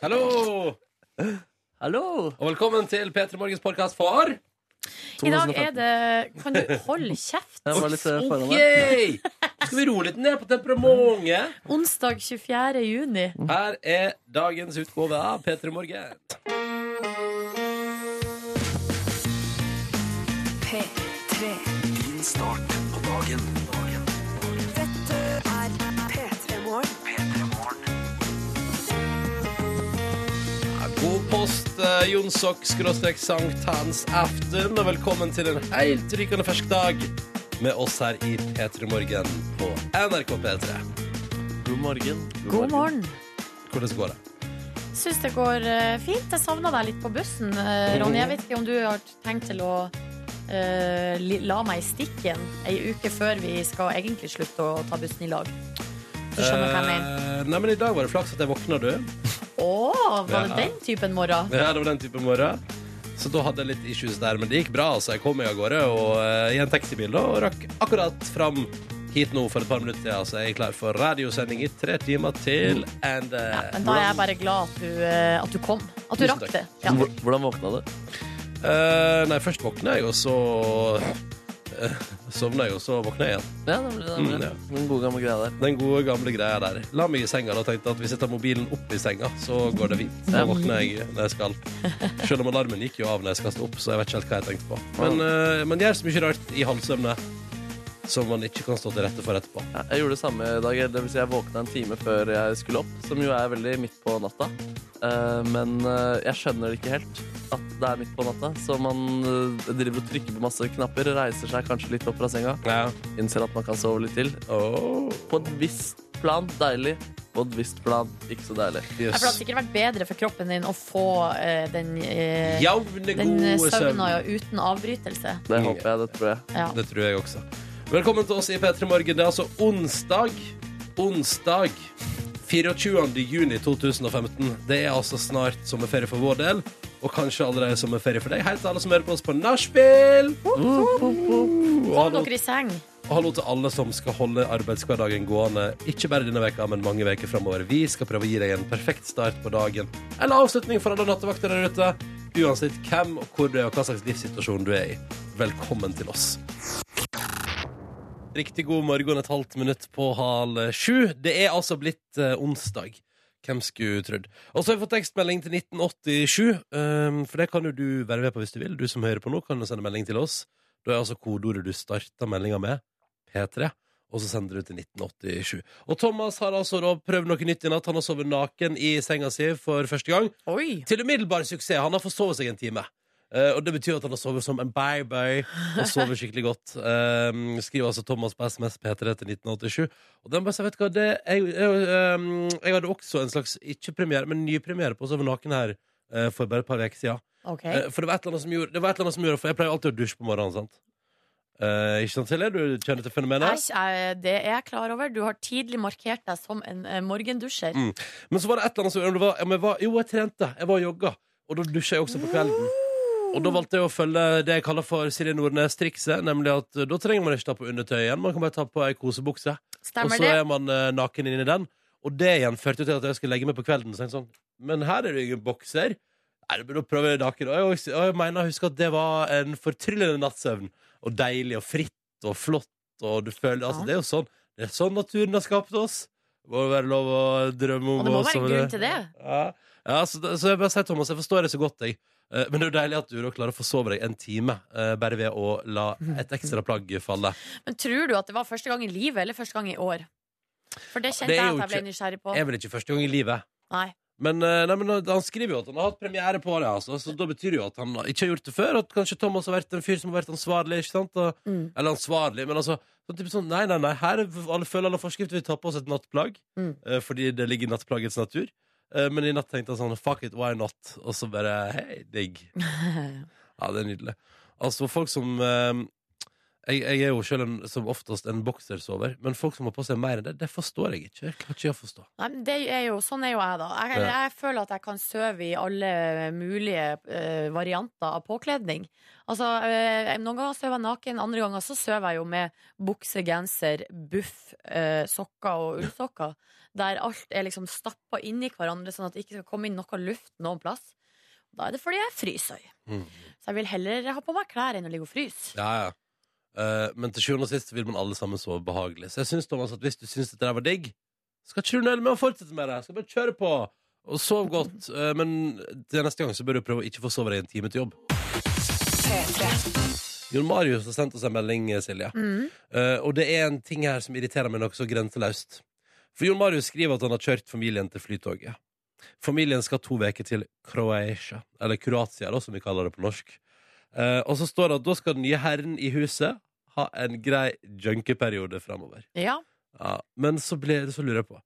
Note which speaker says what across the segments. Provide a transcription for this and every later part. Speaker 1: Hallo!
Speaker 2: Hallo!
Speaker 1: Og velkommen til P3 Morgens podkast for
Speaker 3: I dag er det Kan du holde kjeft?
Speaker 2: Jeg var litt eh, foran
Speaker 1: OK!
Speaker 2: deg.
Speaker 1: Skal vi roe litt ned på temperamentet?
Speaker 3: Onsdag 24. juni.
Speaker 1: Her er dagens utgave av P3 Morgen.
Speaker 4: Din start på dagen. dagen.
Speaker 1: God post, eh, Jonsok skråstrek sankthansaften, og velkommen til en helt rykende fersk dag med oss her i P3 Morgen på NRK P3.
Speaker 2: God morgen.
Speaker 3: God morgen.
Speaker 1: Hvordan går det?
Speaker 3: Syns det går eh, fint. Jeg savna deg litt på bussen, eh, Ronny. Jeg vet ikke om du har tenkt til å eh, li- la meg i stikken ei uke før vi skal egentlig slutte å ta bussen i lag. Du skjønner hva jeg mener.
Speaker 1: Eh, nei, men I dag var det flaks at jeg våkna, du.
Speaker 3: Å, var
Speaker 1: Ja.
Speaker 3: det den typen morgen?
Speaker 1: Ja, det var den type morgen. Så da hadde jeg litt issues der, men det gikk bra. altså. Jeg kom meg av gårde og, eh, i en taxibil da, og rakk akkurat fram hit nå for et par minutter siden. Så jeg er klar for radiosending i tre timer til. And, eh,
Speaker 3: Ja, men da er jeg bare glad at du, eh, at du kom. At du
Speaker 1: Tusen
Speaker 3: rakk
Speaker 1: takk.
Speaker 3: det. Ja.
Speaker 2: Hvor- Hvordan våkna du?
Speaker 1: eh, nei, først våkna jeg, og så eh, sovna jeg, og så våkna jeg igjen.
Speaker 2: Ja, det ble, det ble.
Speaker 1: Mm, ja.
Speaker 2: Den gode gamle greia der.
Speaker 1: Den gode, gamle greia der. La meg i senga da, og tenkte at hvis jeg tar mobilen opp i senga, så går det fint. Da
Speaker 2: Ja.
Speaker 1: våkner jeg når jeg skal. Selv om alarmen gikk jo av når jeg skal stå opp, så jeg vet ikke helt hva jeg tenkte på. Men eh, man gjør så mye rart i halvsøvne som man ikke kan stå til rette for etterpå.
Speaker 2: Ja, Jeg gjorde det samme i dag. Det vil si jeg våkna en time før jeg skulle opp, som jo er veldig midt på natta. Eh, Men eh, jeg skjønner det ikke helt at det er midt på natta. Så man eh, driver og trykker på masse knapper, reiser seg kanskje litt opp fra senga,
Speaker 1: Ja.
Speaker 2: innser at man kan sove litt til.
Speaker 1: Åh,
Speaker 2: På et visst plan deilig. På et visst plan ikke så deilig.
Speaker 3: Ja, for Det hadde
Speaker 1: jøss.
Speaker 3: sikkert vært bedre for kroppen din å få eh, den, eh,
Speaker 1: Jevne,
Speaker 3: den eh,
Speaker 1: gode søvn.
Speaker 3: søvna uten avbrytelse.
Speaker 2: Det håper jeg, det tror jeg.
Speaker 3: Ja.
Speaker 1: Det tror jeg også. Velkommen til oss i P3 Morgen. Det er altså onsdag. Onsdag 24. juni 2015. Det er altså snart sommerferie for vår del. Og kanskje allerede sommerferie for deg. Hei til alle som hører på oss på nachspiel! Og
Speaker 3: Kom
Speaker 1: hallo,
Speaker 3: dere i seng.
Speaker 1: og hallo til alle som skal holde arbeidshverdagen gående. Ikke bare denne veka, men mange veker framover. Vi skal prøve å gi deg en perfekt start på dagen. Eller avslutning for alle nattevakter der ute. Uansett hvem og hvor du er, og hva slags livssituasjon du er i. Velkommen til oss. Riktig god morgen, et halvt minutt på halv sju. Det er altså blitt eh, onsdag. Hvem skulle trodd. Og så har vi fått tekstmelding til 1987, ehm, for det kan jo du være med på hvis du vil. Du som hører på nå, kan jo sende melding til oss. Da er altså kodeordet du starta meldinga med, P3, og så sender du til 1987. Og Thomas har altså da prøvd noe nytt i natt. Han har sovet naken i senga si for første gang.
Speaker 3: Oi.
Speaker 1: Til umiddelbar suksess. Han har forsovet seg en time. Eh, og Det betyr at han har sovet som en baby og sover skikkelig godt. Um, skriver altså Thomas på SMS P3 til 1987. Og den bare sier, vet du hva, det jeg, jeg, ehm, jeg hadde også en slags ikke-premiere, men nypremiere på å sove naken her eh, for bare et par uker siden.
Speaker 3: Ok.
Speaker 1: Eh, for det var et eller annet som gjorde, det var et eller annet som gjorde For jeg pleier alltid å dusje på morgenen, sant? Eh, ikke sant, Silje? Du kjenner til fenomenet?
Speaker 3: Æsj, eh, det er jeg klar over. Du har tidlig markert deg som en eh, morgendusjer.
Speaker 1: Mm. Men så var det et eller annet som om det var, ja, men jeg var, Jo, jeg trente, jeg var og jogga Og da dusja jeg også på kvelden Og da valgte jeg å følge det jeg kaller for Silje Nordnes trikset Nemlig at eh, da trenger man ikke ta på undertøy igjen Man kan bare ta på ei kosebukse Og
Speaker 3: Stemmer
Speaker 1: så
Speaker 3: det?
Speaker 1: er man eh, naken inni den Og det igjen førte til at jeg skulle legge meg på kvelden så tenkte jeg sånn, Men her er det jo ingen bokser Nei, da burde jeg prøve naken Og jeg, også- og jeg mener, husk at det var en fortryllende nattsøvn Og deilig og fritt og flott Og du føler, altså
Speaker 3: Ja.
Speaker 1: det er jo sånn Det er sånn naturen har skapt oss Må det være lov å drømme om
Speaker 3: Og det må
Speaker 1: å
Speaker 3: være en
Speaker 1: sove
Speaker 3: grunn
Speaker 1: det.
Speaker 3: til det.
Speaker 1: Ja, ja så, det- så jeg bare sier, Thomas, jeg forstår det så godt, jeg. Eh, Men det er jo deilig at du da klarer å forsove deg en time eh, bare ved å la et ekstra plagg falle.
Speaker 3: Men tror du at det var første gang i livet, eller første gang i år? For det kjente
Speaker 1: Det er
Speaker 3: jeg
Speaker 1: jo
Speaker 3: at jeg ble
Speaker 1: ikke-
Speaker 3: nysgjerrig på.
Speaker 1: Det er vel ikke første gang i livet.
Speaker 3: Nei.
Speaker 1: Men, eh, nei, men han skriver jo at han har hatt premiere på det, altså. så da betyr det jo at han ikke har gjort det før. At kanskje Thomas har vært en fyr som har vært ansvarlig. Ikke sant? Og,
Speaker 3: Mm.
Speaker 1: Eller ansvarlig, men altså sånn type sånn, Nei, nei, nei, her er alle følger alle forskrifter. Vi tar på oss et nattplagg
Speaker 3: Mm.
Speaker 1: eh, fordi det ligger i nattplaggets natur. Eh, men i natt tenkte jeg sånn Fuck it, why not? Og så bare Hei, digg. Ja, det er nydelig. Altså, folk som eh, jeg, jeg er jo selv en, som oftest en boksersover, men folk som har på seg mer enn det, det forstår jeg ikke. Jeg klarer ikke å forstå.
Speaker 3: Nei, men det er jo, sånn er jo jeg, da. Jeg,
Speaker 1: Ja.
Speaker 3: jeg føler at jeg kan søve i alle mulige eh, varianter av påkledning. Altså, eh, Noen ganger søver jeg naken, andre ganger så søver jeg jo med bukse, genser, buff, eh, sokker og ullsokker. der alt er liksom stappa inni hverandre, sånn at det ikke skal komme inn noe luft noen plass. Da er det fordi jeg fryser.
Speaker 1: Mm.
Speaker 3: Så jeg vil heller ha på meg klær enn å ligge og fryse.
Speaker 1: Ja, ja. Eh, men til sjuende og sist vil man alle sammen sove behagelig. Så jeg synes, Thomas, at hvis du syns dette der var digg, skal ikke du nøle med å fortsette med det. Skal bare kjøre på og sove godt. Eh, men til neste gang så bør du prøve å ikke få sove deg en time til jobb. Jon Marius har sendt oss en melding, eh, Silje.
Speaker 3: Mm.
Speaker 1: Eh, og det er en ting her som irriterer meg noe så grenseløst. For Jon Marius skriver at han har kjørt familien til Flytoget. Familien skal to uker til Kroatia, eller Kroatia, da, som vi kaller det på norsk. Eh, og så står det at da skal den nye herren i huset ha en grei junkeperiode framover.
Speaker 3: Ja.
Speaker 1: Ja, men så, ble, så lurer jeg på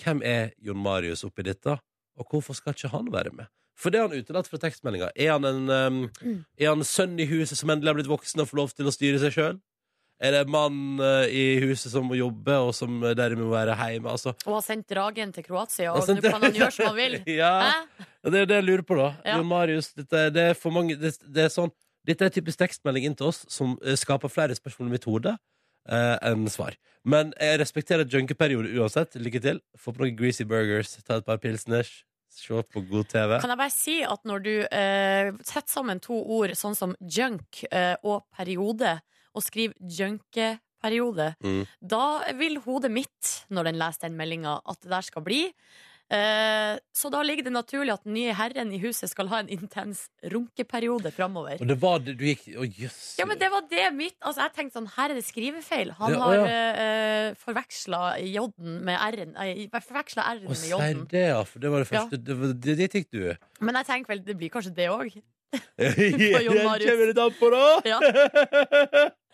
Speaker 1: Hvem er Jon Marius oppi dette? Og hvorfor skal ikke han være med? For det er han utelatt fra tekstmeldinga. Er han en ehm,
Speaker 3: Mm.
Speaker 1: Er han sønn i huset som endelig har blitt voksen og får lov til å styre seg sjøl? Er det mann eh, i huset som må jobbe, og som eh, dermed må være hjemme? Altså,
Speaker 3: Og har sendt dragen til Kroatia,
Speaker 1: Og
Speaker 3: og nå
Speaker 1: sendt-
Speaker 3: kan han gjøre som han vil. Hæ?
Speaker 1: ja, det er jo det jeg lurer på, da.
Speaker 3: Ja.
Speaker 1: Jon Marius, dette, det er for mange det, det er sånn, Dette er typisk tekstmelding inn til oss som eh, skaper flere spørsmål i mitt hode eh, enn svar. Men jeg respekterer junkeperiode uansett. Lykke til. Få på noen greasy burgers, ta et par pilsners, se på god TV.
Speaker 3: Kan jeg bare si at når du eh, setter sammen to ord sånn som junk eh, og periode, og skriver junkeperiode,
Speaker 1: Mm.
Speaker 3: da vil hodet mitt, når den leser den meldinga, at det der skal bli. Eh, så da ligger det naturlig at den nye herren i huset skal ha en intens runkeperiode framover.
Speaker 1: Og det var det du gikk Å, jøss.
Speaker 3: Ja, men det var det mitt Altså, jeg tenkte sånn, her er det skrivefeil. Han
Speaker 1: Ja, å,
Speaker 3: har
Speaker 1: ja.
Speaker 3: eh, forveksla J-en med R-en. eh, Forveksla R-en
Speaker 1: Å,
Speaker 3: med
Speaker 1: sier
Speaker 3: J-en.
Speaker 1: det, ja. For det var det første Det, var- det, det fikk du.
Speaker 3: Men jeg tenker vel, det blir kanskje det òg. Jon
Speaker 1: Den
Speaker 3: Marius.
Speaker 1: kommer litt an på, da!
Speaker 3: Ja.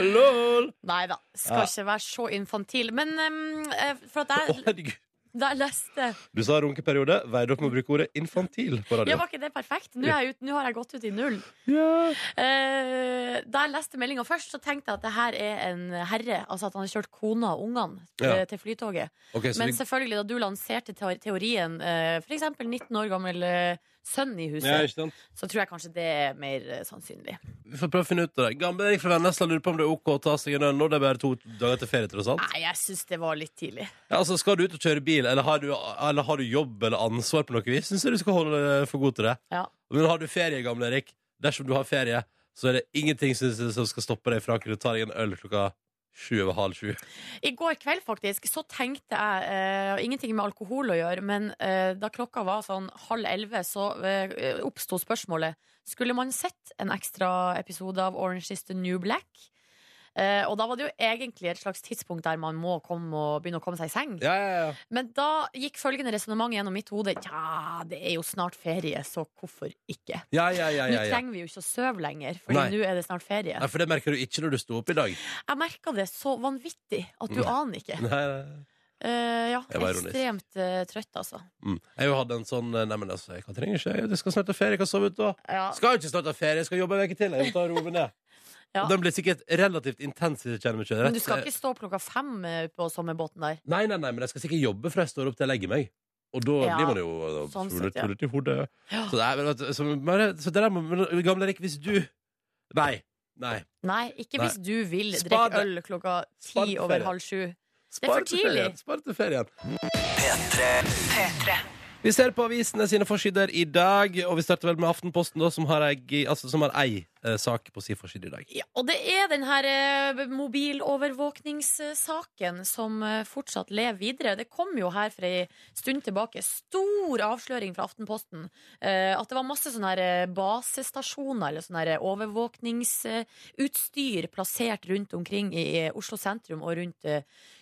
Speaker 1: Lol!
Speaker 3: Nei da, skal
Speaker 1: Ja.
Speaker 3: ikke være så infantil. Men em, eh, for at
Speaker 1: Å,
Speaker 3: jeg,
Speaker 1: herregud.
Speaker 3: da jeg leste
Speaker 1: Du sa runkeperiode. Veide opp med å bruke ordet infantil på
Speaker 3: Ja,
Speaker 1: radio.
Speaker 3: var ikke det perfekt? Nå, er jeg ut, nå har jeg gått ut i null.
Speaker 1: Ja.
Speaker 3: Eh, da jeg leste meldinga først, så tenkte jeg at det her er en herre. Altså at han har kjørt kona og ungene eh,
Speaker 1: Ja.
Speaker 3: til Flytoget.
Speaker 1: Ok, så
Speaker 3: Men
Speaker 1: det-
Speaker 3: selvfølgelig, da du lanserte teor- teorien, eh, for f.eks. 19 år gammel eh, sønn i
Speaker 1: Ja,
Speaker 3: huset,
Speaker 1: ikke sant?
Speaker 3: så tror jeg kanskje det er mer eh, sannsynlig.
Speaker 1: Vi får prøve å finne ut av det. Gamle Erik fra Vennesla lurer på om det er OK å ta seg en øl når det er bare to dager til ferie. tross alt.
Speaker 3: Nei, jeg syns det var litt tidlig.
Speaker 1: Ja, altså, skal du ut og kjøre bil, eller har du, eller har du jobb eller ansvar på noe vis, syns jeg du skal holde deg for god til det.
Speaker 3: Ja.
Speaker 1: Men har du ferie, gamle Erik, dersom du har ferie, så er det ingenting synes jeg, som skal stoppe deg fra å kunne ta deg en øl klokka sju over halv sju.
Speaker 3: I går kveld faktisk så tenkte jeg eh, og Ingenting med alkohol å gjøre, men eh, da klokka var sånn halv elleve, så eh, oppsto spørsmålet Skulle man sett en ekstra episode av Orange is the New Black. Eh, og da var det jo egentlig et slags tidspunkt der man må komme og begynne å komme seg i seng.
Speaker 1: Ja, ja, ja.
Speaker 3: Men da gikk følgende resonnement gjennom mitt hode. Ja, det er jo snart ferie, så hvorfor ikke?
Speaker 1: ja, ja, ja,
Speaker 3: Nå
Speaker 1: ja, ja.
Speaker 3: trenger vi jo ikke å sove lenger, for
Speaker 1: Nei.
Speaker 3: nå er det snart ferie.
Speaker 1: Nei, for det merker du ikke når du sto opp i dag.
Speaker 3: Jeg merka det så vanvittig at du
Speaker 1: Nei.
Speaker 3: aner ikke.
Speaker 1: Nei, nei.
Speaker 3: Eh, ja,
Speaker 1: Jeg var ironisk.
Speaker 3: ekstremt eh, trøtt, altså.
Speaker 1: Mm. Jeg har jo hatt en sånn eh, Nei, men altså, jeg kan trenger ikke Jeg skal snart ha ferie. Jeg kan sove ute òg.
Speaker 3: Ja.
Speaker 1: Skal jo ikke snart ha ferie. Jeg skal jobbe en uke til. Jeg må ta roe meg ned.
Speaker 3: Ja.
Speaker 1: Og Den blir sikkert relativt intens. hvis jeg kjenner meg selv
Speaker 3: Men du
Speaker 1: rett.
Speaker 3: skal ikke stå opp klokka fem eh, på sommerbåten der.
Speaker 1: Nei, nei, nei, men jeg skal sikkert jobbe fra jeg står opp til jeg legger meg. Og da
Speaker 3: Ja,
Speaker 1: blir man jo da,
Speaker 3: sånn
Speaker 1: fullet-
Speaker 3: sett, ja.
Speaker 1: fullet i hodet.
Speaker 3: Ja.
Speaker 1: Så, nei, men, vet du, så, bare- så det der må men, Gamle Erik, hvis du Nei. Nei.
Speaker 3: Nei, ikke
Speaker 1: Nei.
Speaker 3: hvis du vil drikke
Speaker 1: Spar det.
Speaker 3: øl klokka
Speaker 1: Spar
Speaker 3: ti
Speaker 1: det for
Speaker 3: over
Speaker 1: ferie.
Speaker 3: halv sju. er
Speaker 1: Spar
Speaker 3: for
Speaker 1: til ferien,
Speaker 3: tidlig.
Speaker 1: Spar til ferien. Vi ser på avisene sine forsider i dag, og vi starter vel med Aftenposten, da, som har ei, altså, som har ei eh, sak på sin forside i dag.
Speaker 3: Ja, og det er den her eh, mobilovervåkningssaken som eh, fortsatt lever videre. Det kom jo her for ei stund tilbake stor avsløring fra Aftenposten. eh, At det var masse sånne her eh, basestasjoner eller sånne her eh, overvåkningsutstyr plassert rundt omkring i eh, Oslo sentrum og rundt eh,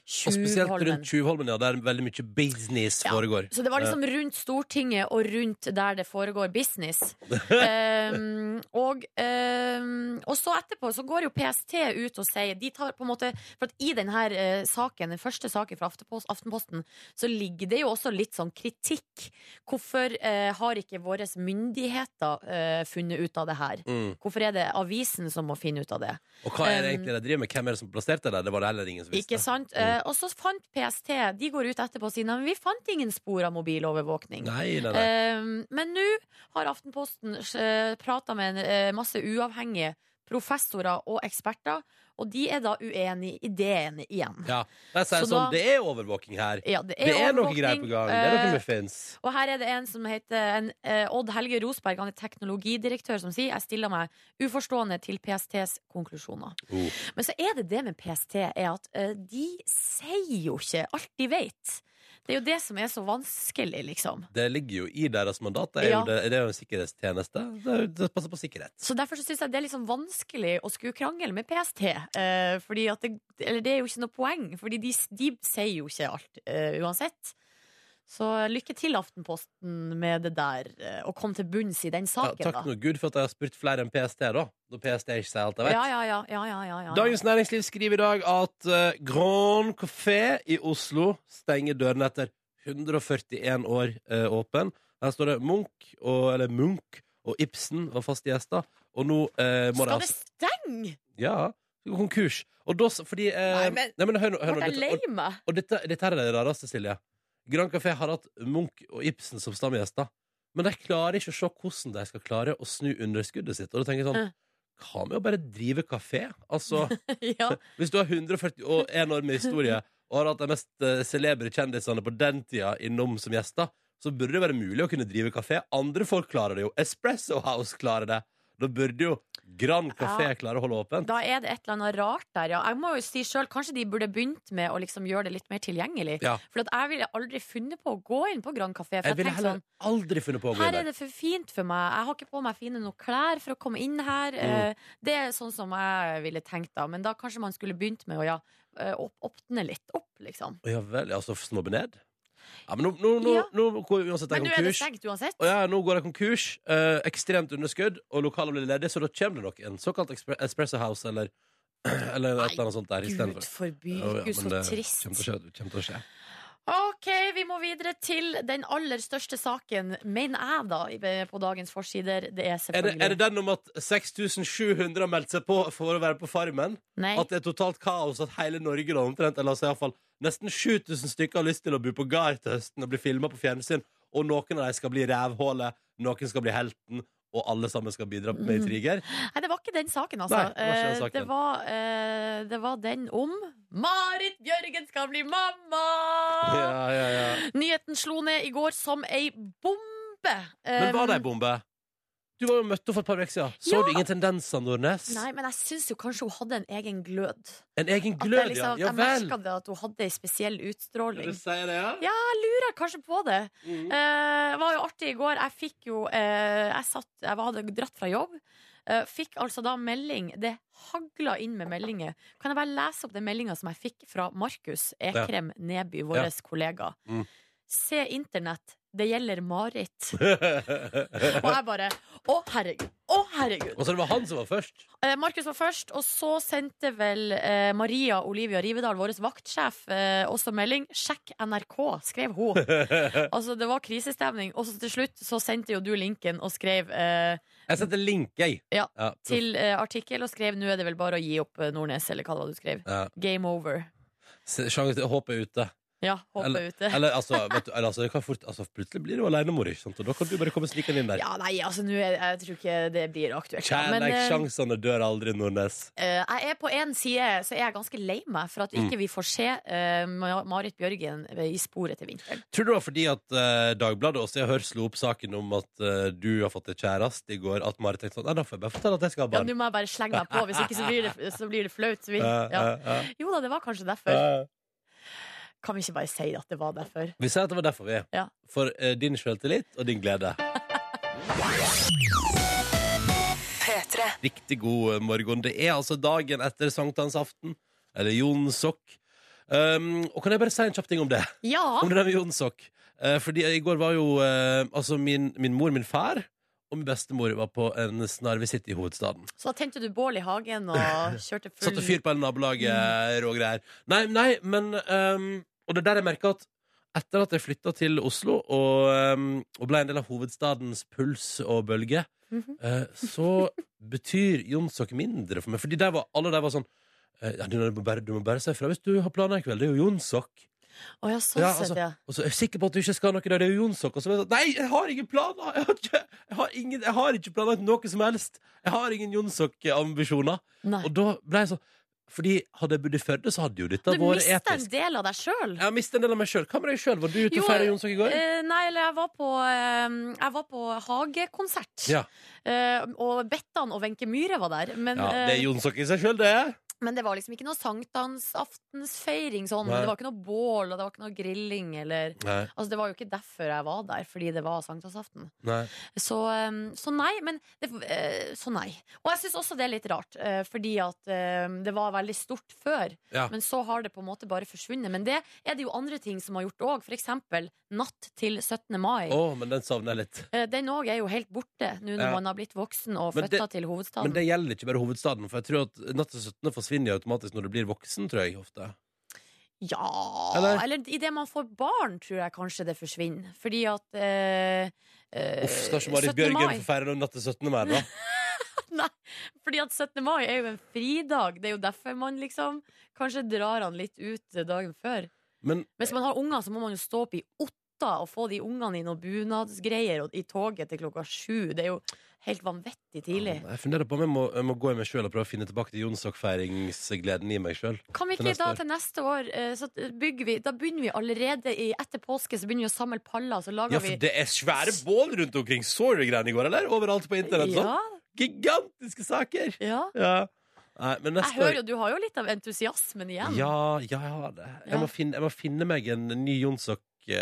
Speaker 1: Og spesielt
Speaker 3: Tjuvholmen.
Speaker 1: rundt Tjuvholmen, ja, der veldig mye business
Speaker 3: Ja.
Speaker 1: foregår.
Speaker 3: Så det var liksom rundt Stortinget og rundt der det foregår business. Ehm, og, ehm, og så etterpå så går jo PST ut og sier De tar på en måte For at i denne eh, saken, den første saken fra Aftepos- Aftenposten, så ligger det jo også litt sånn kritikk. Hvorfor eh, har ikke våre myndigheter eh, funnet ut av det her?
Speaker 1: Mm.
Speaker 3: Hvorfor er det avisen som må finne ut av det?
Speaker 1: Og hva er
Speaker 3: Um,
Speaker 1: det egentlig de driver med? Hvem er det som plasserte det? Det var det heller ingen som visste.
Speaker 3: Ikke sant? Eh, og så fant PST De går ut etterpå og sier at vi fant ingen spor av mobilovervåkning.
Speaker 1: Nei, nei, nei.
Speaker 3: Um, men nå har eh, Aftenposten uh, prata med en eh, masse uavhengige professorer og eksperter Og de er da uenig i det ene igjen.
Speaker 1: Ja. Jeg sier
Speaker 3: Så
Speaker 1: sånn,
Speaker 3: da-
Speaker 1: det er overvåking her.
Speaker 3: Ja, det
Speaker 1: Det
Speaker 3: er,
Speaker 1: er noe
Speaker 3: overvåkning,
Speaker 1: greier på gang. Det er
Speaker 3: eh,
Speaker 1: noe muffins.
Speaker 3: Og her er det en som heter en, eh, Odd Helge Rosberg, han er teknologidirektør, som sier jeg stiller meg uforstående til PSTs konklusjoner.
Speaker 1: Oh.
Speaker 3: Men så er det det med PST, er at eh, de sier jo ikke alt de vet. Det er jo det som er så vanskelig, liksom.
Speaker 1: Det ligger jo i deres mandat. Det er jo,
Speaker 3: Ja.
Speaker 1: det, det er jo en sikkerhetstjeneste. Det, er- det passer på sikkerhet.
Speaker 3: Så derfor så syns jeg det er liksom vanskelig å skulle krangle med PST. Eh, fordi at det, eller det er jo ikke noe poeng, Fordi de, de sier jo ikke alt eh, uansett. Så lykke til, Aftenposten, med det der, eh, og kom til bunns i den
Speaker 1: Ja,
Speaker 3: saken,
Speaker 1: takk nå Gud for at jeg har spurt flere enn PST, da. Når PST ikke sier alt jeg
Speaker 3: da.
Speaker 1: vet.
Speaker 3: Ja, ja, ja, ja, ja, ja, ja.
Speaker 1: Dagens Næringsliv skriver i dag at eh, Grand Café i Oslo stenger dørene etter 141 år eh, åpen. Her står det Munch og, eller Munch og Ibsen var faste gjester, og nå eh, må
Speaker 3: Skal
Speaker 1: de
Speaker 3: det stenge?!
Speaker 1: Ja, det går konkurs. Og da s- fordi eh,
Speaker 3: Nei, men-
Speaker 1: nei, men hør nå. Hør
Speaker 3: Ble
Speaker 1: nå
Speaker 3: jeg
Speaker 1: dette,
Speaker 3: lei
Speaker 1: og
Speaker 3: meg?
Speaker 1: og dette, dette her er det rareste, Silje. Grand Café har hatt Munch og Ibsen som stamgjester, men de klarer ikke å se hvordan de skal klare å snu underskuddet sitt. Og da tenker jeg sånn
Speaker 3: Eh.
Speaker 1: Hva med å bare drive kafé? Altså
Speaker 3: ja.
Speaker 1: hvis du har 141 år med historie og har hatt de mest eh, celebre kjendisene på den tida innom som gjester, så burde det være mulig å kunne drive kafé. Andre folk klarer det jo. Espresso House klarer det. Da burde jo Grand Café
Speaker 3: Ja.
Speaker 1: klare å holde åpent.
Speaker 3: Da er det et eller annet rart der, ja. Jeg må jo si selv, kanskje de burde begynt med å liksom gjøre det litt mer tilgjengelig.
Speaker 1: Ja.
Speaker 3: For at jeg ville aldri funnet på å gå inn på Grand Café. For
Speaker 1: Jeg
Speaker 3: jeg,
Speaker 1: ville
Speaker 3: tenkte sånn
Speaker 1: heller aldri funnet på å gå
Speaker 3: Her
Speaker 1: inn
Speaker 3: er
Speaker 1: der.
Speaker 3: det for fint for meg. Jeg har ikke på meg fine nok klær for å komme inn her.
Speaker 1: Mm.
Speaker 3: Eh, Det er sånn som jeg ville tenkt da. Men da kanskje man skulle begynt med å ja, eh, opp, åpne litt opp, liksom.
Speaker 1: Å, Ja vel. Altså snobbe ned? Ja, men nå, nå, nå,
Speaker 3: Ja.
Speaker 1: nå går jo uansett det
Speaker 3: Men nå er det
Speaker 1: konkurs.
Speaker 3: stengt uansett.
Speaker 1: Å ja, nå går det konkurs. eh, ekstremt underskudd, og lokalene blir ledige, så da kommer det nok en såkalt Expre- Espresso House eller, eller et eller annet sånt der
Speaker 3: Gud
Speaker 1: istedenfor.
Speaker 3: forby.
Speaker 1: Ja, ja,
Speaker 3: Gud,
Speaker 1: men
Speaker 3: så
Speaker 1: det
Speaker 3: trist.
Speaker 1: Kommer til å skje. Kommer til å skje.
Speaker 3: Ok, vi må videre til den aller største saken, mener jeg da, i- på dagens forsider. Det er
Speaker 1: Er, det,
Speaker 3: selvfølgelig
Speaker 1: er det den om at 6700 har meldt seg på for å være på Farmen?
Speaker 3: Nei.
Speaker 1: At det er totalt kaos, at hele Norge da omtrent, eller altså iallfall nesten 7000 stykker har lyst til å bo på gard til høsten og bli filma på fjernsyn, og noen av dem skal bli rævhålet, noen skal bli helten, og alle sammen skal bidra
Speaker 3: Mhm.
Speaker 1: med intriger?
Speaker 3: Nei, det var ikke den saken, altså.
Speaker 1: Nei, det var ikke den
Speaker 3: Eh,
Speaker 1: saken.
Speaker 3: Det, var, eh, det var den om Marit Bjørgen skal bli mamma!
Speaker 1: Ja, ja, ja.
Speaker 3: Nyheten slo ned i går som ei bombe.
Speaker 1: Men var det
Speaker 3: Um,
Speaker 1: ei bombe? Du var jo møtt henne for et par uker siden. Så
Speaker 3: Ja.
Speaker 1: du ingen tendenser, Nordnes?
Speaker 3: Nei, men jeg syns jo kanskje hun hadde en egen glød.
Speaker 1: En egen
Speaker 3: At
Speaker 1: glød,
Speaker 3: jeg liksom,
Speaker 1: ja. Ja
Speaker 3: jeg
Speaker 1: vel.
Speaker 3: merka det at hun hadde ei spesiell utstråling.
Speaker 1: sier det, ja?
Speaker 3: Ja, jeg lurer kanskje på det.
Speaker 1: Mhm.
Speaker 3: Eh, var jo artig i går. Jeg fikk jo eh, Jeg satt Jeg hadde dratt fra jobb. Eh, fikk altså da melding. Det hagla inn med meldinger. Kan jeg bare lese opp den meldinga som jeg fikk fra Markus Ekrem Neby, vår kollega?
Speaker 1: Mm.
Speaker 3: Se internett. Det gjelder Marit. Og jeg bare Å, herregud. Å, herregud.
Speaker 1: og så det var han som var først?
Speaker 3: Eh, Markus var først, og så sendte vel eh, Maria Olivia Rivedal, vår vaktsjef, eh, også melding. Sjekk NRK, skrev hun. altså, det var krisestemning. Og så til slutt så sendte jo du linken og skrev eh,
Speaker 1: Jeg setter link, jeg.
Speaker 3: Ja,
Speaker 1: proff.
Speaker 3: til eh, artikkel og skrev 'Nå er det vel bare å gi opp eh, Nordnes', eller hva det var du skrev.
Speaker 1: Ja.
Speaker 3: Game over.
Speaker 1: Se- Sjangen til håp er ute.
Speaker 3: Ja, håpet
Speaker 1: Eller-
Speaker 3: ute.
Speaker 1: Eller, altså, vet du, eller altså, det kan fort, altså, plutselig blir du alenemor, ikke sant? Og da kan du bare komme snikende inn der.
Speaker 3: Ja, nei, altså, nå er Jeg tror ikke det blir aktuelt. da. Men, eh,
Speaker 1: Kjærleikssjansene dør aldri, Nordnes.
Speaker 3: Eh, jeg er På én side så er jeg ganske lei meg for at
Speaker 1: Mm.
Speaker 3: ikke vi får se eh, Ma- Marit Bjørgen eh, i sporet til vinteren.
Speaker 1: Tror du det var fordi at eh, Dagbladet også jeg hørte slo opp saken om at eh, du har fått deg kjæreste i går, at Marit tenkte sånn Nei, da får jeg bare fortelle at jeg skal ha
Speaker 3: Ja,
Speaker 1: barn.
Speaker 3: Nå må jeg bare slenge meg på, hvis ikke så blir det, så blir det flaut. Så vi,
Speaker 1: Eh,
Speaker 3: ja.
Speaker 1: eh, eh,
Speaker 3: Jo da, det var kanskje derfor.
Speaker 1: eh.
Speaker 3: Kan vi ikke bare si at det var derfor?
Speaker 1: Vi sier at det var derfor vi er.
Speaker 3: Ja.
Speaker 1: For eh, din selvtillit og din glede. Riktig god eh, morgen. Det er altså dagen etter sankthansaften, eller Jonsok. Um, og kan jeg bare si en kjapp ting om det?
Speaker 3: Ja!
Speaker 1: Om det der med Jonsok. Eh, fordi i går var jo eh, altså min, min mor, min far og min bestemor var på en snarvisitt i hovedstaden.
Speaker 3: Så da tente du bål i hagen og kjørte full
Speaker 1: Satte fyr på hele nabolaget og greier. Nei, nei, men ehm, Og det er der jeg merka at etter at jeg flytta til Oslo og, ehm, og ble en del av hovedstadens puls og bølge,
Speaker 3: Mhm.
Speaker 1: eh, så betyr Jonsok mindre for meg. Fordi der var, alle der var sånn eh, ja, du, må bare, du må bare si fra hvis du har planer i kveld. Det er jo Jonsok.
Speaker 3: Å ja, sånn
Speaker 1: Ja, altså-
Speaker 3: sett, ja.
Speaker 1: Og så er jeg sikker på at du ikke skal noe der. Det er jo Jonsok. Og så var jeg sånn Nei, jeg har ingen planer! Jeg har ikke, jeg har ingen, jeg har ikke planlagt noe som helst! Jeg har ingen Jonsok-ambisjoner.
Speaker 3: Nei.
Speaker 1: Og da ble jeg sånn Fordi hadde jeg bodd i Førde, så hadde jo dette
Speaker 3: Du
Speaker 1: vært
Speaker 3: mister en
Speaker 1: etisk.
Speaker 3: del av deg sjøl.
Speaker 1: Jeg har mistet en del av meg sjøl. Hva med deg sjøl? Var du ute
Speaker 3: Jo,
Speaker 1: og feira Jonsok i går?
Speaker 3: Eh, nei, eller jeg var på, eh, jeg var på hagekonsert.
Speaker 1: Ja.
Speaker 3: Eh, og Bettan og Wenche Myhre var der. Men,
Speaker 1: ja, det er
Speaker 3: eh,
Speaker 1: Jonsok i seg sjøl, det.
Speaker 3: men det var liksom ikke noe sankthansaftensfeiring sånn.
Speaker 1: Nei.
Speaker 3: Det var ikke noe bål, og det var ikke noe grilling eller
Speaker 1: Nei,
Speaker 3: Altså, det var jo ikke derfor jeg var der, fordi det var sankthansaften.
Speaker 1: nei.
Speaker 3: Så, eh, så nei, men det, eh, Så nei. Og jeg syns også det er litt rart, eh, fordi at eh, det var veldig stort før.
Speaker 1: Ja.
Speaker 3: Men så har det på en måte bare forsvunnet. Men det er det jo andre ting som har gjort òg. For eksempel Natt til 17. mai.
Speaker 1: Å, men den savner jeg litt.
Speaker 3: Eh, Den òg er jo helt borte nå når
Speaker 1: Ja.
Speaker 3: man har blitt voksen og
Speaker 1: Men
Speaker 3: flytta
Speaker 1: det-
Speaker 3: til hovedstaden.
Speaker 1: Men det gjelder ikke bare hovedstaden, for jeg tror at Natt til 17. forsvinner jo automatisk når du blir voksen, tror jeg ofte.
Speaker 3: ja
Speaker 1: Eller?
Speaker 3: Eller, idet man får barn, tror jeg kanskje det forsvinner. Fordi at eh, eh,
Speaker 1: Uff, skal ikke Marit
Speaker 3: 17.
Speaker 1: Bjørgen
Speaker 3: mai-
Speaker 1: få feire noen Natt til 17. mer, da?
Speaker 3: Fordi at 17. mai er jo en fridag. Det er jo derfor man liksom kanskje drar han litt ut dagen før.
Speaker 1: Men
Speaker 3: Hvis man har unger, så må man jo stå opp i åtta og få de ungene i noen bunadsgreier og i toget til klokka sju. Det er jo helt vanvittig tidlig.
Speaker 1: Jeg funderer på om jeg må, jeg må gå i meg sjøl og prøve å finne tilbake til Jonsok-feiringsgleden i meg sjøl.
Speaker 3: Kan vi
Speaker 1: Til
Speaker 3: ikke
Speaker 1: neste
Speaker 3: da
Speaker 1: år.
Speaker 3: til neste år eh, så bygger vi, Da begynner vi allerede i, etter påske Så begynner vi å samle paller, så lager
Speaker 1: Ja, for det er svære bål rundt omkring. Så du greiene i går, eller? Overalt på internett.
Speaker 3: vi
Speaker 1: Sånn.
Speaker 3: ja,
Speaker 1: Gigantiske saker!
Speaker 3: ja.
Speaker 1: Ja. Nei, men
Speaker 3: Jeg
Speaker 1: neste
Speaker 3: hører jo, Du har jo litt av entusiasmen igjen.
Speaker 1: Ja, ja, jeg har det. Jeg,
Speaker 3: Ja.
Speaker 1: må finne, jeg må finne meg en ny Jonsok. Eh,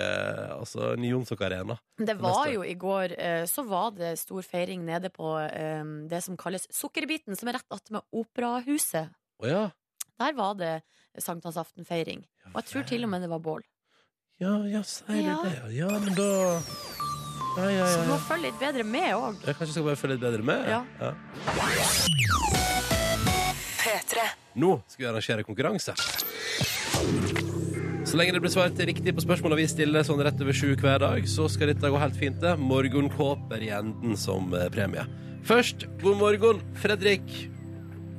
Speaker 1: altså ny Jonsok-arena.
Speaker 3: Det
Speaker 1: neste
Speaker 3: var
Speaker 1: år.
Speaker 3: jo i går eh, Så var det stor feiring nede på eh, det som kalles Sukkerbiten, som er rett attmed Operahuset.
Speaker 1: Å ja.
Speaker 3: Der var det sankthansaftenfeiring. Og jeg tror til og med det var bål.
Speaker 1: Ja, ja, sier
Speaker 3: Ja.
Speaker 1: du det? Ja, ja men da Ja, ja,
Speaker 3: Så
Speaker 1: ja.
Speaker 3: du må
Speaker 1: ja.
Speaker 3: følge litt bedre med òg.
Speaker 1: Jeg kanskje skal bare følge litt bedre med?
Speaker 3: Ja.
Speaker 1: Nå skal vi arrangere konkurranse. Så lenge det blir svart riktig på spørsmåla vi stiller sånn rett over sju hver dag, så skal dette gå helt fint. det. Morgenkåper i enden som eh, premie. Først, god morgen, Fredrik.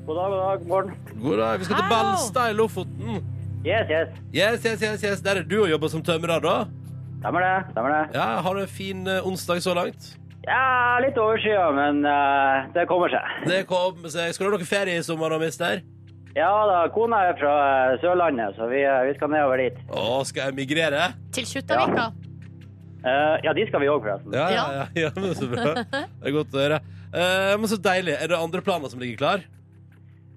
Speaker 5: God dag, god dag, morgen.
Speaker 1: God dag. Vi skal til
Speaker 3: Hallo.
Speaker 1: Balstad i Lofoten.
Speaker 5: Yes, yes.
Speaker 1: Yes, yes, yes, yes. Der er du og jobber som tømrer, da.
Speaker 5: Stemmer det, stemmer det.
Speaker 1: Ja, Har du en fin eh, onsdag så langt?
Speaker 5: Ja, litt overskya, men eh, det kommer seg.
Speaker 1: Det kom seg. Skal du ha noe ferie i sommer, da, mister?
Speaker 5: Ja da, kona er fra eh, Sørlandet, så vi, eh, vi skal nedover dit.
Speaker 1: Å, skal jeg migrere?
Speaker 3: Til Kjuttaviga.
Speaker 5: Eh, ja, dit skal vi òg, forresten.
Speaker 1: Ja, ja, ja. ja men Så bra. Det er godt å høre. Eh, men så deilig. Er det andre planer som ligger klar?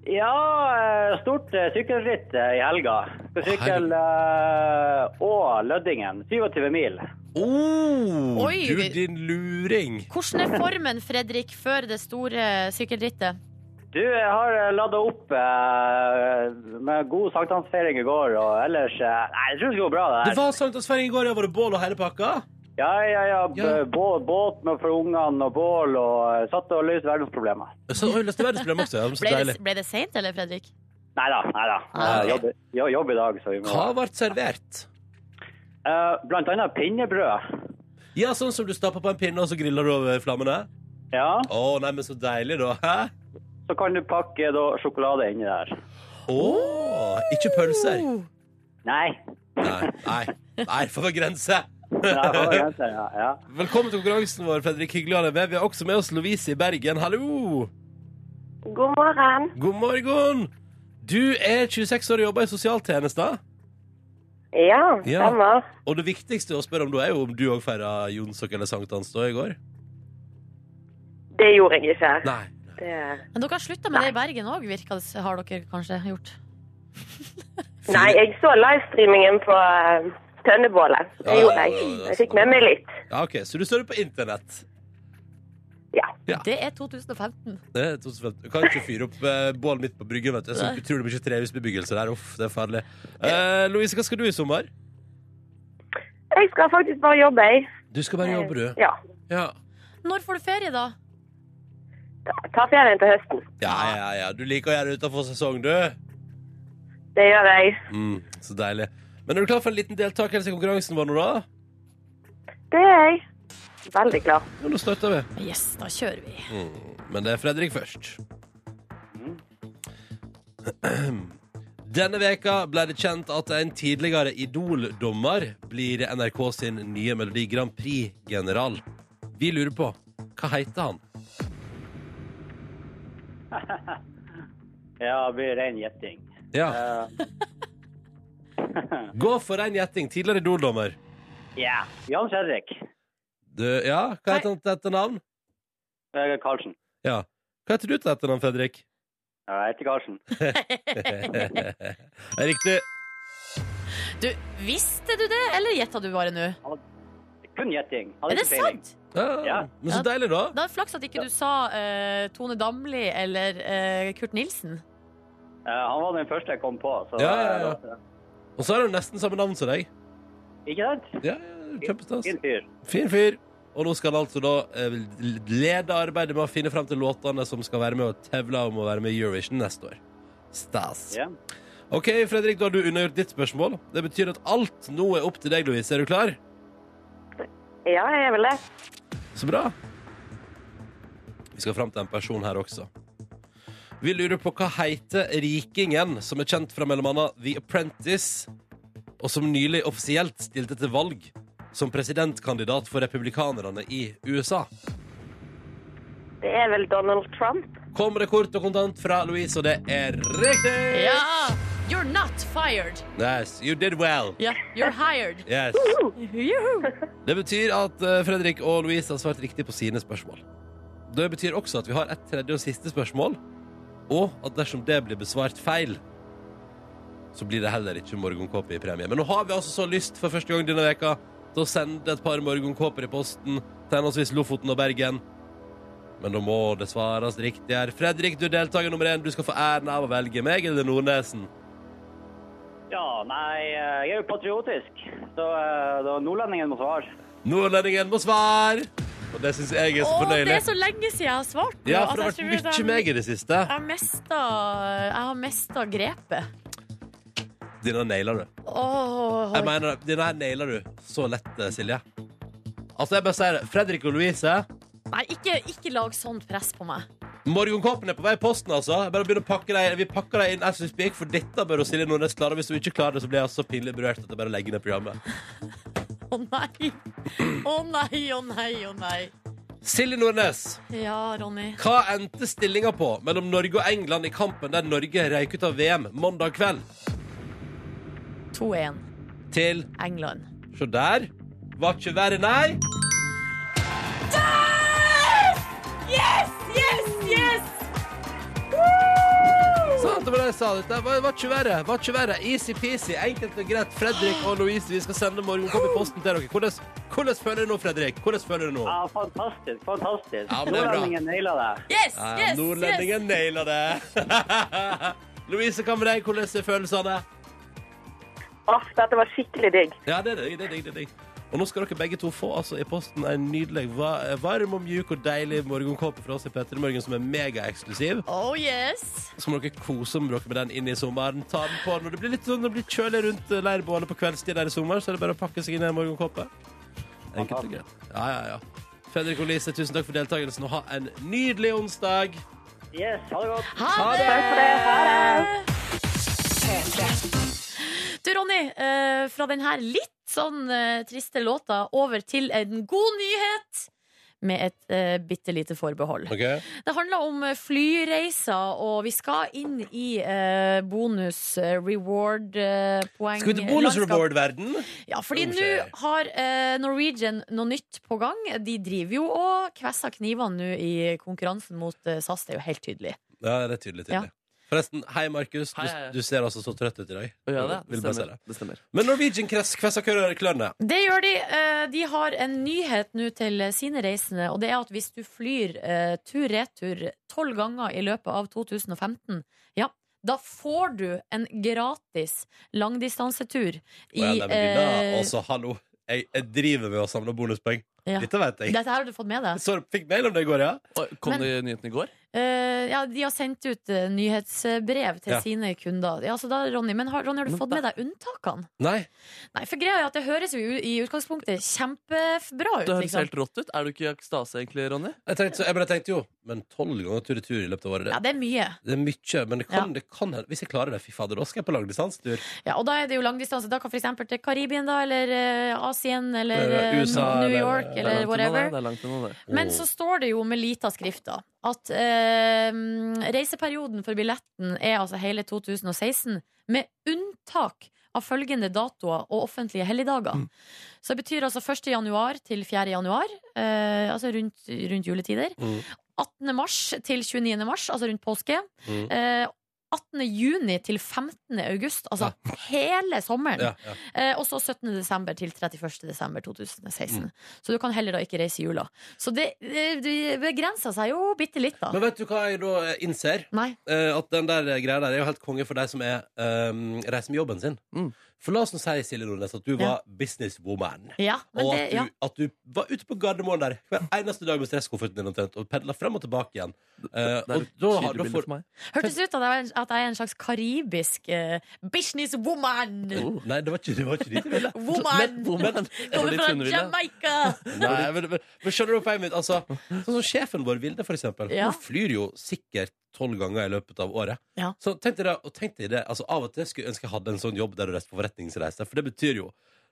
Speaker 5: Ja, eh, stort eh, sykkelritt eh, i helga. Skal sykle eh, og Lødingen. 27 mil.
Speaker 1: Oh,
Speaker 3: Oi,
Speaker 1: du
Speaker 3: vi-
Speaker 1: din luring!
Speaker 3: Hvordan er formen, Fredrik, før det store sykkelrittet?
Speaker 5: Du, jeg har eh, ladda opp eh, med god sankthansfeiring i går, og ellers eh, Nei, jeg tror det går bra, det
Speaker 1: Det
Speaker 5: her.
Speaker 1: var sankthansfeiring i går, ja. Var det bål og hele pakka?
Speaker 5: Ja, ja, ja. b-
Speaker 1: Ja.
Speaker 5: Båt, båt med for ungene og bål, og eh, satt og løste verdensproblemer.
Speaker 1: Så, oi, løste verdensproblemet også. Ja. men Så
Speaker 3: Ble det,
Speaker 1: deilig.
Speaker 3: ble det seint, eller, Fredrik?
Speaker 5: Nei da, nei da.
Speaker 3: Ah, ok.
Speaker 5: Eh, Jobb, jo- jobb i dag, så vi må
Speaker 1: Hva ble servert?
Speaker 5: Eh, Blant annet pinnebrød.
Speaker 1: Ja, sånn som du stapper på en pinne, og så griller du over flammene?
Speaker 5: Ja,
Speaker 1: Å, nei, men så deilig, da. Hæ?
Speaker 5: så kan du pakke da, sjokolade inni der.
Speaker 1: Å, ikke pølser.
Speaker 5: Nei.
Speaker 1: Nei, nei. nei for en grense!
Speaker 5: Ja, det var grenser, ja, ja.
Speaker 1: Velkommen til konkurransen vår, Fredrik. Hyggelig å ha deg med. Vi har også med oss Lovise i Bergen. Hallo!
Speaker 6: God morgen.
Speaker 1: God morgen! Du er 26 år og jobber i sosialtjenester.
Speaker 6: Ja,
Speaker 1: Ja.
Speaker 6: stemmer.
Speaker 1: Og det viktigste å spørre om da er jo om du òg feira Jonsok eller sankthans da i går.
Speaker 6: Det gjorde jeg ikke.
Speaker 1: Nei.
Speaker 6: Det...
Speaker 3: Men dere har slutta med det i Bergen òg, virker det s- har dere kanskje gjort?
Speaker 6: Nei, jeg så livestreamingen på eh, Tønnebålet. Det
Speaker 1: Ja, ja,
Speaker 6: gjorde
Speaker 1: ja,
Speaker 6: jeg.
Speaker 1: ja, ja,
Speaker 6: Jeg fikk med meg litt.
Speaker 1: Ja, ok, Så du står jo på internett.
Speaker 3: Det er 2015.
Speaker 1: Det er 2015. Du kan ikke fyre opp eh, bålet mitt på bryggen. vet du. Jeg så utrolig mye trehusbebyggelse der. Uff, det er farlig. Eh, Louise, hva skal du i sommer?
Speaker 6: Jeg skal faktisk bare jobbe, jeg.
Speaker 1: Du skal bare jobbe, du.
Speaker 6: Ja.
Speaker 1: Ja.
Speaker 3: Når får du ferie, da?
Speaker 6: ta- Ta ferien til høsten.
Speaker 1: ja, ja, ja. Du liker å gjøre det utenfor sesong, du.
Speaker 6: Det gjør jeg.
Speaker 1: Mm, så deilig. Men er du klar for en liten deltakelse i konkurransen vår nå, da?
Speaker 6: Det er jeg. Veldig klar.
Speaker 1: Ja, nå starter vi.
Speaker 3: Yes, da kjører vi.
Speaker 1: Men det er Fredrik først. Denne veka ble det kjent at en tidligere Idol-dommer blir NRK sin nye Melodi Grand Prix-general. Vi lurer på hva heter han?
Speaker 5: Ja, det blir ren gjetting.
Speaker 1: Ja.
Speaker 5: Eh,
Speaker 1: Gå for en gjetting. Tidligere Idol-dommer.
Speaker 5: Ja. Jan Kjerrik
Speaker 1: Du, ja, hva heter han til etternavn?
Speaker 5: eh, Karlsen.
Speaker 1: Ja. Hva heter du til etternavn, Fredrik?
Speaker 5: Ja, Jeg heter Karlsen.
Speaker 1: Det er Riktig.
Speaker 3: Du, Visste du det, eller gjetta du bare nå?
Speaker 5: Kun gjetting. Hadde
Speaker 3: Er det
Speaker 5: ikke peiling.
Speaker 3: sant?
Speaker 1: Ja.
Speaker 5: Ja.
Speaker 1: Men så deilig, da.
Speaker 3: Da er det flaks at ikke du sa eh, Tone Damli eller eh, Kurt Nilsen.
Speaker 5: Eh, han var den første jeg kom på. Så,
Speaker 1: Ja, ja, ja.
Speaker 5: eh,
Speaker 1: Og så har du nesten samme navn som deg.
Speaker 5: Ikke sant?
Speaker 1: Ja, ja, Kjempestas.
Speaker 5: Fin fyr.
Speaker 1: Fin fyr. Og nå skal han altså da eh, lede arbeidet med å finne fram til låtene som skal være med og tevle om å være med i Eurovision neste år. Stas.
Speaker 5: Ja.
Speaker 1: OK, Fredrik, da har du unnagjort ditt spørsmål. Det betyr at alt nå er opp til deg, Louise. Er du klar?
Speaker 6: Ja, jeg er vel det.
Speaker 1: Så bra. Vi skal fram til en person her også. Vi lurer på hva heter rikingen som er kjent fra bl.a. The Apprentice, og som nylig offisielt stilte til valg som presidentkandidat for republikanerne i USA?
Speaker 6: Det er vel Donald Trump.
Speaker 1: Kommer det kort og kontant fra Louise, og det er riktig!
Speaker 3: Ja! You're not fired.
Speaker 1: Yes, you did well.
Speaker 3: Ja, you're hired.
Speaker 1: Yes.
Speaker 3: Juhu.
Speaker 1: Det betyr at eh, Fredrik og Louise har svart riktig på sine spørsmål. Det betyr også at vi har et tredje og siste spørsmål, og at dersom det blir besvart feil, så blir det heller ikke morgenkåpe i premie. Men nå har vi altså så lyst for første gang denne veka til å sende et par morgenkåper i posten til henholdsvis Lofoten og Bergen. Men da må det svares riktig her. Fredrik, du er deltaker nummer én. Du skal få æren av å velge meg eller Nordnesen.
Speaker 5: ja, nei, eh, jeg er jo patriotisk, så eh, da nordlendingen må svare.
Speaker 1: Nordlendingen må svare! Og det syns jeg er så
Speaker 3: Å, det
Speaker 1: fornøyelig.
Speaker 3: er så lenge siden jeg har svart. nå,
Speaker 1: Ja,
Speaker 3: at
Speaker 1: for det har
Speaker 3: jeg
Speaker 1: vært
Speaker 3: tror
Speaker 1: mye
Speaker 3: at
Speaker 1: meg i det siste.
Speaker 3: Jeg har mista, jeg har mista grepet.
Speaker 1: Denne nailer du.
Speaker 3: Åh,
Speaker 1: Jeg mener, det. denne her nailer du så lett, eh, Silje. Altså, jeg bare sier det. Fredrik og Louise,
Speaker 3: Nei, ikke, ikke lag sånt press på meg.
Speaker 1: morgenkåpen er på vei i posten, altså. Jeg bare begynner å pakke deg. Vi pakker deg inn as we speak, for dette bør jo Silje Nordnes klare. Hvis hun ikke klarer det, så blir jeg så pinlig berørt at jeg bare legger ned programmet.
Speaker 3: Å nei! Å nei, å nei, å nei.
Speaker 1: Silje Nordnes,
Speaker 3: Ja, Ronny.
Speaker 1: hva endte stillinga på mellom Norge og England i kampen der Norge røyk ut av VM mandag kveld?
Speaker 3: 2-1.
Speaker 1: Til
Speaker 3: England.
Speaker 1: Se der. Var ikke verre, nei.
Speaker 3: Yes, yes, yes!
Speaker 1: Sant, det var det jeg sa. Dette var, var ikke verre. Var ikke verre. Easy-peasy. Enkelt og greit. Fredrik og Louise, vi skal sende morgenkopp i posten til dere. Hvordan, hvordan føler du nå, Fredrik? Hvordan føler du nå?
Speaker 6: Ah,
Speaker 5: Ja, fantastisk, fantastisk.
Speaker 1: Ja, men det er bra.
Speaker 5: nordlendingen naila deg.
Speaker 3: Yes,
Speaker 1: Ja,
Speaker 3: yes, yes.
Speaker 1: Ah, Nordlendingen naila det. Louise, hva med deg? Hvordan er følelsene?
Speaker 6: Åh, dette var skikkelig digg.
Speaker 1: Ja, det er digg, det er digg. det er digg. Og nå skal dere begge to få altså, i posten en nydelig, va- varm og mjuk og deilig morgenkåpe fra oss i Petter i Morgen som er megaeksklusiv.
Speaker 3: Oh yes.
Speaker 1: Så må dere kose med dere med den inn i sommeren. Ta den på når det blir litt sånn, når det blir kjølig rundt leirbålet på kveldstid der i sommer, så er det bare å pakke seg inn i en morgenkåpe. Enkelt og greit. Ja, ja, ja. Fredrik og Lise, tusen takk for deltakelsen, og ha en nydelig onsdag.
Speaker 5: Yes, ha det godt.
Speaker 3: Ha det!
Speaker 6: Takk for det. Ha det.
Speaker 3: Du, Ronny, eh, fra den her litt sånn eh, triste låta over til en god nyhet. Med et eh, bitte lite forbehold. Det handler om eh, flyreiser, og vi skal inn i eh, bonus eh, reward eh, poeng.
Speaker 1: Skal vi til bonus reward-verden?
Speaker 3: Ja, fordi
Speaker 1: Om
Speaker 3: nå
Speaker 1: seg.
Speaker 3: har eh, Norwegian noe nytt på gang. De driver jo og kvesser knivene nå i konkurransen mot eh, SAS. Det er jo helt tydelig.
Speaker 1: Ja, det er tydelig, tydelig. Forresten, hei, Markus. Du,
Speaker 2: Hei, hei.
Speaker 1: du ser altså så trøtt ut i dag.
Speaker 2: Å, ja, det,
Speaker 1: Vil
Speaker 2: det
Speaker 1: bare si det.
Speaker 2: stemmer. Det stemmer.
Speaker 1: Men Norwegian kress kvessa klørne.
Speaker 3: Det gjør de. Eh, De har en nyhet nå til sine reisende, og det er at hvis du flyr eh, tur-retur tolv ganger i løpet av 2015, ja, da får du en gratis langdistansetur i
Speaker 1: Og jeg nevner dine.
Speaker 3: eh,
Speaker 1: Altså, hallo. Jeg, jeg driver med å samle bonuspoeng.
Speaker 3: ja.
Speaker 1: Dette vet jeg.
Speaker 3: Dette her har du fått med deg?
Speaker 1: Så fikk mail om det i går, ja?
Speaker 2: Oi, kom
Speaker 3: Men-
Speaker 2: det i nyheten i går?
Speaker 3: Eh, ja, de har sendt ut eh, nyhetsbrev til
Speaker 1: Ja.
Speaker 3: sine kunder. Ja, så da, Ronny, men har, Ronny, har du
Speaker 2: Men
Speaker 3: fått med deg unntakene?
Speaker 1: Nei.
Speaker 3: Nei, for greia er at det høres jo i utgangspunktet kjempebra ut.
Speaker 2: Det høres
Speaker 3: Liksom.
Speaker 2: helt rått ut. Er du ikke i ekstase egentlig, Ronny?
Speaker 1: Jeg tenkte, så- jeg bare tenkte jo Men tolv ganger tur i tur i løpet av året
Speaker 3: Ja,
Speaker 1: det,
Speaker 3: det er mye.
Speaker 1: det er mye, men det kan, det kan hende Hvis jeg klarer det, fy fader, da skal jeg på langdistanstur
Speaker 3: Ja, og da er det jo langdistanse. Da kan f.eks. til Karibien, da, eller eh, Asien, eller
Speaker 1: Eller
Speaker 3: eh,
Speaker 1: USA,
Speaker 3: New
Speaker 1: eller-
Speaker 3: York, Telemark eller
Speaker 2: Det er langt unna
Speaker 3: whatever.
Speaker 2: det, Det er langt unna det.
Speaker 3: Men så står det jo med lita skrift da at eh, reiseperioden for billetten er altså hele 2016, med unntak av følgende datoer og offentlige helligdager.
Speaker 1: Mm.
Speaker 3: Så det betyr altså 1. januar til 4. januar, eh, altså rundt, rundt juletider.
Speaker 1: Mm.
Speaker 3: 18. mars til 29. mars, altså rundt påske.
Speaker 1: Mm.
Speaker 3: Eh, 18. juni til 15. august, altså hele sommeren.
Speaker 1: Ja, ja.
Speaker 3: Eh, og så 17. desember til 31. desember 2016. Så du kan heller da ikke reise i jula. Så det, det, det begrenser seg jo bitte litt, da.
Speaker 1: Men vet du hva jeg da eh, innser?
Speaker 3: Nei.
Speaker 1: Eh, at den der greia der er jo helt konge for deg som er ehm, reiser med jobben sin.
Speaker 2: Mm.
Speaker 1: For la oss nå si, Silje Nordnes, at du var businesswoman.
Speaker 3: Ja, men
Speaker 1: Og
Speaker 3: det,
Speaker 1: at du,
Speaker 3: ja.
Speaker 1: at du var ute på Gardermoen der hver eneste dag med stresskofferten din omtrent, og pedla frem og tilbake igjen. Eh,
Speaker 2: Det er
Speaker 1: og
Speaker 2: et
Speaker 1: da, har- da
Speaker 2: kildebilde
Speaker 1: får
Speaker 2: for meg.
Speaker 3: Hørtes ut at jeg, var en- at jeg er en slags karibisk eh, businesswoman!
Speaker 1: Nei, det var ikke, det var ikke dit jeg ville.
Speaker 3: Woman!
Speaker 2: Woman.
Speaker 3: Kommer fra
Speaker 2: Litt hundeville.
Speaker 3: Jamaica!
Speaker 1: Nei, men, men, men skjønner du poenget mitt? Altså, sånn som sjefen vår, Vilde, for eksempel.
Speaker 3: Ja.
Speaker 1: Hun flyr jo sikkert tolv ganger i løpet av året.
Speaker 3: Ja.
Speaker 1: Så tenk deg det, og tenk deg det altså, Av og til skulle jeg ønske jeg hadde en sånn jobb der du reiste på forretningsreise. For det betyr jo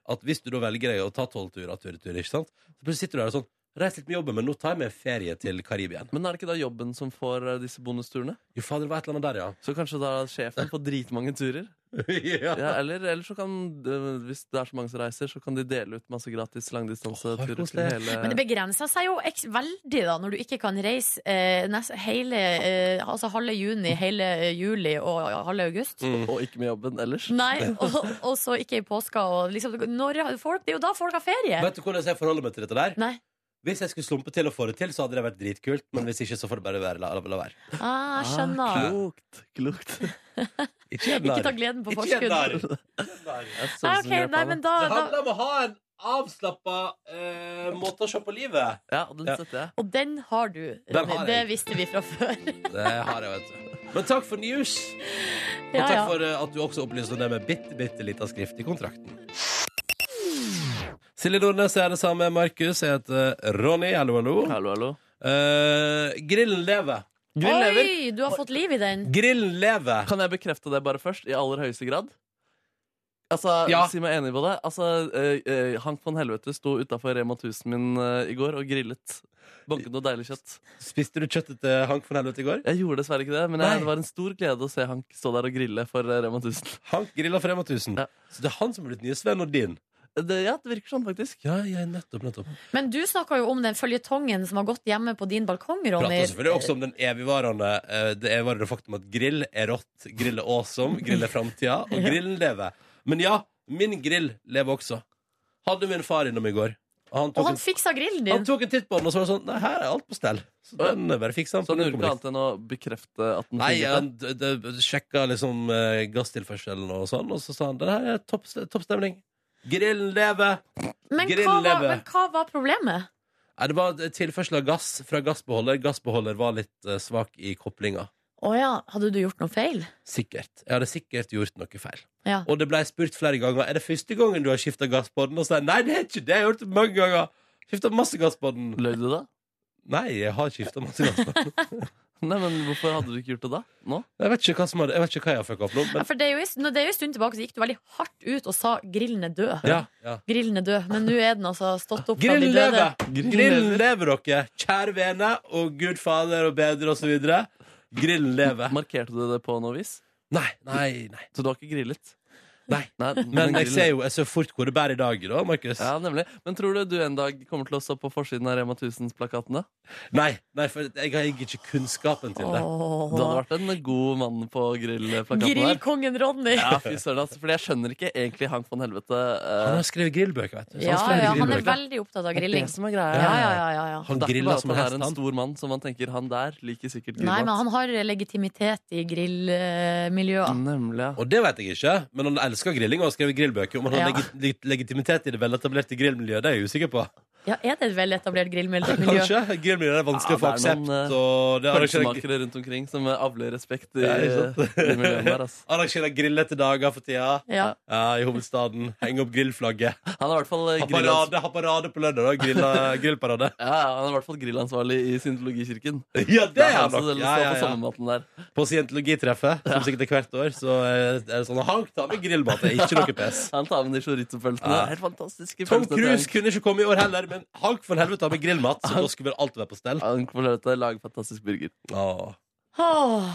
Speaker 1: at hvis du da velger deg å ta tolv turer tur i tur, ikke sant? så plutselig sitter du der og sånn Reis litt med jobben, men nå tar jeg meg en ferie til Karibien.
Speaker 2: Men er det ikke da jobben som får eh, disse bonusturene?
Speaker 1: Jo, fader, det var et eller annet der, ja.
Speaker 2: Så kanskje da sjefen får dritmange turer?
Speaker 1: ja.
Speaker 2: Ja, eller, eller så kan, eh, hvis det er så mange som reiser, så kan de dele ut masse gratis
Speaker 1: Åh, det er
Speaker 2: langdistanseturer til
Speaker 1: koselig.
Speaker 2: hele
Speaker 3: Men det begrenser seg jo eks veldig, da, når du ikke kan reise eh, nes- hele eh, Altså halve juni, hele eh, juli og ja, halve august.
Speaker 2: Og ikke med jobben
Speaker 1: Mm.
Speaker 2: ellers.
Speaker 3: Nei, og, og så ikke i påska. Og liksom, når, har folk, det er jo da folk har ferie!
Speaker 1: Vet du hvordan jeg forholder meg til dette der?
Speaker 3: Nei.
Speaker 1: Hvis jeg skulle slumpe til å få det til, så hadde det vært dritkult. Men hvis ikke, så får det bare være. La, la, la være.
Speaker 3: Ah, jeg skjønner.
Speaker 2: Ah, klokt. klokt.
Speaker 1: Ikke gjør
Speaker 3: Ikke ta
Speaker 1: narr.
Speaker 3: gleden på
Speaker 1: Ikke sånn gjør
Speaker 3: forskudd. Nei,
Speaker 1: narr.
Speaker 3: Ah, ok, nei, men da,
Speaker 1: Det
Speaker 3: da
Speaker 1: handler om å ha en avslappa eh, måte å se på livet.
Speaker 2: Ja, og den
Speaker 1: Ja.
Speaker 2: støtter jeg.
Speaker 3: Og den har du,
Speaker 1: Den
Speaker 3: Ronny.
Speaker 1: har jeg.
Speaker 3: Det visste vi fra før.
Speaker 1: Det har jeg, vet du. Men takk for news. Og
Speaker 3: Ja,
Speaker 1: takk
Speaker 3: ja.
Speaker 1: for eh, at du også opplyste om det med bitte, bitte lita skrift i kontrakten. Silje Nordnes er det samme. Markus jeg heter eh, Ronny. Hallo, hallo.
Speaker 2: Hallo, hallo.
Speaker 1: Eh, grillen lever.
Speaker 2: Grill lever.
Speaker 3: Oi, du har fått liv i den.
Speaker 1: Grillen lever.
Speaker 2: Kan jeg bekrefte det bare først? I aller høyeste grad? Altså,
Speaker 1: Ja.
Speaker 2: Si meg enig på det. Altså, eh, eh, Hank von Helvete sto utafor Rema 1000 min eh, i går og grillet. Banket noe deilig kjøtt.
Speaker 1: Spiste du kjøttet til Hank von Helvete i går?
Speaker 2: Jeg gjorde dessverre ikke det, men
Speaker 1: Nei.
Speaker 2: jeg, det var en stor glede å se Hank stå der og grille for eh, Rema 1000.
Speaker 1: Hank grilla frem av 1000.
Speaker 2: Ja.
Speaker 1: Så det er han som har blitt nye Sven og din.
Speaker 2: Det, ja, det virker sånn, faktisk.
Speaker 1: Ja, ja, nettopp, nettopp.
Speaker 3: Men du snakka jo om den føljetongen som har gått hjemme på din balkong, Ronny.
Speaker 1: Prater selvfølgelig også om den evigvarende eh, Det evigvarende faktum at grill er rått, grill er awesome, grill er framtida, og grillen lever. Men ja, min grill lever også. Hadde min far innom i går. Og han
Speaker 3: Og
Speaker 1: tok,
Speaker 3: han fiksa grillen
Speaker 1: en, han
Speaker 3: din.
Speaker 1: tok en titt på den, og så var det sånn Nei, her er alt på stell. Så den eh, bare fiksa han.
Speaker 2: Så
Speaker 1: på
Speaker 2: han
Speaker 1: den
Speaker 2: gjorde ikke
Speaker 1: kommunikasjonen.
Speaker 2: annet enn å bekrefte at den
Speaker 1: Nei,
Speaker 2: fungerte.
Speaker 1: han d- d- sjekka liksom eh, gasstilførselen og sånn, og så sa han den her er topp, toppstemning. Grillen lever!
Speaker 3: Men hva,
Speaker 1: grillen
Speaker 3: var,
Speaker 1: lever.
Speaker 3: men hva var problemet?
Speaker 1: Nei, det var tilførsel av gass fra gassbeholder. Gassbeholder var litt eh, svak i koblinga.
Speaker 3: Å ja, hadde du gjort noe feil?
Speaker 1: Sikkert. Jeg hadde sikkert gjort noe feil.
Speaker 3: Ja.
Speaker 1: Og det blei spurt flere ganger Er det første gangen du har skifta gass på den. Og så sa jeg nei, det er ikke det. Jeg har gjort det mange ganger. Skifta masse gass på den.
Speaker 2: Løy du da?
Speaker 1: Nei, jeg har skifta masse gass på den.
Speaker 2: Nei, men hvorfor hadde du ikke gjort det da? Nå?
Speaker 1: Jeg vet ikke hva, som hadde, jeg, vet ikke hva jeg har fucka opp nå,
Speaker 3: Ja,
Speaker 1: men
Speaker 3: for det er, jo, en- når det er jo en stund tilbake så gikk du veldig hardt ut og sa 'grillen er død'.
Speaker 1: ja, ja.
Speaker 3: Grillen er død, men nå er den altså stått opp fra de
Speaker 1: Grillen
Speaker 3: døde.
Speaker 1: lever! Grillen lever, dere! Kjære vene og gud fader og bedre og så videre. Grillen lever.
Speaker 2: Markerte du det på noe vis?
Speaker 1: Nei, nei, nei.
Speaker 2: Så du har ikke grillet?
Speaker 1: nei.
Speaker 2: Nei,
Speaker 1: Men jeg
Speaker 2: grillen-
Speaker 1: ser jo jeg ser fort hvor det bærer i dag, da, Markus.
Speaker 2: Ja, nemlig. Men tror du du en dag kommer til å stå på forsiden av Rema 1000-plakaten? da?
Speaker 1: Nei, nei, for jeg har ikke kunnskapen til det.
Speaker 2: Du hadde
Speaker 3: Åh.
Speaker 2: vært en god mann på grillplakaten der.
Speaker 3: Grillkongen Ronny.
Speaker 2: Ja, fy søren, altså. Fordi jeg skjønner ikke egentlig Hank von Helvete.
Speaker 1: Han
Speaker 2: eh,
Speaker 1: har skrevet grillbøker, vet du. Så
Speaker 3: Ja,
Speaker 1: skrev
Speaker 3: ja, han er
Speaker 1: grillbøker.
Speaker 3: veldig opptatt av
Speaker 2: det er
Speaker 3: grilling.
Speaker 2: det som er greia.
Speaker 3: Ja, ja, ja, ja, ja.
Speaker 1: Han
Speaker 2: Det er ikke
Speaker 1: griller
Speaker 2: bare at
Speaker 1: som
Speaker 2: han
Speaker 1: hest,
Speaker 2: er en
Speaker 1: han.
Speaker 2: stor mann som man tenker han der liker sikkert
Speaker 3: Nei, men
Speaker 2: grillmat.
Speaker 3: han har legitimitet i grillmiljøet.
Speaker 2: Nemlig. ja.
Speaker 1: Og det vet jeg ikke, men han elsker grilling og har skrevet grillbøker. Om han har
Speaker 3: Ja.
Speaker 1: legi- leg legitimitet i det veletablerte grillmiljøet, det er jeg usikker på.
Speaker 3: Ja, er det et veletablert grillmiljø?
Speaker 1: Kanskje? Grillmiljøet er
Speaker 2: Ja,
Speaker 1: vanskelig å få
Speaker 2: det er
Speaker 1: aksept.
Speaker 2: noen, eh,
Speaker 1: Og det arrangerer,
Speaker 2: Pølsemakere rundt omkring som avler respekt i,
Speaker 1: Ja, ikke sant?
Speaker 2: i miljøet der. Altså.
Speaker 1: arrangerer grillete dager for tida.
Speaker 3: Ja.
Speaker 1: Ja, I hovedstaden. Henge opp grillflagget.
Speaker 2: Han er i hvert fall eh,
Speaker 1: Ha
Speaker 2: grillans-
Speaker 1: parade, ha parade på lørdag, da. Grilla, grillparade.
Speaker 2: ja, han er i hvert fall grillansvarlig i Syntologikirken.
Speaker 1: Ja, det er
Speaker 2: han
Speaker 1: han
Speaker 2: som
Speaker 1: nok!
Speaker 2: står
Speaker 1: Ja, ja,
Speaker 2: på
Speaker 1: ja.
Speaker 2: sommermaten der.
Speaker 1: På scientologitreffet, som sikkert er hvert år, så er det sånn Hank tar med grillmat. Det er ikke noe pes.
Speaker 2: Han tar med de chorizo-pølsene.
Speaker 1: Ja.
Speaker 2: Helt fantastiske
Speaker 1: Tom
Speaker 2: pølsene til
Speaker 1: Cruise
Speaker 2: Hank.
Speaker 1: kunne ikke komme i år heller, men hank for helvete av med grillmat, så da skulle vel alt være på stell.
Speaker 2: Ank for helvete, lag fantastisk burger.
Speaker 1: Åh.
Speaker 3: Åh.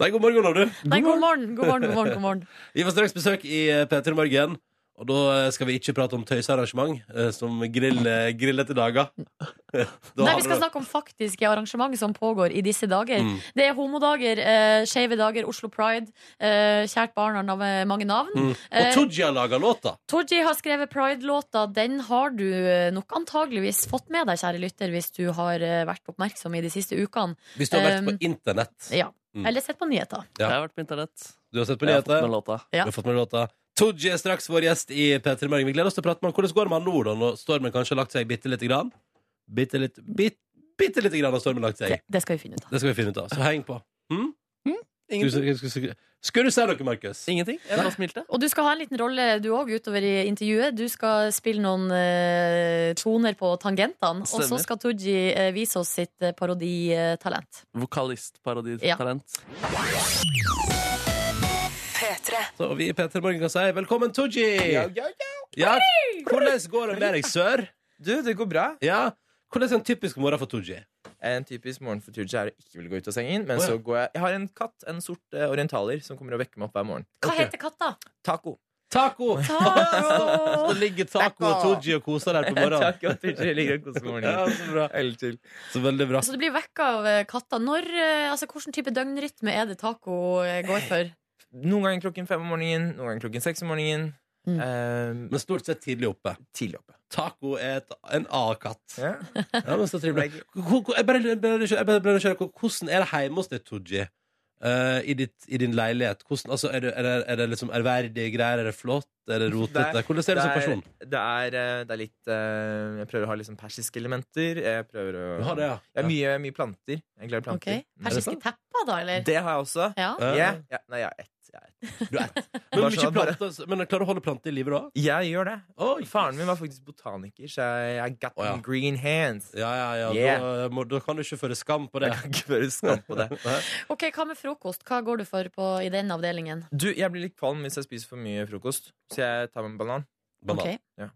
Speaker 1: Nei, god morgen, Lovdu.
Speaker 3: Nei, god morgen, god morgen, god morgen. God morgen.
Speaker 1: Vi får straks besøk i P3 Morgen. Og da eh, skal vi ikke prate om tøysearrangement eh, som grill, eh, grill etter dager. Da
Speaker 3: Nei,
Speaker 1: har
Speaker 3: vi skal
Speaker 1: du-
Speaker 3: snakke om faktiske arrangement som pågår i disse dager.
Speaker 1: Mm.
Speaker 3: Det er homodager, eh, skeive dager, Oslo Pride. Eh, kjært barn har nav- mange navn.
Speaker 1: Mm. Og
Speaker 3: Eh,
Speaker 1: Tooji har laga låta.
Speaker 3: Tooji har skrevet Pride-låta. Den har du eh, nok antageligvis fått med deg, kjære lytter, hvis du har eh, vært oppmerksom i de siste ukene.
Speaker 1: Hvis du har vært på
Speaker 3: Um,
Speaker 1: internett.
Speaker 3: Ja.
Speaker 1: Mm.
Speaker 3: Eller sett på nyheter.
Speaker 1: Ja.
Speaker 2: Jeg har vært på internett.
Speaker 1: Du har sett på
Speaker 2: Jeg har fått
Speaker 1: nyheter.
Speaker 2: med låta.
Speaker 3: Ja.
Speaker 1: Du har fått med låta. Tooji er straks vår gjest i P3 Morgen. Vi gleder oss til å prate med han. Hvordan går det med han nå, da? Når stormen kanskje har lagt seg bitte lite grann? Bitte litt bit, Bitte lite grann har stormen lagt seg.
Speaker 3: Det, det skal vi finne ut av.
Speaker 1: Det skal vi finne ut av. Så heng på. Hm? Skulle
Speaker 2: Ingenting.
Speaker 1: skulle- skulle- skulle du si noe, Markus?
Speaker 2: Ingenting. Jeg bare smilte.
Speaker 3: Og du skal ha en liten rolle du òg utover i intervjuet. Du skal spille noen eh, toner på tangentene. Og så
Speaker 2: Stemmer.
Speaker 3: skal Tooji eh, vise oss sitt eh, paroditalent.
Speaker 2: Vokalistparoditalent.
Speaker 1: Så vi i P3 Morgen kan si velkommen, Tooji! Ja, hvordan går det med deg, sør?
Speaker 7: Du, det går bra.
Speaker 1: Ja, hvordan er en typisk morgen for Tooji?
Speaker 7: En typisk morgen for Tooji er å ikke ville gå ut av sengen. Men
Speaker 1: Å, ja.
Speaker 7: så går jeg Jeg har en katt, en sort eh, orientaler, som kommer og vekker meg opp hver morgen.
Speaker 3: Hva
Speaker 1: Ok.
Speaker 3: heter katta?
Speaker 7: Taco.
Speaker 1: Taco!
Speaker 3: Taco!
Speaker 1: Så ligger Taco og Tooji og koser der på morgenen.
Speaker 7: Taco og Tooji ligger og koser på
Speaker 1: Ja,
Speaker 7: morgenen.
Speaker 1: så bra.
Speaker 7: Veldig chill.
Speaker 1: Så veldig bra.
Speaker 3: Så du blir vekka av eh, katta. Når, eh, altså, hvilken type døgnrytme er det taco eh, går for?
Speaker 7: Noen ganger klokken fem om morgenen, noen ganger klokken seks om morgenen.
Speaker 3: Mm.
Speaker 7: Eh,
Speaker 1: Men stort sett tidlig oppe.
Speaker 7: tidlig oppe.
Speaker 1: Taco er et, en A-katt.
Speaker 7: Ja.
Speaker 1: Ja, men så trivelig.
Speaker 7: Legg-
Speaker 1: Hvor- hvor- Jeg bare jeg bare- jeg bare- bare nysgjerrig på hvordan er det hjemme hos deg, Tooji? Eh, i, ditt- I din leilighet? Hvordan, altså, er, det, er, det, er det liksom ærverdige greier? Er det flott? Er det rotete? Hvordan er du som person?
Speaker 7: Det er, eh, det er litt eh, Jeg prøver å ha litt sånn persiske elementer. Jeg prøver å
Speaker 1: Du har det, ja.
Speaker 7: Jeg har mye, mye planter. Jeg er glad i
Speaker 3: Ok,
Speaker 7: planter.
Speaker 3: Persiske tepper, da, eller?
Speaker 7: Det har jeg også.
Speaker 3: Ja.
Speaker 1: Ja.
Speaker 7: Ja, ja. Nei, jeg er ett. Jeg, er ett.
Speaker 1: Du er ett. Men,
Speaker 7: Bare
Speaker 1: mye
Speaker 7: sånn at bare-
Speaker 1: planter, altså. men klarer du å holde planter i livet da?
Speaker 7: jeg gjør det.
Speaker 1: Oi.
Speaker 7: Faren min var faktisk botaniker, så jeg I got
Speaker 1: Å, ja.
Speaker 7: them green hands.
Speaker 1: Ja, ja, ja. Da, må, da kan du ikke føre skam på det.
Speaker 7: Jeg kan ikke føre skam på det.
Speaker 3: Ok, Hva med frokost? Hva går du for på, i den avdelingen?
Speaker 7: Du, jeg blir litt kvalm hvis jeg spiser for mye frokost, så jeg tar meg en banan.
Speaker 1: Banan.
Speaker 3: Ok.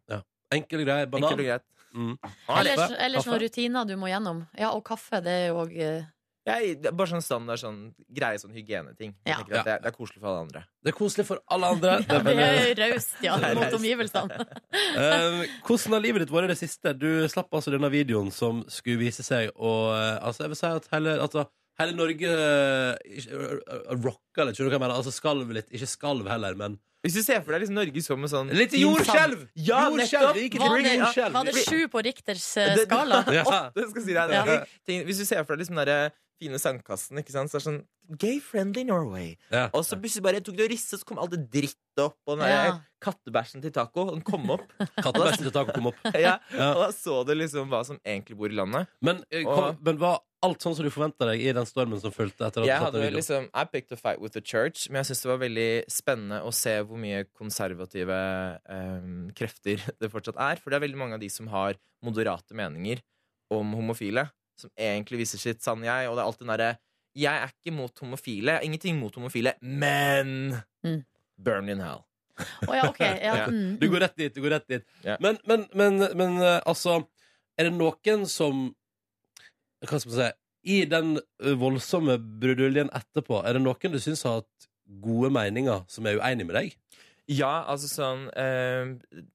Speaker 1: Enkel og grei banan.
Speaker 7: Enkelt og greit.
Speaker 1: Mm.
Speaker 3: Ellers,
Speaker 1: Kaffe?
Speaker 3: ellers noen
Speaker 1: Kaffe?
Speaker 3: rutiner du må gjennom. Ja, Og kaffe. Det er jo eh, òg
Speaker 7: Jeg, det er bare sånn standard sånn, greie sånn hygieneting.
Speaker 3: Ja.
Speaker 7: Jeg tenker at det, er- det er koselig for alle andre.
Speaker 1: Det er koselig for alle andre. Det
Speaker 3: ja,
Speaker 1: er
Speaker 3: Det
Speaker 1: veldig-
Speaker 3: er raust, ja,
Speaker 7: Det er
Speaker 3: mot
Speaker 7: raust.
Speaker 3: omgivelsene.
Speaker 1: Eh, hvordan har livet ditt vært i det siste? Du slapp altså denne videoen som skulle vise seg å eh, Altså, jeg vil si at hele, altså, hele Norge eh, ikke- eh, eh, rocka litt, skjønner du hva jeg mener? Altså skalv litt. Ikke skalv heller, men
Speaker 7: Hvis du ser for deg liksom Norge som en sånn
Speaker 1: Litt
Speaker 7: fin
Speaker 1: jordskjelv!
Speaker 7: sand- Ja,
Speaker 1: Jordskjelv! Det
Speaker 7: nettopp!
Speaker 1: gikk et
Speaker 3: Var det,
Speaker 1: jordskjelv.
Speaker 3: var det sju på Richters eh,
Speaker 7: Det-
Speaker 3: skala?
Speaker 1: Ja.
Speaker 7: Åtte, skal jeg si deg. det.
Speaker 1: Ja.
Speaker 7: Tenk, hvis du ser for deg liksom den der fine sandkassen, ikke sant? så er det sånn Gay-friendly Norway.
Speaker 1: Ja.
Speaker 7: Og så plutselig bare tok det og ristet, så kom all det drittet opp, og den der
Speaker 3: Ja.
Speaker 7: kattebæsjen til taco, og den kom opp.
Speaker 1: Kattebæsj til taco kom opp.
Speaker 7: ja.
Speaker 1: Ja.
Speaker 7: Og da så du liksom hva som egentlig bor i landet.
Speaker 1: Men, eh, kom,
Speaker 7: Og-
Speaker 1: men var alt sånn som du forventa deg i den stormen som fulgte etter at du
Speaker 7: Jeg
Speaker 1: satte
Speaker 7: hadde vel
Speaker 1: videoen?
Speaker 7: liksom I picked a fight with the church, men jeg syns det var veldig spennende å se hvor mye konservative em, krefter det fortsatt er. For det er veldig mange av de som har moderate meninger om homofile, som egentlig viser sitt sanne jeg, og det er alt den derre Jeg er ikke mot homofile, jeg har ingenting mot homofile, men
Speaker 3: Mm.
Speaker 7: Burn in hell.
Speaker 3: Å ja, ok. Ja.
Speaker 7: Ja.
Speaker 3: Mm.
Speaker 1: Du går rett dit. du går rett dit
Speaker 7: Ja.
Speaker 1: Men, men, men, men eh, altså Er det noen som Hva skal man si I den eh, voldsomme bruduljen etterpå Er det noen du synes har hatt gode meninger Som er uenig med deg?
Speaker 7: Ja, altså sånn eh,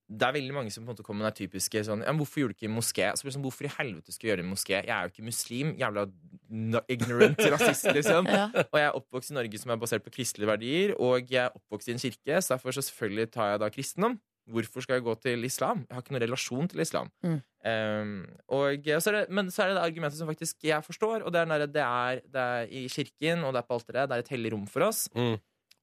Speaker 7: Det er veldig mange som på en måte kommer med den typiske sånn ja, men 'Hvorfor gjorde du ikke en moské?' Så blir det sånn, Hvorfor i helvete skulle jeg gjøre en moské? Jeg er jo ikke muslim. Jævla n- ignorant rasist, liksom.
Speaker 3: Ja.
Speaker 7: Og jeg er oppvokst i Norge som er basert på kristelige verdier, og jeg er oppvokst i en kirke, så derfor så selvfølgelig tar jeg da kristendom. Hvorfor skal jeg gå til islam? Jeg har ikke noen relasjon til islam.
Speaker 3: Mm.
Speaker 7: Eh, og så er det, men så er det det argumentet som faktisk jeg forstår, og det er den derre det, er- det er i kirken, og det er på alteret, det er et hellig rom for oss.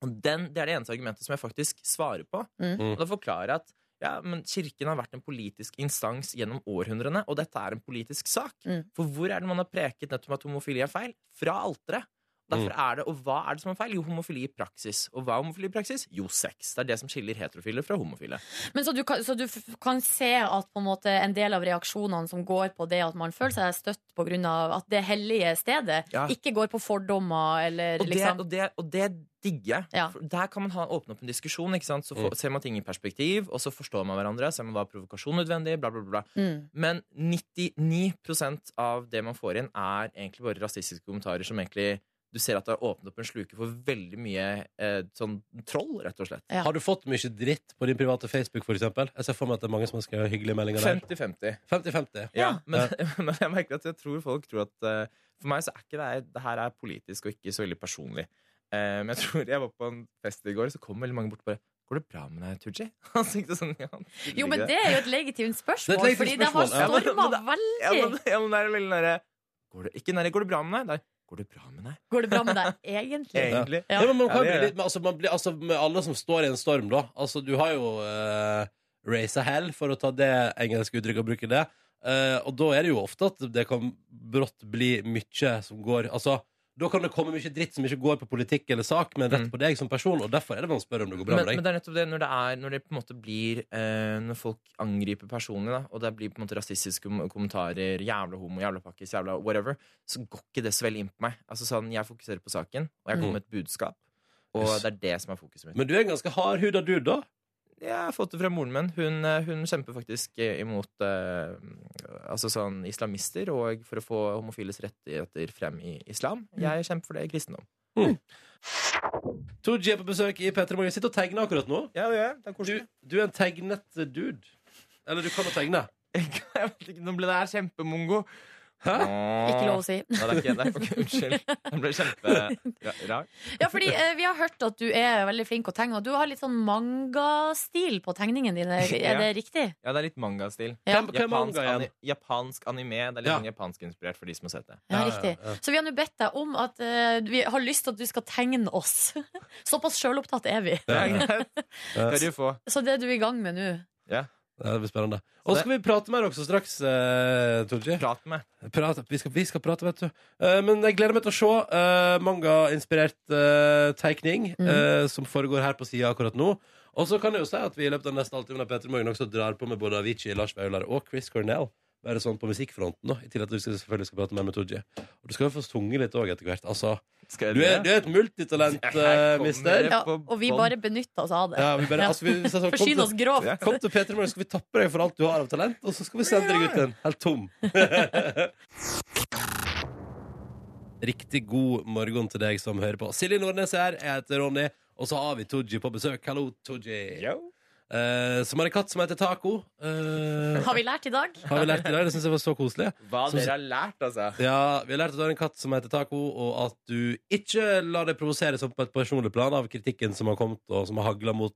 Speaker 7: Og den, det er det eneste argumentet som jeg faktisk svarer på.
Speaker 3: Mm.
Speaker 1: Mm.
Speaker 7: Og da forklarer jeg at ja, men kirken har vært en politisk instans gjennom århundrene, og dette er en politisk sak.
Speaker 3: Mm.
Speaker 7: For hvor er det man har preket nettopp at homofili er feil? Fra alteret. Derfor er det, Og hva er det som er feil? Jo, homofili i praksis. Og hva er homofili i praksis? Jo, sex. Det er det som skiller heterofile fra homofile.
Speaker 3: Men så du, kan, så du f- kan se at på en, måte en del av reaksjonene som går på det at man føler seg støtt på grunn av at det hellige stedet
Speaker 7: Ja.
Speaker 3: ikke går på fordommer eller
Speaker 7: Og det,
Speaker 3: liksom
Speaker 7: og det, og det digger jeg.
Speaker 3: Ja.
Speaker 7: For Der kan man ha, åpne opp en diskusjon. Ikke sant? Så får- ser man ting i perspektiv, og så forstår man hverandre. Ser man hva er provokasjon nødvendig, bla, bla, bla.
Speaker 3: mm.
Speaker 7: Men 99 av det man får inn, er egentlig bare rasistiske kommentarer som egentlig du ser at det har åpnet opp en sluke for veldig mye eh, sånn troll, rett og slett.
Speaker 3: Ja.
Speaker 1: Har du fått mye dritt på din private Facebook, for eksempel? Jeg ser for meg at det er mange som ønsker hyggelige meldinger der.
Speaker 7: 50-50.
Speaker 1: 50-50.
Speaker 7: Ja, men, men jeg merker at jeg tror folk tror at eh, For meg så er ikke det her- det her er politisk og ikke så veldig personlig. Eh, men jeg tror jeg var på en fest i går, så kom veldig mange bort og bare 'Går det bra med deg, Tooji?' Han tenkte sånn ja,
Speaker 3: Jo, men det er jo et legitimt spørsmål,
Speaker 1: Det er et legitimt
Speaker 3: fordi det har
Speaker 1: spørsmål, ja.
Speaker 3: storma
Speaker 7: Ja,
Speaker 3: veldig.
Speaker 7: ja, men, ja, men det er veldig nære går det, Ikke nære 'Går det bra med deg?' Det er 'Går det bra med deg?'
Speaker 3: Går det bra med deg egentlig?
Speaker 7: Egentlig.
Speaker 1: Ja.
Speaker 3: Ja.
Speaker 1: men man
Speaker 7: Ja,
Speaker 1: kan
Speaker 7: det
Speaker 1: bli
Speaker 7: er
Speaker 1: litt, men altså, man blir, altså, med alle som står i en storm, da. Altså, du har jo uh, raisa hell, for å ta det engelske uttrykket og bruke det. Eh, og da er det jo ofte at det kan brått bli mye som går Altså, da kan det komme mye dritt som ikke går på politikk eller sak, men
Speaker 7: Mm.
Speaker 1: rett på deg som person, og derfor er det vanskelig å spørre om det går bra
Speaker 7: men,
Speaker 1: med deg.
Speaker 7: men det er nettopp det når det, er, når det på en måte blir eh, Når folk angriper personlig, da, og det blir på en måte rasistiske kom kommentarer, jævla homo, jævla pakkis, jævla whatever, så går ikke det så veldig inn på meg. Altså sånn, Jeg fokuserer på saken, og jeg
Speaker 1: Mm.
Speaker 7: kommer med et budskap. Og
Speaker 1: Yes.
Speaker 7: det er det som er fokuset mitt.
Speaker 1: Men du er en ganske hardhuda dude, da.
Speaker 7: Jeg har fått det fra moren min. Hun, eh, hun kjemper faktisk eh, imot eh, altså sånn islamister og for å få homofiles rettigheter frem i islam.
Speaker 1: Mm.
Speaker 7: Jeg kjemper for det i kristendom.
Speaker 1: Tooji er på besøk i P3 Morgen. Sitter og tegner akkurat nå.
Speaker 7: Ja, det er
Speaker 1: Du, du er en tegnet dude. Eller du kan å tegne.
Speaker 7: Jeg vet ikke, Nå ble det her kjempemongo.
Speaker 1: Hæ?
Speaker 3: Ikke lov å si.
Speaker 7: Nei, det er ikke det. Ok, unnskyld. Den ble kjemperar.
Speaker 3: Ja, fordi eh, vi har hørt at du er veldig flink å tegne, og du har litt sånn mangastil på tegningene dine.
Speaker 7: Ja.
Speaker 3: Er det riktig?
Speaker 7: Ja, det er litt mangastil.
Speaker 3: Ja.
Speaker 1: Hvem, hvem er
Speaker 7: Japansk,
Speaker 1: manga igjen?
Speaker 7: ani, japansk anime. Det er litt
Speaker 1: Ja.
Speaker 7: sånn japansk inspirert for de som har sett det.
Speaker 3: Ja,
Speaker 1: Ja, ja,
Speaker 3: riktig.
Speaker 1: ja.
Speaker 3: Så vi har nå bedt deg om at eh, vi har lyst til at du skal tegne oss. Såpass sjølopptatt er vi.
Speaker 7: Det er greit. Skal du få.
Speaker 3: Så det er du i gang med nå.
Speaker 1: Ja, Det blir spennende. Og så
Speaker 7: det-
Speaker 1: skal vi prate mer også straks, eh, Tooji.
Speaker 7: Prat med.
Speaker 1: Prate- Vi, skal- vi skal prate, vet du. Eh, men jeg gleder meg til å se eh, manga-inspirert eh, tegning
Speaker 7: Mhm.
Speaker 1: eh, som foregår her på sida akkurat nå. Og så kan jeg jo si at vi i løpet av neste halvtimen av Peter Morgen også drar på med både Avicii, Lars Vaular og Chris Cornell. Bare sånn på musikkfronten, da. I tillegg til at vi skal, selvfølgelig skal prate mer med Tooji. Og du skal jo få sunget litt òg etter hvert. Altså,
Speaker 7: Skal
Speaker 1: du er, du er et multitalent,
Speaker 7: Jeg
Speaker 1: eh,
Speaker 7: kommer.
Speaker 1: mister.
Speaker 3: Ja,
Speaker 7: på
Speaker 3: og vi
Speaker 7: bånd.
Speaker 3: bare benytter oss av det.
Speaker 1: Ja, vi bare, altså, vi, så, så, kom
Speaker 3: Forsyn
Speaker 1: til-
Speaker 3: oss grovt.
Speaker 1: Kom til Peter Morgen, skal vi tappe deg for alt du har av talent, og så skal vi sende deg ut igjen helt tom. Riktig god morgen til deg som hører på. Silje Nordnes er her, jeg heter Ronny, og så har vi Tooji på besøk. Hallo, Tooji.
Speaker 7: Yo.
Speaker 1: Eh, som har en katt som heter Taco. Eh,
Speaker 3: Har vi lært i dag?
Speaker 1: har vi lært i dag? Det syns jeg var så koselig.
Speaker 7: Hva
Speaker 1: Som-
Speaker 7: dere har lært, altså.
Speaker 1: Ja, Vi har lært at du har en katt som heter Taco, og at du ikke lar deg provosere sånn på et personlig plan av kritikken som har kommet og som har hagla mot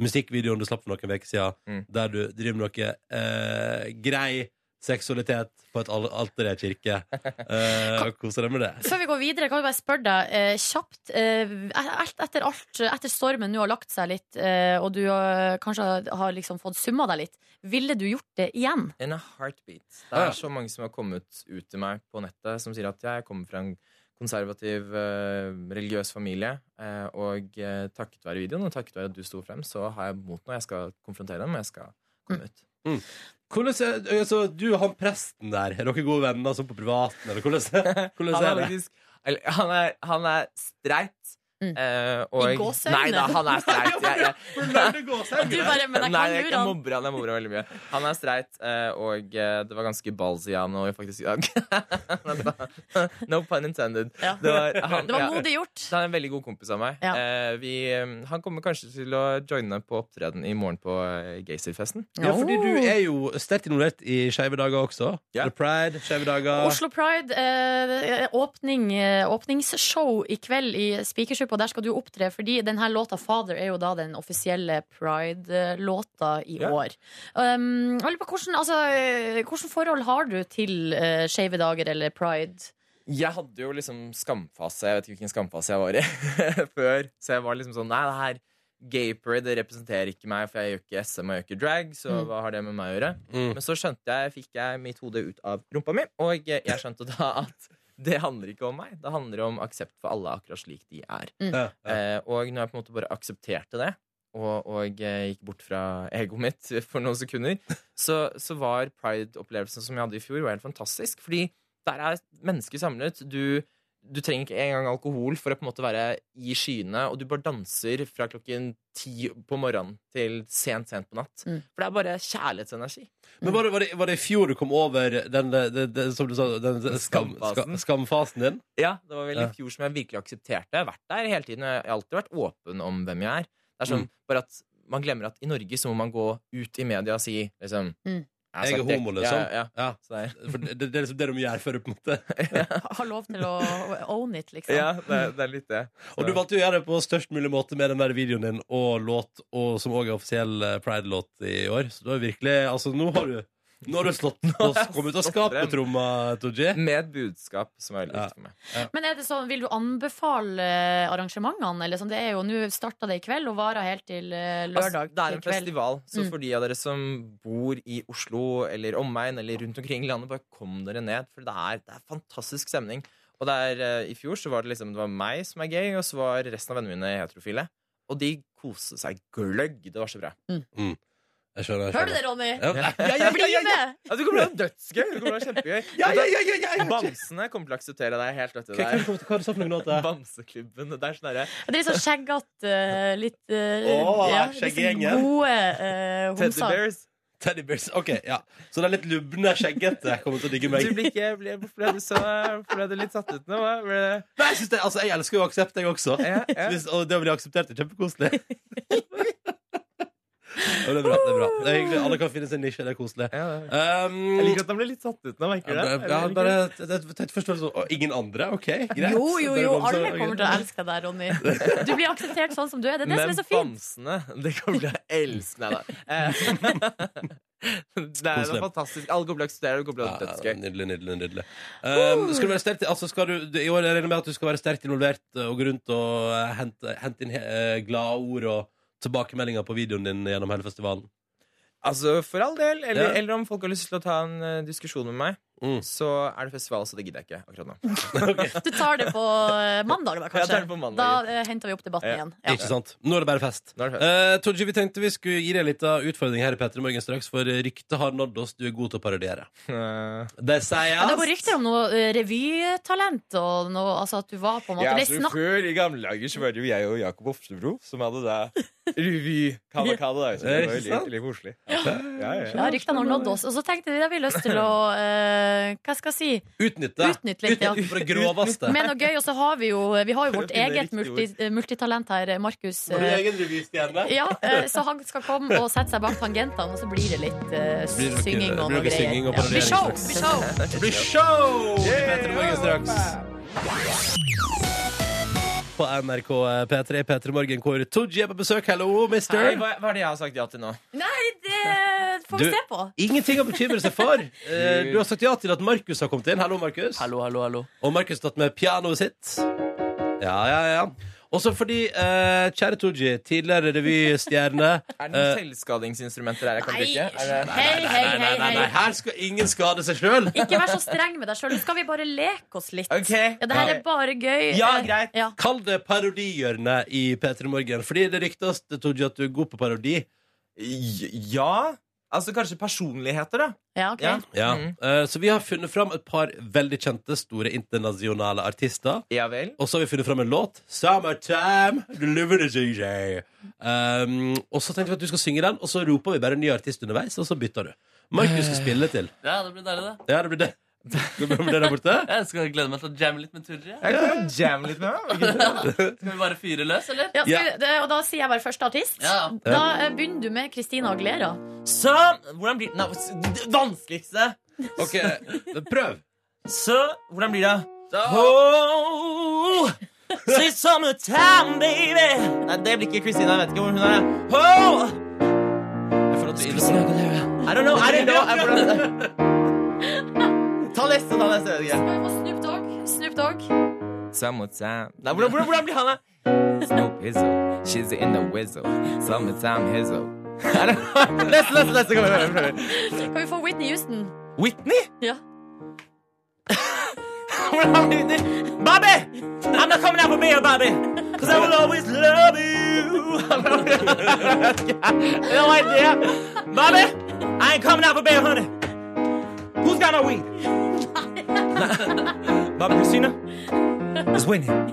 Speaker 1: musikkvideoen du slapp for noen uker siden,
Speaker 7: Mm.
Speaker 1: der du driver med noe eh, grei seksualitet på et al- alter i ei kirke. Eh, og koser deg med det.
Speaker 3: Før vi går videre, kan vi bare spørre deg eh, kjapt. Eh, alt, etter, alt, etter stormen nå har lagt seg litt, eh, og du eh, kanskje har, har liksom fått summa deg litt, ville du gjort det igjen?
Speaker 7: In a heartbeat. Det
Speaker 1: Ja.
Speaker 7: er så mange som har kommet ut til meg på nettet, som sier at jeg kommer fra en konservativ, eh, religiøs familie. eh, og eh, takket være videoen og takket være at du sto frem, så har jeg mot nå. Jeg skal konfrontere dem, og jeg skal komme ut.
Speaker 1: Hvordan er, altså, du og han presten der, er dere gode venner sånn på privaten, eller hvordan, hvordan
Speaker 7: Han
Speaker 1: er
Speaker 7: er
Speaker 1: det?
Speaker 7: faktisk eller, han, er, han er streit.
Speaker 3: Mm.
Speaker 7: eh, og,
Speaker 3: I gåseøyne.
Speaker 7: Nei da, han er streit. Jeg, jeg,
Speaker 3: Du bare, men jeg
Speaker 7: Nei,
Speaker 3: kan
Speaker 7: jeg,
Speaker 3: lure
Speaker 7: jeg
Speaker 3: han.
Speaker 7: mobber han. Jeg mobber han veldig mye. Han er streit, eh, og eh, det var ganske ballsy av han, og faktisk i dag. No pun intended.
Speaker 3: Ja.
Speaker 7: Det var, han,
Speaker 3: Det var
Speaker 7: ja.
Speaker 3: modig gjort.
Speaker 7: Han er en veldig god kompis av meg.
Speaker 3: Ja.
Speaker 7: Eh, vi, eh, han kommer kanskje til å joine på opptreden i morgen på eh, Geyserfesten.
Speaker 1: Ja, fordi du er jo sterkt involvert i Skeive dager også.
Speaker 7: Ja.
Speaker 1: Eller Pride, Skeive dager.
Speaker 3: Oslo Pride, eh, åpning, eh, åpningsshow i kveld i Spikersuppa. Der skal du opptre, fordi denne låta 'Father' er jo da den offisielle Pride-låta i
Speaker 7: Ja.
Speaker 3: år. Um, jeg lurer på hvordan, altså, eh, hvordan forhold har du til eh, Skeive dager eller Pride?
Speaker 7: Jeg hadde jo liksom skamfase. Jeg vet ikke hvilken skamfase jeg var i før. Så jeg var liksom sånn Nei, det her gay parade det representerer ikke meg, for jeg gjør ikke SM og jeg gjør ikke drag. Så
Speaker 3: Mm.
Speaker 7: hva har det med meg å gjøre?
Speaker 1: Mm.
Speaker 7: Men så skjønte jeg, fikk jeg mitt hode ut av rumpa mi, og jeg skjønte da at det handler ikke om meg. Det handler om aksept for alle akkurat slik de er.
Speaker 1: Ja, ja.
Speaker 7: Eh, og når jeg på en måte bare aksepterte det, og, og eh, gikk bort fra egoet mitt for noen sekunder, så, så var pride-opplevelsen som jeg hadde i fjor, var helt fantastisk. Fordi der er mennesker samlet. Du, du trenger ikke engang alkohol for å på en måte være i skyene, og du bare danser fra klokken ti på morgenen til sent, sent på natt.
Speaker 3: Mm.
Speaker 7: For det er bare kjærlighetsenergi.
Speaker 1: Men var det, var, det, var det i fjor du kom over den, eh, det- det- som du sa, den eh, skam,
Speaker 7: Skamfasen.
Speaker 1: ska- skamfasen din?
Speaker 7: Ja, det var vel
Speaker 1: Ja.
Speaker 7: i fjor som jeg virkelig aksepterte. Jeg har vært der hele tiden, og jeg har alltid vært åpen om hvem jeg er. Det er
Speaker 1: Mm.
Speaker 7: sånn bare at man glemmer at i Norge så må man gå ut i media og si liksom
Speaker 3: Mm.
Speaker 7: har
Speaker 1: Jeg er
Speaker 7: sagt det.
Speaker 1: homo, liksom.
Speaker 7: Ja, ja.
Speaker 1: Ja.
Speaker 7: Så det er,
Speaker 1: For det, det er liksom det de gjør for det, på en måte.
Speaker 3: Har lov til å own it, liksom.
Speaker 7: ja det, er, det er litt det.
Speaker 1: Og du valgte å gjøre det på størst mulig måte med den der videoen din og låt, og, som òg er offisiell eh, Pride-låt i år. Så du har virkelig Altså, nå har du Nå har du slått oss,
Speaker 7: jeg
Speaker 1: kommet ut av
Speaker 7: slått
Speaker 1: skapet,
Speaker 7: frem.
Speaker 1: tromma, Tooji.
Speaker 7: Med et budskap som er veldig
Speaker 1: Ja.
Speaker 7: viktig for meg.
Speaker 3: Men er det sånn, vil du anbefale eh, arrangementene? Eller sånn? Det er jo, Nå starta det i kveld og varer helt til eh, lørdag.
Speaker 7: Altså, det er en
Speaker 3: til kveld.
Speaker 7: festival, så
Speaker 3: Mm.
Speaker 7: for de av dere som bor i Oslo eller omegn eller rundt omkring i landet, bare kom dere ned, for det er, det er fantastisk stemning. Og det er, eh, I fjor så var det liksom Det var meg som er gay, og så var resten av vennene mine heterofile. Og de koste seg gløgg. Det var så bra.
Speaker 1: Jeg skjønner.
Speaker 3: Hør du
Speaker 1: jeg
Speaker 3: det, Ronny?
Speaker 1: skjønner. Altså, Ja.
Speaker 7: Ja, ja, ja,
Speaker 3: Bli
Speaker 7: ja, ja.
Speaker 3: med!
Speaker 7: Ja, du kommer til å ha dødsgøy! Du kommer til å ha kjempegøy.
Speaker 1: Ja, ja, ja, ja, ja, ja.
Speaker 7: Bamsene kommer til å akseptere deg helt, vet du.
Speaker 1: Hva
Speaker 7: Det
Speaker 1: hva-
Speaker 7: er
Speaker 1: hva- hva er det så for noen låter?
Speaker 7: Bamseklubben. Det er sånn derre
Speaker 3: Det er litt sånn skjeggete, litt eh,
Speaker 1: Åh,
Speaker 3: ja,
Speaker 1: skjeggegjengen.
Speaker 3: disse Gode eh,
Speaker 7: Teddy
Speaker 3: homser.
Speaker 7: Bears.
Speaker 1: Teddy Bears. Ok, ja. Så det er litt lubne, skjeggete. Kommer til å digge meg.
Speaker 7: Du blir ikke ble, ble du så Ble du litt satt ut nå? hva? Ble det,
Speaker 1: Nei, jeg, synes det, altså, jeg elsker jo aksept, jeg også.
Speaker 7: ja, ja.
Speaker 1: Hvis, og det å bli akseptert er kjempekoselig. Ja, det er bra. det er bra Det er hyggelig. Alle kan finne sin nisje. Det er koselig.
Speaker 7: Ja, det-
Speaker 1: Um,
Speaker 7: Jeg liker at han ble litt satt ut nå, merker du
Speaker 1: ja,
Speaker 7: det?
Speaker 1: bare, ja, bare det- det- tett forståelse. Og ingen andre? OK, greit.
Speaker 3: Jo, jo,
Speaker 1: Bare
Speaker 3: jo,
Speaker 1: kom så-
Speaker 3: alle kommer til å elske deg, Ronny. Du blir akseptert sånn som du er. Det er det som
Speaker 7: Men
Speaker 3: er så fint.
Speaker 7: bamsene, det kommer til å elske Nei da. Eh, Det er
Speaker 1: Koselig.
Speaker 7: fantastisk. Alle kommer til å akseptere det. Det kommer til å
Speaker 1: Ja,
Speaker 7: være dødsgøy.
Speaker 1: nydelig, nydelig. nydelig um, Skal du være sterkt altså skal du, du- I år regner jeg med at du skal være sterkt involvert eh, og gå rundt og eh, hente, hente inn uh, glade ord og tilbakemeldinger på videoen din gjennom hele festivalen.
Speaker 7: Altså, For all del. Eller,
Speaker 1: Ja.
Speaker 7: eller om folk har lyst til å ta en eh, diskusjon med meg,
Speaker 1: Mm.
Speaker 7: så er det festival, så det gidder jeg ikke akkurat nå.
Speaker 3: Du tar det på eh, mandag, da,
Speaker 7: Jeg
Speaker 3: kanskje.
Speaker 7: tar det på mandag.
Speaker 3: Da eh, henter vi opp debatten
Speaker 7: Ja.
Speaker 3: igjen. Ja.
Speaker 1: Ikke sant? Nå er det bare fest.
Speaker 7: Nå er det fest.
Speaker 1: Eh, Tooji, vi tenkte vi skulle gi deg en liten utfordring her i Petter i morgen straks, for ryktet har nådd oss. Du er god til å parodiere.
Speaker 7: Eh,
Speaker 1: Det sier jeg.
Speaker 3: Ja, det går rykter om noe eh, revytalent og noe altså at du var på en måte
Speaker 7: Ja,
Speaker 3: Det er
Speaker 7: så
Speaker 3: snakk
Speaker 7: Før i gamle dager så var det jo jeg og Jakob Oftebro som hadde da revy. Kavalkade, da. Så det
Speaker 1: Er det
Speaker 7: var jo
Speaker 1: ikke
Speaker 7: litt,
Speaker 1: sant?
Speaker 7: litt koselig. Ja, ja, ja.
Speaker 3: ja, ryktene har nådd oss. Og så tenkte vi at vi har lyst til å eh, Hva skal jeg si?
Speaker 1: Utnytte.
Speaker 3: Utnytt litt, ja.
Speaker 1: Utnytt på det groveste.
Speaker 3: Med noe gøy. Og så har vi jo, eh, vi har jo
Speaker 7: For å
Speaker 3: vårt
Speaker 7: finne
Speaker 3: eget
Speaker 7: riktig
Speaker 3: multi, eh, multitalent her, eh, Markus.
Speaker 1: Har du
Speaker 3: eh,
Speaker 1: egen revystjerne?
Speaker 3: Ja, eh, så han skal komme og sette seg bak tangentene, og så blir det litt eh,
Speaker 1: Blir det noe-
Speaker 3: synging og noe
Speaker 1: blir det noe
Speaker 3: greier.
Speaker 1: synging og
Speaker 3: Ja, det blir show!
Speaker 1: parodiering
Speaker 3: det blir show.
Speaker 1: Det blir show! i Petter i morgen straks. På NRK eh, P3, P3 Morgen, hvor Tooji er på besøk. Hello,
Speaker 7: Hei,
Speaker 1: mister.
Speaker 7: hva, hva er det jeg har sagt ja til nå?
Speaker 3: Nei, det får
Speaker 1: Du-
Speaker 3: vi se på.
Speaker 1: Ingenting å bekymre seg for. Eh, Du har sagt ja til at Markus har kommet inn. Hallo, Markus.
Speaker 2: Hallo, hallo, hallo.
Speaker 1: Og Markus tatt med pianoet sitt. Ja, ja, ja. Også fordi, eh, kjære Tooji, tidligere revystjerne
Speaker 7: Er det noen
Speaker 1: eh,
Speaker 7: selvskadingsinstrumenter her jeg kan
Speaker 3: Nei,
Speaker 7: bruke? Er det-
Speaker 3: hei, hei,
Speaker 1: Nei, nei, nei,
Speaker 3: hei.
Speaker 1: nei,
Speaker 3: hei.
Speaker 1: her skal ingen skade seg sjøl.
Speaker 3: Ikke vær så streng med deg sjøl. Skal vi bare leke oss litt?
Speaker 7: Ok.
Speaker 3: Ja, det her er bare gøy.
Speaker 7: Ja,
Speaker 3: Eh,
Speaker 7: greit.
Speaker 3: Ja.
Speaker 1: Kall det parodihjørnet i P3 Morgen. Fordi det ryktes Tooji, at du er god på parodi.
Speaker 7: Ja Altså kanskje personligheter, da.
Speaker 3: Ja, ok.
Speaker 7: Ja.
Speaker 1: Ja.
Speaker 7: Mm.
Speaker 1: Eh, så vi har funnet fram et par veldig kjente, store internasjonale artister.
Speaker 7: Ja vel.
Speaker 1: Og så har vi funnet fram en låt. 'Summertime Deliver the DJ'. Um, og så tenkte vi at du skal synge den, og så roper vi bare en ny artist underveis, og så bytter du. Markus skal spille til.
Speaker 2: Ja, det blir deilig, det.
Speaker 1: Ja, det blir det. Skal vi prøve det der borte?
Speaker 2: Jeg skal glede meg til å jamme litt med Tooji. jeg.
Speaker 7: Jeg kan jo jamme litt med deg.
Speaker 2: Skal vi bare fyre løs, eller?
Speaker 3: Ja, skal
Speaker 1: Ja.
Speaker 3: vi, det, og da sier jeg bare første artist.
Speaker 2: Ja.
Speaker 3: Da eh, begynner du med Christina Aglera.
Speaker 2: Så, hvordan blir Nei, det vanskeligste!
Speaker 1: Ok, Prøv.
Speaker 2: Så, hvordan blir det? Oh, say summertime, baby! Nei, det blir ikke Christina. Jeg vet ikke hvor hun er. Oh,
Speaker 1: Jeg føler at vi er inne på noe.
Speaker 2: I don't know, I don't know. I don't know. Ta neste, ta neste. jeg vet ikke.
Speaker 3: Skal vi få Snoop Dogg? Snoop Dogg.
Speaker 7: Summertime
Speaker 2: Nei, hvordan, hvordan, hvordan blir han, da?
Speaker 7: Snoop hizzle. She's in the whizzle. Summertime hizzle.
Speaker 2: I don't know. Neste, neste, neste. Kom igjen, kom igjen, kom igjen.
Speaker 3: Kan vi få Whitney Houston?
Speaker 2: Whitney?
Speaker 3: Ja.
Speaker 7: Bobby! I'm not coming out for beer, Bobby! Because I will always love you! no idea. Bobby, I ain't coming out for beer, honey. Who's got no weed? Bobby Christina is winning.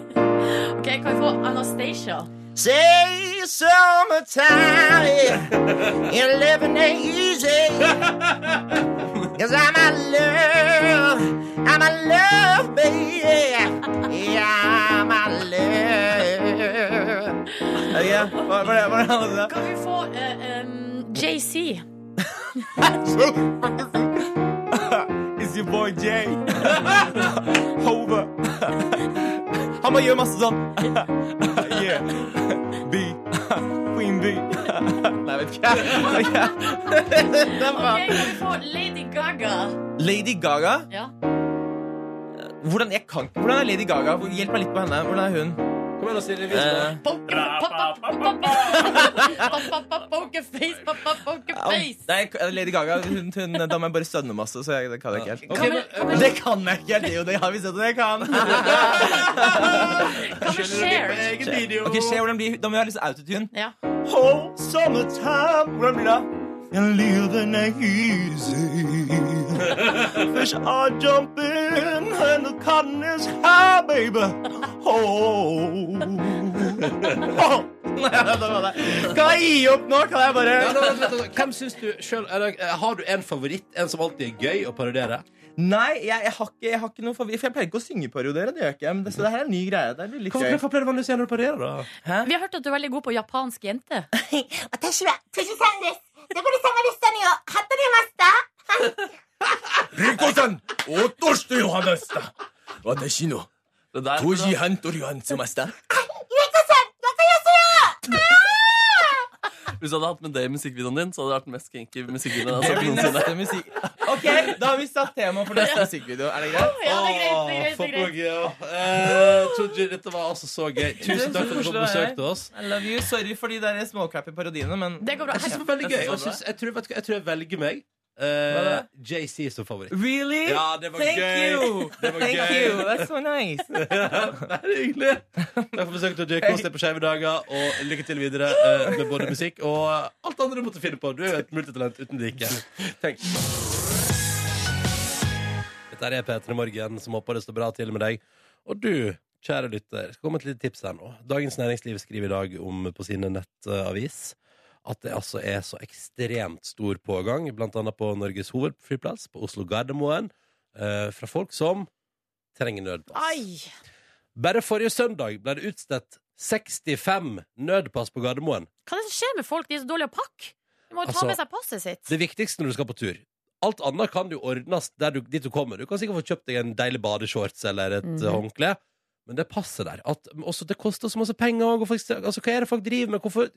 Speaker 3: Ok, Kan vi få Anastacia?
Speaker 7: Say summertime, it living ain't easy. Cause I'm a love, I'm a love, baby. Yeah, I'm a love. Ja, hva hva er det? Hva er det han sa?
Speaker 3: Kan vi få eh, em, JC?
Speaker 7: It's your boy Jay. Hover. Han bare gjør masse sånn. Yeah. B. Queen B. Nei, vet ikke. Det er
Speaker 3: Ok, Kan
Speaker 7: bra.
Speaker 3: vi få Lady Gaga?
Speaker 7: Lady Gaga?
Speaker 3: Ja.
Speaker 7: Hvordan, jeg kan, ikke- hvordan er Lady Gaga? Hjelp meg litt på henne. Hvordan er hun?
Speaker 1: Kom igjen, da, Silje. vis meg.
Speaker 7: Eh,
Speaker 3: Pokerface, pokerface.
Speaker 7: Nei, eh, Lady Gaga, hun, hun, da må jeg bare stønne masse, så jeg, det kan jeg ikke helt.
Speaker 1: Ok,
Speaker 3: Kan vi,
Speaker 1: men-
Speaker 3: kan vi,
Speaker 7: Det kan jeg ikke! Det er jo det jeg har vi sett at jeg kan.
Speaker 3: kan vi share?
Speaker 7: Ok, se hvordan blir Da må vi ha litt sånn autotune.
Speaker 3: Ja.
Speaker 7: Oh, summertime Hvordan blir det? And living ain't easy Fish are jumping And the cotton is high, baby Oh, oh. Nei, det var det. Kan jeg gi opp nå? Kan jeg bare
Speaker 1: Ja, nå, vent litt, altså. Hvem syns du sjøl eh, Har du en favoritt? En som alltid er gøy å parodiere?
Speaker 7: Nei, jeg, jeg, har ikke, jeg har ikke noe favoritt. For jeg pleier ikke å syngeparodiere. Det gjør jeg ikke. Men det, så det her er en ny greie. Det blir litt
Speaker 1: Hvorfor
Speaker 7: gøy.
Speaker 1: hvorfor pleier du vanligvis å gjøre når du parodierer, da?
Speaker 3: Vi har hørt at du er veldig god på japansk jente.
Speaker 8: 私は辻さんです。どこで様でしたのよ。服部マスター。
Speaker 2: Det der burde ha- Hvis du hadde hatt med det i musikkvideoen din, så hadde det vært den mest kinky musikkvideoen
Speaker 7: Det
Speaker 2: jeg har sett
Speaker 7: blir
Speaker 2: noensinne.
Speaker 7: neste musikk. Ok, da har vi satt tema for neste musikkvideo. Er det greit?
Speaker 3: Ja, det er greit, det er greit,
Speaker 1: Åh,
Speaker 3: det
Speaker 1: for
Speaker 3: er
Speaker 1: noe
Speaker 3: greit.
Speaker 1: gøy, ja. Eh, Tooji, dette var altså så gøy. Tusen takk for at du kom på besøk til oss.
Speaker 7: I love you. Sorry for de der småcrappy parodiene, men
Speaker 3: Det går bra.
Speaker 1: Jeg synes det var veldig gøy. og Jeg, synes, jeg, tror, vet du hva, jeg tror jeg velger meg. Uh,
Speaker 7: Hva
Speaker 1: JC som favoritt.
Speaker 7: Really?
Speaker 1: Ja, det var
Speaker 7: Thank
Speaker 1: gøy.
Speaker 7: you!
Speaker 1: Det var
Speaker 7: Thank
Speaker 1: gøy.
Speaker 7: you. That's so nice.
Speaker 1: Nei, det er hyggelig. Takk for besøket, Tooji. Kos deg på skeive dager, og lykke til videre eh, med både musikk og eh, alt det andre du måtte finne på. Du er jo et multitalent uten like. Dette er P3 Morgen, som håper det står bra til med deg. Og du, kjære lytter, skal komme med et lite tips her nå. Dagens Næringsliv skriver i dag om på sine nettavis at det altså er så ekstremt stor pågang, blant annet på Norges hovedflyplass, på Oslo Gardermoen, eh, fra folk som trenger nødpass.
Speaker 3: Ai.
Speaker 1: Bare forrige søndag ble det utstedt 65 nødpass på Gardermoen.
Speaker 3: Hva er det som skjer med folk? De er så dårlige å pakke. De må jo ta
Speaker 1: Altså,
Speaker 3: med seg passet sitt.
Speaker 1: Det viktigste når du skal på tur. Alt annet kan jo ordnes der du, dit du kommer. Du kan sikkert få kjøpt deg en deilig badeshorts eller et
Speaker 3: Mhm.
Speaker 1: eh, håndkle. Men det passer der. At, også, det koster så masse penger òg. Altså, hva er det folk driver med? Hvorfor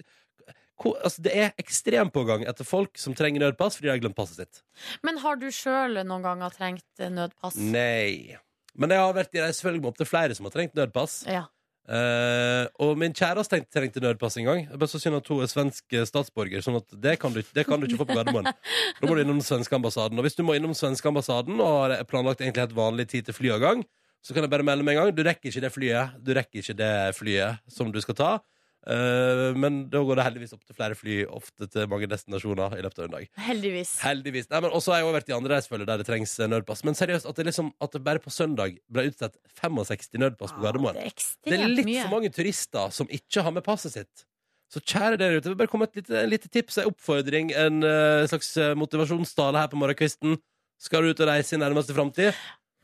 Speaker 1: hvor, altså, det er ekstrem pågang etter folk som trenger nødpass fordi de har glemt passet sitt.
Speaker 3: Men har du sjøl noen ganger trengt eh, nødpass?
Speaker 1: Nei. Men jeg har vært i reisefølge med opptil flere som har trengt nødpass.
Speaker 3: Ja.
Speaker 1: Eh, og min kjæreste trengte, trengte nødpass en gang. Det er bare så synd at hun er svensk eh, statsborger, sånn at det kan du, ikke- det kan du ikke få på Gardermoen. Da må du innom den svenske ambassaden. Og hvis du må innom den svenske ambassaden og har planlagt egentlig helt vanlig tid til flyavgang, så kan jeg bare melde med en gang. Du rekker ikke det flyet. Du rekker ikke det flyet som du skal ta. Eh, men da går det heldigvis opp til flere fly, ofte til mange destinasjoner i løpet av en dag.
Speaker 3: Heldigvis.
Speaker 1: Heldigvis. Nei, men også har jeg også vært i andre reisefølger der det trengs eh, nødpass. Men seriøst, at det, liksom, at det bare på søndag ble utstedt 65 nødpass på Gardermoen.
Speaker 3: Ah, Det er
Speaker 1: Det er
Speaker 3: ekstremt
Speaker 1: litt
Speaker 3: mye.
Speaker 1: for mange turister som ikke har med passet sitt. Så kjære dere ute, jeg vil bare komme med et lite, en lite tips, en oppfordring, en eh, slags eh, motivasjonstale her på morgenkvisten. Skal du ut og reise i nærmeste framtid,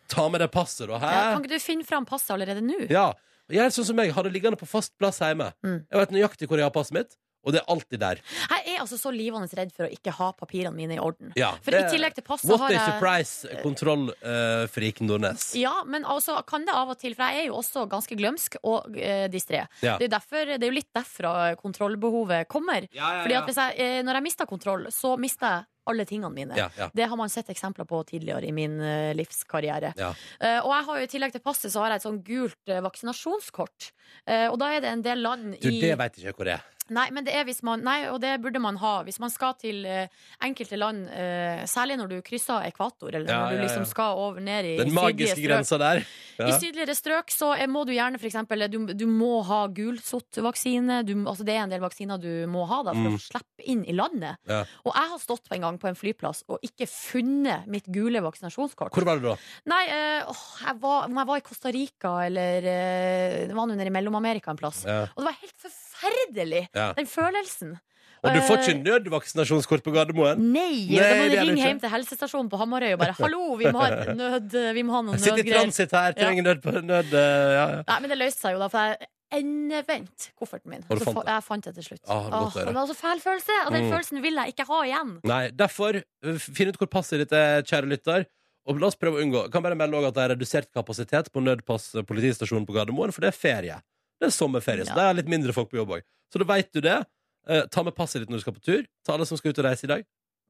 Speaker 1: ta med deg passet, da. Hæ?
Speaker 3: Ja, kan ikke du finne fram passet allerede nå?
Speaker 1: Ja. Gjør sånn som meg, har det liggende på fast plass hjemme.
Speaker 3: Mm.
Speaker 1: Jeg vet nøyaktig hvor jeg har passet mitt, og det er alltid der.
Speaker 3: Jeg er altså så livende redd for å ikke ha papirene mine i orden.
Speaker 1: Ja,
Speaker 3: For
Speaker 1: det-
Speaker 3: i tillegg til passet
Speaker 1: What
Speaker 3: har
Speaker 1: a
Speaker 3: jeg
Speaker 1: surprise, eh, kontrollfrik Nordnes.
Speaker 3: ja, men altså kan det av og til, for jeg er jo også ganske glømsk og eh, distré.
Speaker 1: Ja.
Speaker 3: Det, er jo derfor, det er jo litt derfra kontrollbehovet kommer. Fordi at hvis jeg, eh, når jeg mister kontroll, så mister jeg alle tingene mine.
Speaker 1: Ja, ja.
Speaker 3: Det har man sett eksempler på tidligere i min eh, livskarriere.
Speaker 1: Ja.
Speaker 3: Eh, og jeg har jo i tillegg til passet så har jeg et sånn gult eh, vaksinasjonskort. Eh, og da er det en del land
Speaker 1: Du,
Speaker 3: i
Speaker 1: det veit ikke jeg hvor det er.
Speaker 3: Nei, men det er hvis man, nei, og det burde man ha. Hvis man skal til eh, enkelte land, eh, særlig når du krysser ekvator, eller
Speaker 1: Ja,
Speaker 3: når du
Speaker 1: ja,
Speaker 3: liksom
Speaker 1: ja.
Speaker 3: skal over ned i
Speaker 1: Den
Speaker 3: sydlige
Speaker 1: magiske
Speaker 3: strøk.
Speaker 1: grensa der.
Speaker 3: I
Speaker 1: Ja.
Speaker 3: sydligere strøk så er, må du gjerne for eksempel, du, du må ha gulsott-vaksine. Du, altså det er en del vaksiner du må ha da, for
Speaker 1: Mm.
Speaker 3: å slippe inn i landet.
Speaker 1: Ja.
Speaker 3: Og jeg har stått på en gang på en flyplass og ikke funnet mitt gule vaksinasjonskort.
Speaker 1: Hvor var du da?
Speaker 3: Nei, eh, åh, jeg var, om jeg var i Costa Rica eller eh, Det var nå nede i Mellom-Amerika en plass.
Speaker 1: Ja.
Speaker 3: Og det var helt forferdelig,
Speaker 1: Ja.
Speaker 3: den følelsen.
Speaker 1: Og du får
Speaker 3: Eh,
Speaker 1: ikke nødvaksinasjonskort på Gardermoen?
Speaker 3: Nei!
Speaker 1: Nei,
Speaker 3: da må
Speaker 1: det
Speaker 3: du
Speaker 1: er det
Speaker 3: ringe
Speaker 1: ikke.
Speaker 3: hjem til helsestasjonen på Hamarøy og bare 'hallo, vi må ha, et nød, vi må ha noen
Speaker 1: Jeg sitter i
Speaker 3: nødgreier'.
Speaker 1: transitt her, trenger nød... nød eh, ja, ja.
Speaker 3: Nei, men det løste seg jo da, for jeg endevendt kofferten min.
Speaker 1: Og du
Speaker 3: Så
Speaker 1: fant
Speaker 3: fa-
Speaker 1: det?
Speaker 3: Jeg fant det til slutt.
Speaker 1: Ah, godt å
Speaker 3: Åh,
Speaker 1: høre.
Speaker 3: det var så fæl følelse, og den
Speaker 1: Mm.
Speaker 3: følelsen vil jeg ikke ha igjen.
Speaker 1: Nei, derfor, eh, finn ut hvor passet ditt er, kjære lytter. Og la oss prøve å unngå. Kan bare melde også at det er redusert kapasitet på Nødpass eh, politistasjonen på Gardermoen, for det er ferie. Det er sommerferie,
Speaker 3: Ja.
Speaker 1: så det er litt mindre folk på jobb òg. Så da veit du det. Eh, ta med passet ditt når du skal på tur. Ta alle som skal ut og reise i dag.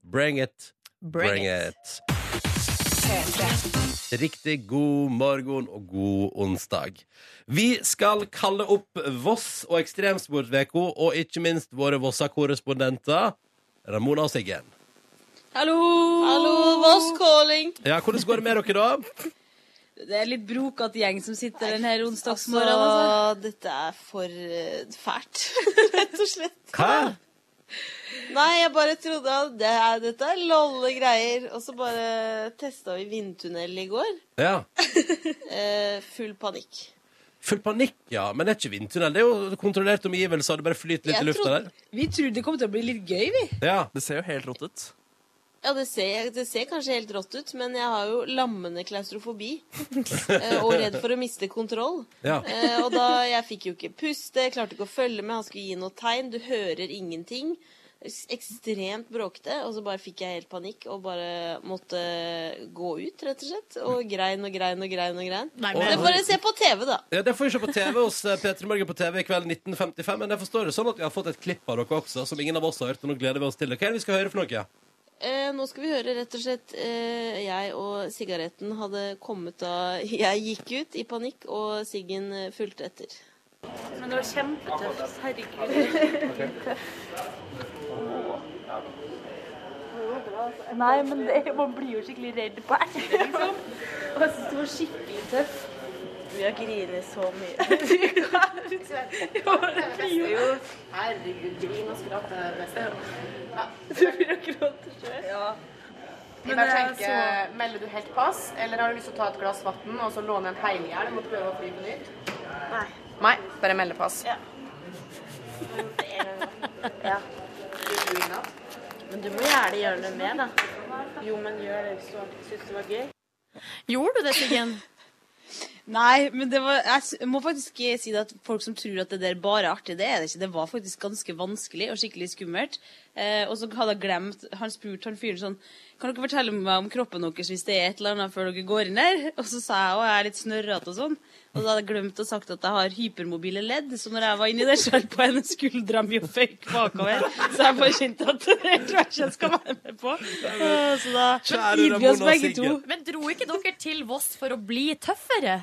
Speaker 1: Bring it.
Speaker 3: Bring, it.
Speaker 1: Riktig god morgen og god onsdag. Vi skal kalle opp Voss og Ekstremsportveko, og ikke minst våre Vossa-korrespondenter Ramona og Siggen.
Speaker 9: Hallo! Hallo, Voss calling!
Speaker 1: Ja, Hvordan går det med dere, da?
Speaker 9: Det er litt brokete gjeng som sitter denne onsdagsmorgenen. Altså. Dette er for eh, fælt, rett og slett.
Speaker 1: Hæ?
Speaker 9: Nei, jeg bare trodde at det er, dette er lolle greier. Og så bare testa vi vindtunnel i går.
Speaker 1: Ja.
Speaker 9: Eh, full panikk.
Speaker 1: Full panikk, ja. Men det er ikke vindtunnel. Det er jo kontrollert omgivelse, og det bare flyter litt i
Speaker 9: Jeg
Speaker 1: lufta der.
Speaker 9: trodde- Vi trodde det kom til å bli litt gøy, vi.
Speaker 1: Ja.
Speaker 2: Det ser jo helt rått ut.
Speaker 9: Ja, det ser, det ser kanskje helt rått ut, men jeg har jo lammende klaustrofobi. eh, Og redd for å miste kontroll.
Speaker 1: ja.
Speaker 9: Eh, og da, Jeg fikk jo ikke puste, jeg klarte ikke å følge med, han skulle gi noe tegn. Du hører ingenting. S- Ekstremt bråkete. Og så bare fikk jeg helt panikk og bare måtte gå ut, rett og slett. Og grein og grein og grein. og grein.
Speaker 3: Nei,
Speaker 9: Det
Speaker 3: men,
Speaker 9: får jeg se på TV, da.
Speaker 1: Ja, Det får vi se på TV hos eh, P3 Morgen på TV i kveld 1955. Men jeg forstår det sånn at vi har fått et klipp av dere også, som ingen av oss har hørt. Og nå gleder vi oss til det. Hva er det vi skal høre for noe?
Speaker 9: Eh, nå skal vi høre rett og slett eh, Jeg og sigaretten hadde kommet da jeg gikk ut i panikk, og Siggen eh, fulgte etter.
Speaker 10: Men det var kjempetøft. Herregud. Nei, men det, man blir jo skikkelig redd på ekte, liksom. Og jeg synes det var skikkelig tøft.
Speaker 9: Vi har grinet så mye.
Speaker 10: Ja, det blir jo
Speaker 11: Herregud, grin og skrape.
Speaker 10: Du blir jo gråte sjøl.
Speaker 11: Ja.
Speaker 10: Men
Speaker 11: Jeg bare
Speaker 10: jeg
Speaker 11: tenker, Melder du helt pass, eller har du lyst til å ta et glass vann og så låne en heilhjelm og prøve å fly på nytt?
Speaker 10: Nei.
Speaker 11: Nei, bare melde pass. Ja.
Speaker 10: Men du må gjerne gjøre noe med, da. Jo, men gjør det hvis du syns det var gøy.
Speaker 3: Gjorde du det, Siggen?
Speaker 9: Nei, men det var, jeg s- må faktisk ikke si det at folk som tror at det der bare er artig, det er det ikke. Det var faktisk ganske vanskelig og skikkelig skummelt. Eh, og så hadde jeg glemt Han spurte han fyren sånn Kan dere fortelle meg om kroppen deres hvis det er et eller annet før dere går inn her? Og så sa jeg å, jeg er litt snørrete og sånn. Og så hadde jeg glemt å sagt at jeg har hypermobile ledd, så når jeg var inni der, så holdt på henne skuldra mi og føyk bakover. Så jeg bare kjente at det der tror jeg ikke jeg skal være med på. Eh, Så da
Speaker 1: Kjære
Speaker 9: gir vi oss
Speaker 1: Ramona og
Speaker 9: begge to.
Speaker 1: Siggen.
Speaker 3: Men dro ikke dere til Voss for å bli tøffere?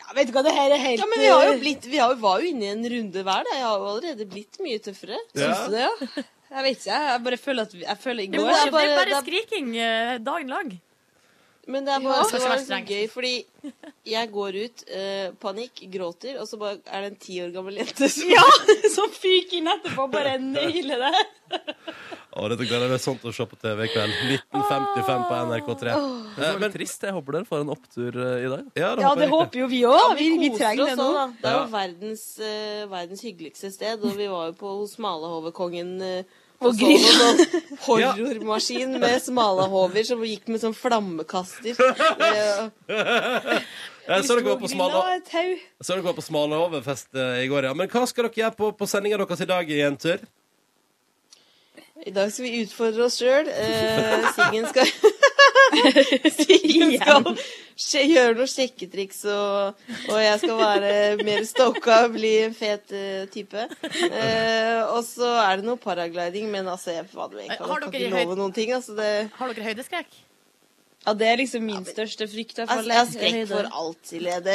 Speaker 9: Ja, vet du hva, det her er helt eh, Ja, men vi har jo blitt Vi har jo, var jo inne i en runde hver, da. Jeg har jo allerede blitt mye tøffere.
Speaker 1: Ja.
Speaker 9: Syns du det, ja? Jeg vet ikke, jeg. Jeg bare føler at vi- Jeg føler i
Speaker 3: Det
Speaker 9: går
Speaker 3: var
Speaker 9: jeg
Speaker 3: ikke det er
Speaker 9: det
Speaker 3: bare
Speaker 9: er-
Speaker 3: skriking eh, dagen lang.
Speaker 9: Men det er
Speaker 3: Ja,
Speaker 9: bare
Speaker 3: det skal
Speaker 9: det
Speaker 3: ikke
Speaker 9: var
Speaker 3: være
Speaker 9: så
Speaker 3: strengt.
Speaker 9: gøy, fordi jeg går ut, eh, panikk, gråter, og så bare er det en ti år gammel jente som, ja, som fyker inn etterpå og bare nailer det.
Speaker 1: Å, dette gleder jeg meg sånt å se på TV i kveld. 1955 på NRK3.
Speaker 2: Det
Speaker 1: Eh,
Speaker 2: er
Speaker 1: men-
Speaker 2: veldig trist. Jeg håper dere får en opptur eh, i dag.
Speaker 1: Ja,
Speaker 9: Ja, det
Speaker 1: håper jeg
Speaker 9: håper jo vi òg. Vi, vi
Speaker 10: koser
Speaker 9: trenger det
Speaker 10: oss
Speaker 9: nå.
Speaker 10: også, da.
Speaker 9: Det er jo
Speaker 1: Ja.
Speaker 9: verdens, eh, verdens hyggeligste sted, og vi var jo på hos Smalahovekongen. Uh,
Speaker 10: Og grilla.
Speaker 9: sånn horrormaskin med smalahover som gikk med sånn flammekaster. Eh,
Speaker 1: Jeg så dere var på
Speaker 9: grilla
Speaker 1: Smala-
Speaker 9: og et tau.
Speaker 1: jeg så dere var på Smalahovenfest eh, i går, ja. Men hva skal dere gjøre på, på sendinga deres i dag, jenter?
Speaker 9: I dag skal vi utfordre oss sjøl. Siggen skal Siggen skal sje- gjøre noen sjekketriks, og, og jeg skal være mer stoka og bli en fet eh, type. Eh, og så er det noe paragliding, men altså, jeg fader meg, jeg kan,
Speaker 3: Har
Speaker 9: kan
Speaker 3: dere
Speaker 9: ikke
Speaker 3: høy-
Speaker 9: love noen ting. Altså, det,
Speaker 3: Har dere høydeskrekk?
Speaker 9: ja, det er liksom min
Speaker 10: Største frykt er
Speaker 9: Altså, jeg har skrekk for alt, Silje. Det,
Speaker 2: Det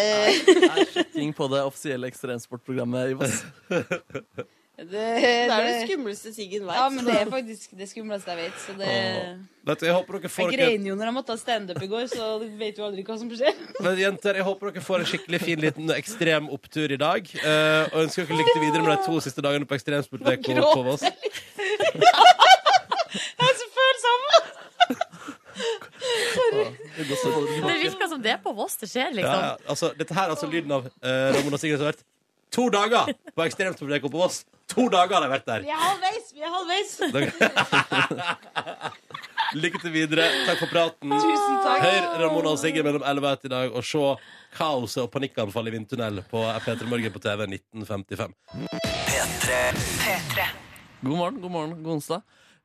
Speaker 2: er sjekking på det offisielle ekstremsportprogrammet i Voss.
Speaker 9: det-
Speaker 10: er jo den skumleste siggen veit.
Speaker 9: Ja, men det er faktisk det skumleste jeg vet. Så det
Speaker 1: Vet du, jeg håper dere
Speaker 9: Jeg
Speaker 1: får dere
Speaker 9: grein jo når jeg måtte ha standup i går, så du vet jo aldri hva som skjer.
Speaker 1: Men jenter, jeg håper dere får en skikkelig fin liten ekstrem opptur i dag. eh, og ønsker dere lykke til videre med de to siste dagene på Ekstremsportveka
Speaker 9: Nå liksom.
Speaker 1: på Voss.
Speaker 9: Jeg er så følsom!
Speaker 1: Ja, det går så-
Speaker 3: Det virker som det er på Voss det skjer,
Speaker 1: Ja,
Speaker 3: liksom.
Speaker 1: ja, altså, dette her er altså lyden av eh, Ramona Sigrid som har vært to dager på Ekstremsportveka på Voss. To dager har de vært der.
Speaker 9: Vi er halvveis! Vi er halvveis!
Speaker 1: Lykke til videre. Takk for praten.
Speaker 9: Tusen takk.
Speaker 1: Hør Ramona og Sigrid mellom 11 og 1 i dag, og se kaoset og panikkanfall i vindtunnel på P3 Morgen på TV 1955.
Speaker 2: God morgen, god morgen, god onsdag.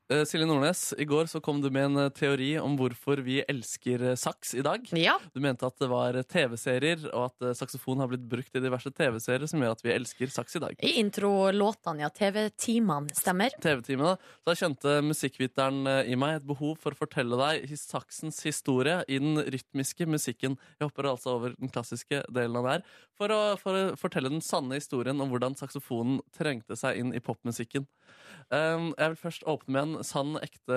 Speaker 2: Eh, Silje Nordnes, i går så kom du med en eh, teori om hvorfor vi elsker eh, saks i dag. Du mente at det var eh, TV-serier, og at eh, saksofon har blitt brukt i diverse TV-serier som gjør at vi elsker saks i dag.
Speaker 3: I introlåtene, ja. TV-timene, stemmer.
Speaker 2: TV-timene. Så jeg kjente musikkviteren eh, i meg et behov for å fortelle deg his- saksens historie i den rytmiske musikken. Jeg hopper altså over den klassiske delen av det her. For å, for å fortelle den sanne historien om hvordan saksofonen trengte seg inn i popmusikken. Um, jeg vil først åpne med en sann, ekte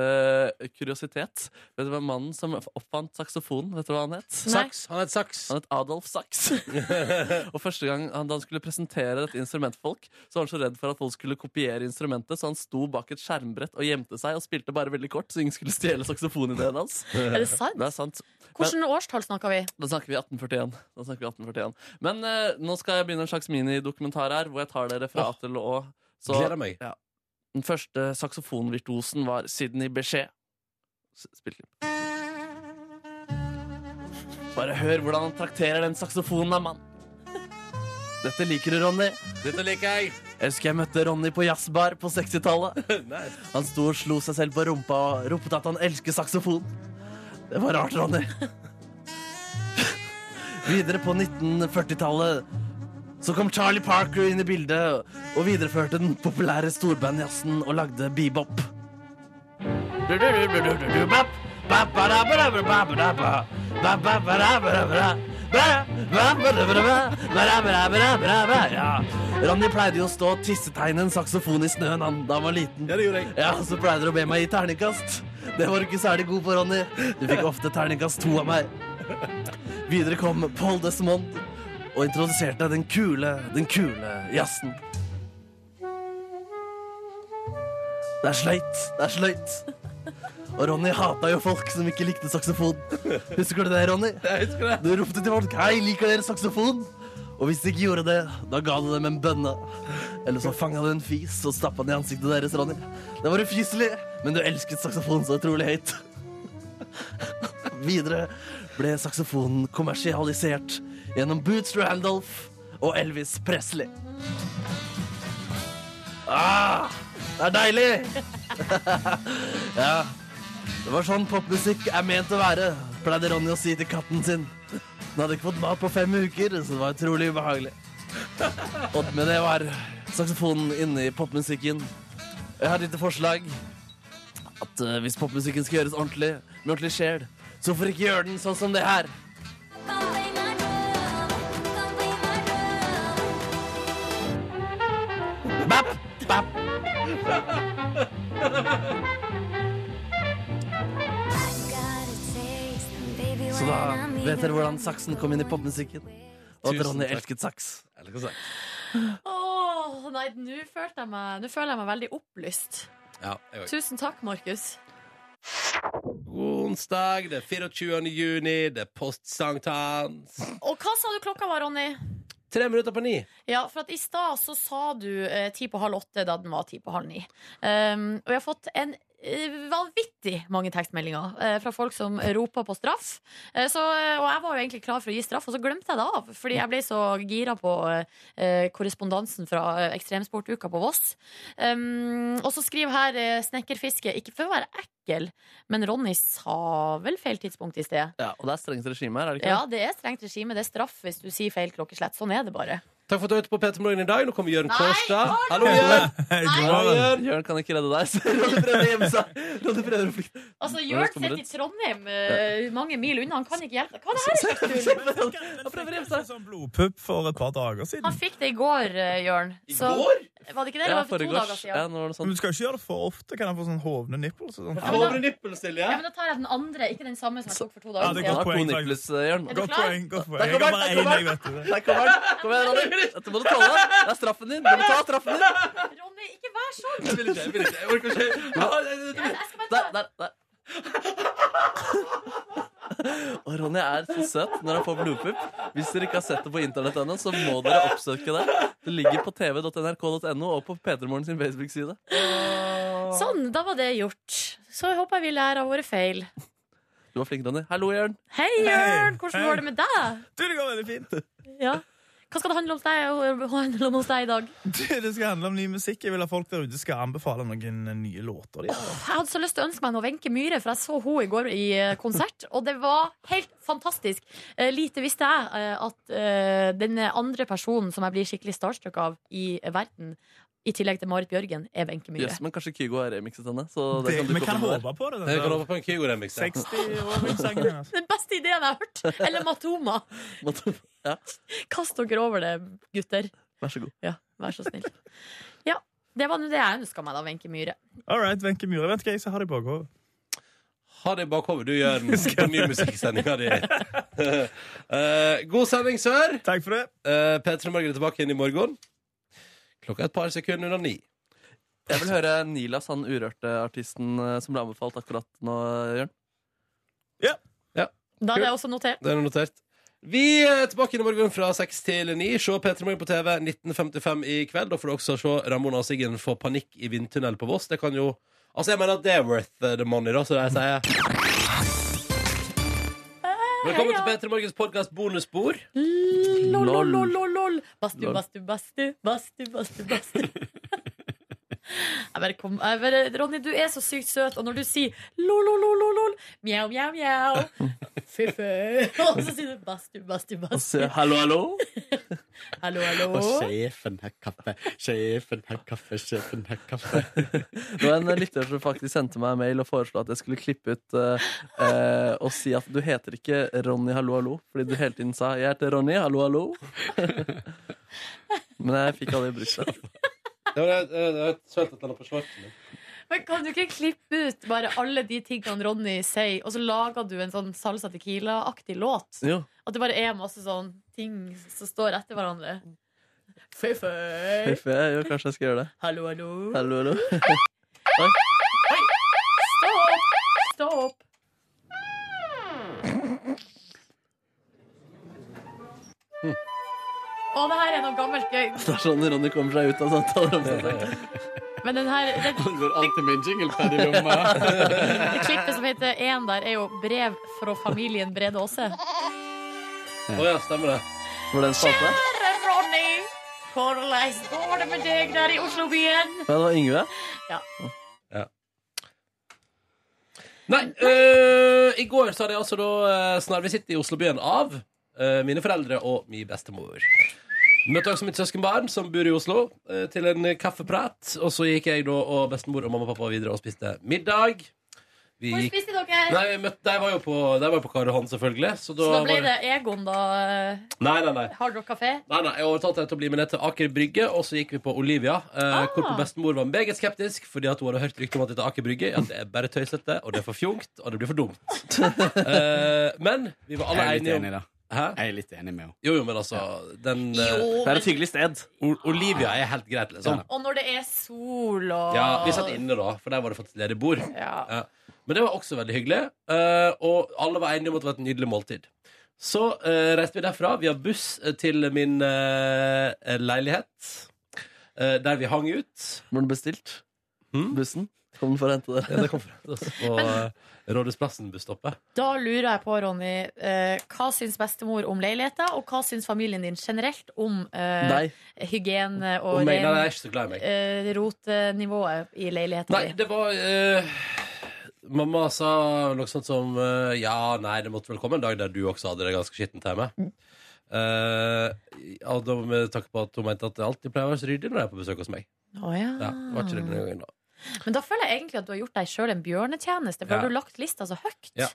Speaker 2: kuriositet. Vet du hvem mannen som oppfant saksofonen? Vet du hva han het?
Speaker 1: Nei. Saks. Han het Saks.
Speaker 2: Han het Adolf Saks. og første gang han, da han skulle presentere dette instrumentet for folk, så var han så redd for at folk skulle kopiere instrumentet, så han sto bak et skjermbrett og gjemte seg og spilte bare veldig kort, så ingen skulle stjele saksofonideen hans.
Speaker 3: Er det sant?
Speaker 2: Det er sant. Men-
Speaker 3: Hvilket årstall snakker vi?
Speaker 2: da snakker vi 1841. Da snakker vi 1841. Men eh, nå skal jeg begynne en slags minidokumentar her, hvor jeg tar dere fra A til Å. Så-
Speaker 1: Gleder meg.
Speaker 2: Ja. Den første saksofonvirtuosen var Sydney Bechet. S- Spill klipp. Bare hør hvordan han trakterer den saksofonen, da, mann. Dette liker du, Ronny.
Speaker 1: Dette liker jeg.
Speaker 2: Jeg husker jeg møtte Ronny på jazzbar på 60-tallet. Han sto og slo seg selv på rumpa og ropte at han elsker saksofon. Det var rart, Ronny. Videre på 1940-tallet så kom Charlie Parker inn i bildet og videreførte den populære storbandjazzen og lagde bebop. Du-du-du-du-du-du-bap, ba-ba-da-ba-da-ba-ba-ba-da-ba, ba-ba-ba-da-ba-da-ba-da, ba, ba-ba-da-ba-da-ba, ba-da-ba-da-ba-da-ba-da, ja. Ronny pleide jo å stå og tissetegne en saksofon i snøen han, da han var liten. Ja, det gjorde jeg. Ja, Så pleide du å be meg gi terningkast. Det var du ikke særlig god på, Ronny. Du fikk ofte terningkast to av meg. Videre kom Paul Desmond og introduserte den kule, den kule jazzen. Det er sløyt, det er sløyt. Og Ronny hata jo folk som ikke likte saksofon. Husker du det, Ronny? Jeg husker det. Du ropte til folk 'Hei, liker dere saksofon?' Og hvis de ikke gjorde det, da ga du dem en bønne. Eller så fanga du en fis og stappa den i ansiktet deres, Ronny. Det var ufyselig, men du elsket saksofon så utrolig høyt. Videre ble saksofonen kommersialisert gjennom Bootstrap Randolph og Elvis Presley. Ah, det er deilig! ja. Det var sånn popmusikk er ment å være, pleide Ronny å si til katten sin. Den hadde ikke fått mat på fem uker, så det var utrolig ubehagelig. Og med det var saksofonen inne i popmusikken. Jeg har et lite forslag. At eh, hvis popmusikken skal gjøres ordentlig, med ordentlig sjel, så hvorfor ikke gjøre den sånn som det her? Bap, bap. Så da vet dere hvordan saksen kom inn i popmusikken. Og at
Speaker 1: Tusen
Speaker 2: Ronny
Speaker 1: takk.
Speaker 2: elsket saks.
Speaker 3: Åh, nei, nå følte jeg meg Nå føler jeg meg veldig opplyst.
Speaker 1: Ja, jeg også.
Speaker 3: Tusen takk, Markus.
Speaker 1: God onsdag, det er 24. juni, det er postsankthans.
Speaker 3: Og hva sa du klokka var, Ronny?
Speaker 1: Tre minutter på ni.
Speaker 3: Ja, for at I stad så sa du eh, ti på halv åtte da den var ti på halv ni. Um, og jeg har fått en eh, vanvittig mange tekstmeldinger eh, fra folk som roper på straff. Eh, så, eh, og jeg var jo egentlig klar for å gi straff, og så glemte jeg det av. Fordi jeg ble så gira på eh, korrespondansen fra eh, Ekstremsportuka på Voss. Um, og så skriver her eh, Snekkerfiske Ikke for å være ekkel, men Ronny sa vel feil tidspunkt i sted.
Speaker 2: Ja, og det er strengt regime her, er det ikke?
Speaker 3: Ja, det er strengt regime. Det er straff hvis du sier feil klokkeslett. Sånn er det bare.
Speaker 1: Takk for at du hørte på Peter Morgen i dag. Nå kommer Jørn Kårstad. Hallo, Jørn! Hallo,
Speaker 2: Jørn.
Speaker 1: Jørn.
Speaker 2: Jørn kan ikke redde deg. så Ronny prøvde å gjemme seg. Ronny prøvde å flykte.
Speaker 3: Altså,
Speaker 2: Når
Speaker 3: Jørn
Speaker 2: det kommer
Speaker 3: sitter i
Speaker 2: ut.
Speaker 3: Trondheim eh, mange mil unna. Han kan ikke hjelpe deg. Hva er det her? er slags tull?
Speaker 7: Ah,
Speaker 12: Sånn blodpupp for et par dager siden.
Speaker 3: Han fikk det i går, eh, Jørn. I
Speaker 12: går?
Speaker 3: Var det ikke det? Det var for to dager siden.
Speaker 2: sånn.
Speaker 12: Men du skal ikke gjøre det for ofte. Kan jeg få sånn hovne nipples? og Sånn.
Speaker 3: Ja, men Da tar jeg den andre, ikke den samme som jeg tok for to
Speaker 12: Ja,
Speaker 3: dager
Speaker 12: det er
Speaker 3: siden.
Speaker 12: godt poeng.
Speaker 2: to nipples, eh, Jørn.
Speaker 3: Er du
Speaker 12: Godt
Speaker 3: klar?
Speaker 12: poeng. godt poeng.
Speaker 2: Der
Speaker 12: Jeg
Speaker 2: kommer
Speaker 12: har
Speaker 2: den,
Speaker 12: bare
Speaker 2: der
Speaker 12: én,
Speaker 2: kommer
Speaker 12: jeg vet det.
Speaker 2: Der kommer den! Kom igjen, Ronny. Dette må du tåle. Det er straffen din. Du må ta straffen din.
Speaker 3: Ronny, ikke vær sånn!
Speaker 2: Jeg vil ikke, jeg vil ikke. Jeg orker ikke. Der, der, der. Og Ronny er så søt når han får blodpupp. Hvis dere ikke har sett det på internett ennå, så må dere oppsøke det. Det ligger på tv.nrk.no og på P3morgen sin Facebook-side.
Speaker 3: Sånn, da var det gjort. Så jeg håper jeg vi lærer av våre feil.
Speaker 2: Du var flink, Ronny. Hallo, Jørn.
Speaker 3: Hei, Jørn! Hvordan går det med deg?
Speaker 12: Du, det går veldig fint.
Speaker 3: Ja. Hva skal det handle om, deg, handle om hos deg i dag?
Speaker 12: Du, det skal handle om ny musikk. Jeg vil at folk der ute skal anbefale noen eh, nye låter. De har.
Speaker 3: Jeg hadde så lyst til å ønske meg noe Wenche Myhre, for jeg så henne i går i eh, konsert, og det var helt fantastisk. Eh, lite visste jeg eh, at eh, den andre personen som jeg blir skikkelig starstruck av i verden, i tillegg til Marit Bjørgen, er Wenche Myhre.
Speaker 2: Yes, men kanskje Kygo har remixet henne. Så det,
Speaker 12: Det-
Speaker 2: kan du
Speaker 12: vi kan håpe
Speaker 1: på det, den Vi kan der. håpe på en Kygo-remix, ja. 60-åringssangen
Speaker 12: hennes.
Speaker 3: Den beste ideen jeg har hørt! Eller Matoma.
Speaker 2: Ja.
Speaker 3: Kast dere over det, gutter.
Speaker 2: Vær så god.
Speaker 3: Ja, vær så snill. Ja, det var nå det jeg ønska meg, da, Wenche Myhre.
Speaker 12: All right, Wenche Myhre. Vet du hva jeg skal ha det i bakhodet?
Speaker 1: Ha det i bakhodet, du, Jørn. På nye musikksendinga di. Eh, god sending, sør.
Speaker 12: Takk for det.
Speaker 1: P3 Morgen er tilbake igjen i morgen. Klokka er et par sekunder under ni.
Speaker 2: Jeg vil høre Nilas, han urørte artisten eh, som ble anbefalt akkurat nå, eh, Jørn.
Speaker 1: Ja.
Speaker 3: Da hadde jeg
Speaker 1: Kult.
Speaker 3: også notert.
Speaker 1: Det er notert. Vi er tilbake inn i morgen fra 6 til 9. Se P3 Morgen på TV 1955 i kveld. Da får du også se Ramona og Siggen få panikk i vindtunnel på Voss. Det kan jo Altså, jeg mener at det er worth the money, da, så det jeg sier. Velkommen til P3 Morgens podkast bonusbord.
Speaker 3: Lol, lol,
Speaker 1: Lol.
Speaker 3: lol, lol, lol. Bastu,
Speaker 1: Lol.
Speaker 3: bastu, bastu, bastu, bastu, bastu. Jeg bare kom, jeg bare, Ronny, du er så sykt søt, og når du sier lol, lol, lol, lol, lol mjau, mjau, mjau, fy, fy, og så sier du bastu, bastu,
Speaker 2: Og
Speaker 3: bastu,
Speaker 2: se, hallo, hallo.
Speaker 3: hallo, hallo.
Speaker 13: Og sjefen har kaffe, sjefen har kaffe, sjefen har kaffe.
Speaker 2: Det var en lytter som faktisk sendte meg en mail og foreslo at jeg skulle klippe ut eh, eh, og si at du heter ikke Ronny Hallo Hallo, fordi du hele tiden sa 'jeg heter Ronny Hallo Hallo'. Men jeg fikk aldri brukt det.
Speaker 1: Det var det- det var sølt at han har på shortsen min.
Speaker 3: Men kan du ikke klippe ut bare alle de tingene Ronny sier, og så lager du en sånn salsa tequila-aktig låt?
Speaker 2: Jo.
Speaker 3: At det bare er masse sånn ting som står etter hverandre. Fy, fy.
Speaker 2: Huff, jeg- Jo, kanskje jeg skal gjøre det.
Speaker 3: Hallo, hallo.
Speaker 2: Hallo, hallo.
Speaker 3: Stopp! Stopp! Å, det her er noe gammelt gøy.
Speaker 2: Det er sånn Ronny kommer seg ut av sånn samtaler om seg.
Speaker 3: Men den her den,
Speaker 13: Han går alltid med en jinglepad i lomma.
Speaker 3: det klippet som heter én der, er jo 'Brev fra familien Brede Aase'.
Speaker 1: Å ja, stemmer det.
Speaker 2: Var det en spalte?
Speaker 3: Kjære Ronny, hvordan går det med deg der i Oslo byen?
Speaker 2: Ja, det var Yngve.
Speaker 3: Ja.
Speaker 1: Nei, øh, i går så hadde jeg altså da øh, snarvisitt i Oslobyen av øh, mine foreldre og min bestemor. Møtte også mitt søskenbarn som bor i Oslo, øh, til en kaffeprat. Og så gikk jeg da og bestemor og mamma og pappa videre og spiste middag. Vi
Speaker 3: Hvor
Speaker 1: gikk
Speaker 3: spiste dere?
Speaker 1: Nei, vi møtte, de var jo på, de var jo på Karl Johan, selvfølgelig. Så da,
Speaker 3: Så da ble
Speaker 1: var
Speaker 3: det Egon, da. eh,
Speaker 1: Nei, nei, nei.
Speaker 3: Hard Rock Café.
Speaker 1: Nei, nei, Jeg overtalte deg til å bli med ned til Aker Brygge, og så gikk vi på Olivia. Eh, Hvorpå bestemor var meget skeptisk, fordi at hun hadde hørt rykter om at dette Aker Brygge at det er bare tøysete, og det er for fjongt, og det blir for dumt. Eh, men vi var alle
Speaker 13: Jeg er litt
Speaker 1: enige om
Speaker 13: enig, da.
Speaker 1: Jeg
Speaker 13: er litt enig med henne.
Speaker 1: Jo, jo, men altså den, eh,
Speaker 3: Jo, Det er et
Speaker 2: hyggelig sted.
Speaker 1: Olivia er helt greit, liksom.
Speaker 3: Og når det er sol og
Speaker 1: Ja, Vi satt inne, da, for der var det faktisk ledig bord.
Speaker 3: Ja.
Speaker 1: Ja. Men det var også veldig hyggelig, eh, og alle var enige om at det var et nydelig måltid. Så eh, reiste vi derfra via buss eh, til min eh, leilighet, eh, der vi hang ut.
Speaker 2: Var den bestilt? Bussen? Kom den for å hente dere?
Speaker 1: Hm? Ja, det kom for å hente oss på eh, Rådhusplassen busstoppet.
Speaker 3: Da lurer jeg på, Ronny, eh, hva syns bestemor om leiligheten, og hva syns familien din generelt om eh,
Speaker 1: Deg.
Speaker 3: hygiene og
Speaker 1: Om meg?
Speaker 3: ren-
Speaker 1: Nei, jeg er ikke så glad i meg.
Speaker 3: eh, rotenivået i leiligheten
Speaker 1: Nei,
Speaker 3: din?
Speaker 1: det var eh, Mamma sa noe sånt som eh, Ja, nei, det måtte vel komme en dag der du også hadde det ganske skittent hjemme.
Speaker 3: Mm.
Speaker 1: Uh, da med tanke på at hun mente at det alltid pleier å være så ryddig når jeg er på besøk hos meg.
Speaker 3: Å, ja.
Speaker 1: Ja, det var ikke det denne gangen da
Speaker 3: Men da føler jeg egentlig at du har gjort deg sjøl en bjørnetjeneste. For
Speaker 1: Ja.
Speaker 3: har du lagt lista så høyt?
Speaker 1: ja.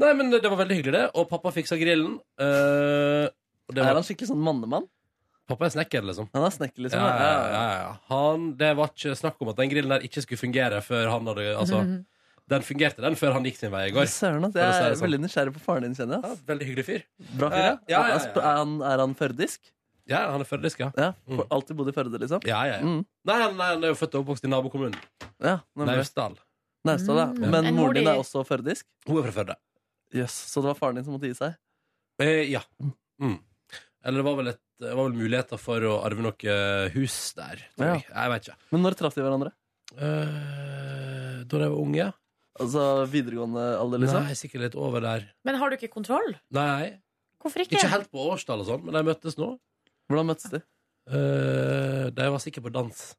Speaker 1: Nei, men det var veldig hyggelig, det. Og pappa fiksa grillen. eh, og det
Speaker 2: Er han skikkelig sånn mannemann?
Speaker 1: Pappa er snekker, liksom.
Speaker 2: Han er snekker, liksom.
Speaker 1: Ja, ja,
Speaker 2: ja,
Speaker 1: ja, ja. Han, det var ikke snakk om at den grillen der ikke skulle fungere før han hadde Altså, den fungerte, den, før han gikk sin vei i går.
Speaker 2: Søren, ass.
Speaker 1: for å si
Speaker 2: Jeg
Speaker 1: det
Speaker 2: er
Speaker 1: sånn.
Speaker 2: veldig nysgjerrig på faren din, kjenner jeg. ass.
Speaker 1: Veldig hyggelig fyr.
Speaker 2: Bra fyr, ja.
Speaker 1: Eh, ja, ja, ja, ja.
Speaker 2: Er han, er han førdisk?
Speaker 1: Ja, han er førdisk, ja.
Speaker 2: for Alltid bodd i Førde, liksom?
Speaker 1: Ja, ja, ja.
Speaker 2: Mm.
Speaker 1: Nei, han- nei, han er jo født og oppvokst i nabokommunen.
Speaker 2: Ja, nemlig.
Speaker 1: Naustdal.
Speaker 2: Naustdal, ja.
Speaker 1: Mm.
Speaker 2: Men
Speaker 1: En mor
Speaker 2: moren din
Speaker 1: di-
Speaker 2: er også førdisk?
Speaker 1: Hun er fra Førde.
Speaker 2: Yes, så det var faren din som måtte gi seg?
Speaker 1: Eh, ja. Mm. Eller det var vel, et, det var vel muligheter for å arve noe eh, hus der. Tror
Speaker 2: Ja.
Speaker 1: jeg. jeg vet ikke. Eh,
Speaker 2: Men når traff de hverandre?
Speaker 1: da de var unge.
Speaker 2: Altså videregående alder, liksom?
Speaker 1: Nei, sikkert litt over der.
Speaker 3: Men har du ikke kontroll?
Speaker 1: Nei.
Speaker 3: Hvorfor ikke?
Speaker 1: Ikke helt på årstall og sånn, men de møttes nå.
Speaker 2: Hvordan møttes de?
Speaker 1: de var sikkert på dans.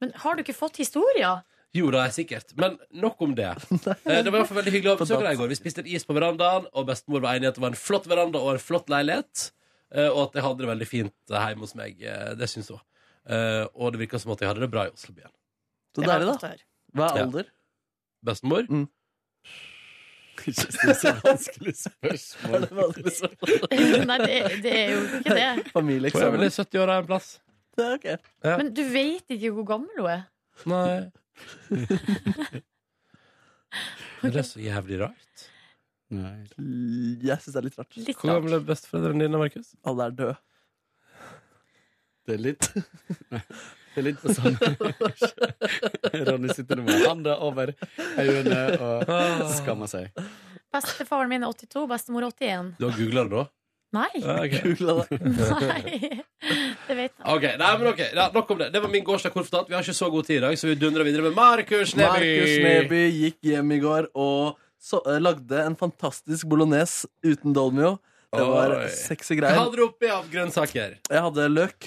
Speaker 3: Men har du ikke fått historier?
Speaker 1: Jo, det er sikkert. Men nok om det. Eh, Det var i hvert fall veldig hyggelig å besøke deg i går. Vi spiste en is på verandaen, og bestemor var enig i at det var en flott veranda og en flott leilighet. eh, Og at jeg hadde det veldig fint eh, hjemme hos meg. Eh, Det syns hun. Eh, Og det virka som at jeg hadde det bra i Oslobyen.
Speaker 2: Så deilig, da. Hva er
Speaker 1: Ja.
Speaker 2: alder?
Speaker 1: Bestemor?
Speaker 2: vanskelig spørsmål. Er det liksom? vanskelig spørsmål?
Speaker 3: Nei, det, det er jo ikke det.
Speaker 1: Hun er vel i 70-åra en plass. Ja.
Speaker 3: Men du vet ikke hvor gammel hun er.
Speaker 1: Nei. Er det så jævlig rart?
Speaker 13: Nei.
Speaker 2: Jeg syns det er litt rart.
Speaker 3: Litt
Speaker 1: Hvor gamle er besteforeldrene dine, Markus?
Speaker 2: Alle er døde.
Speaker 13: Det er litt Nei, Det er litt på samme Ronny sitter nå med handa over øynene og skammer seg.
Speaker 3: Bestefaren min er 82, bestemor er 81.
Speaker 1: Du har googla det, da?
Speaker 3: Nei.
Speaker 1: Ja, ok.
Speaker 3: Nei. Det vet jeg.
Speaker 1: Ok, nei, men ok, ja, Nok om det. Det var min gårsdag kort fortalt. Vi har ikke så god tid i dag, så vi dundrer videre med Markus Neby.
Speaker 2: Markus Neby gikk hjem i går og så, eh, lagde en fantastisk bolognese uten dolmio. Det var
Speaker 1: Oi.
Speaker 2: sexy
Speaker 1: Hva
Speaker 2: greier.
Speaker 1: hadde du oppi av grønnsaker?
Speaker 2: Jeg hadde løk.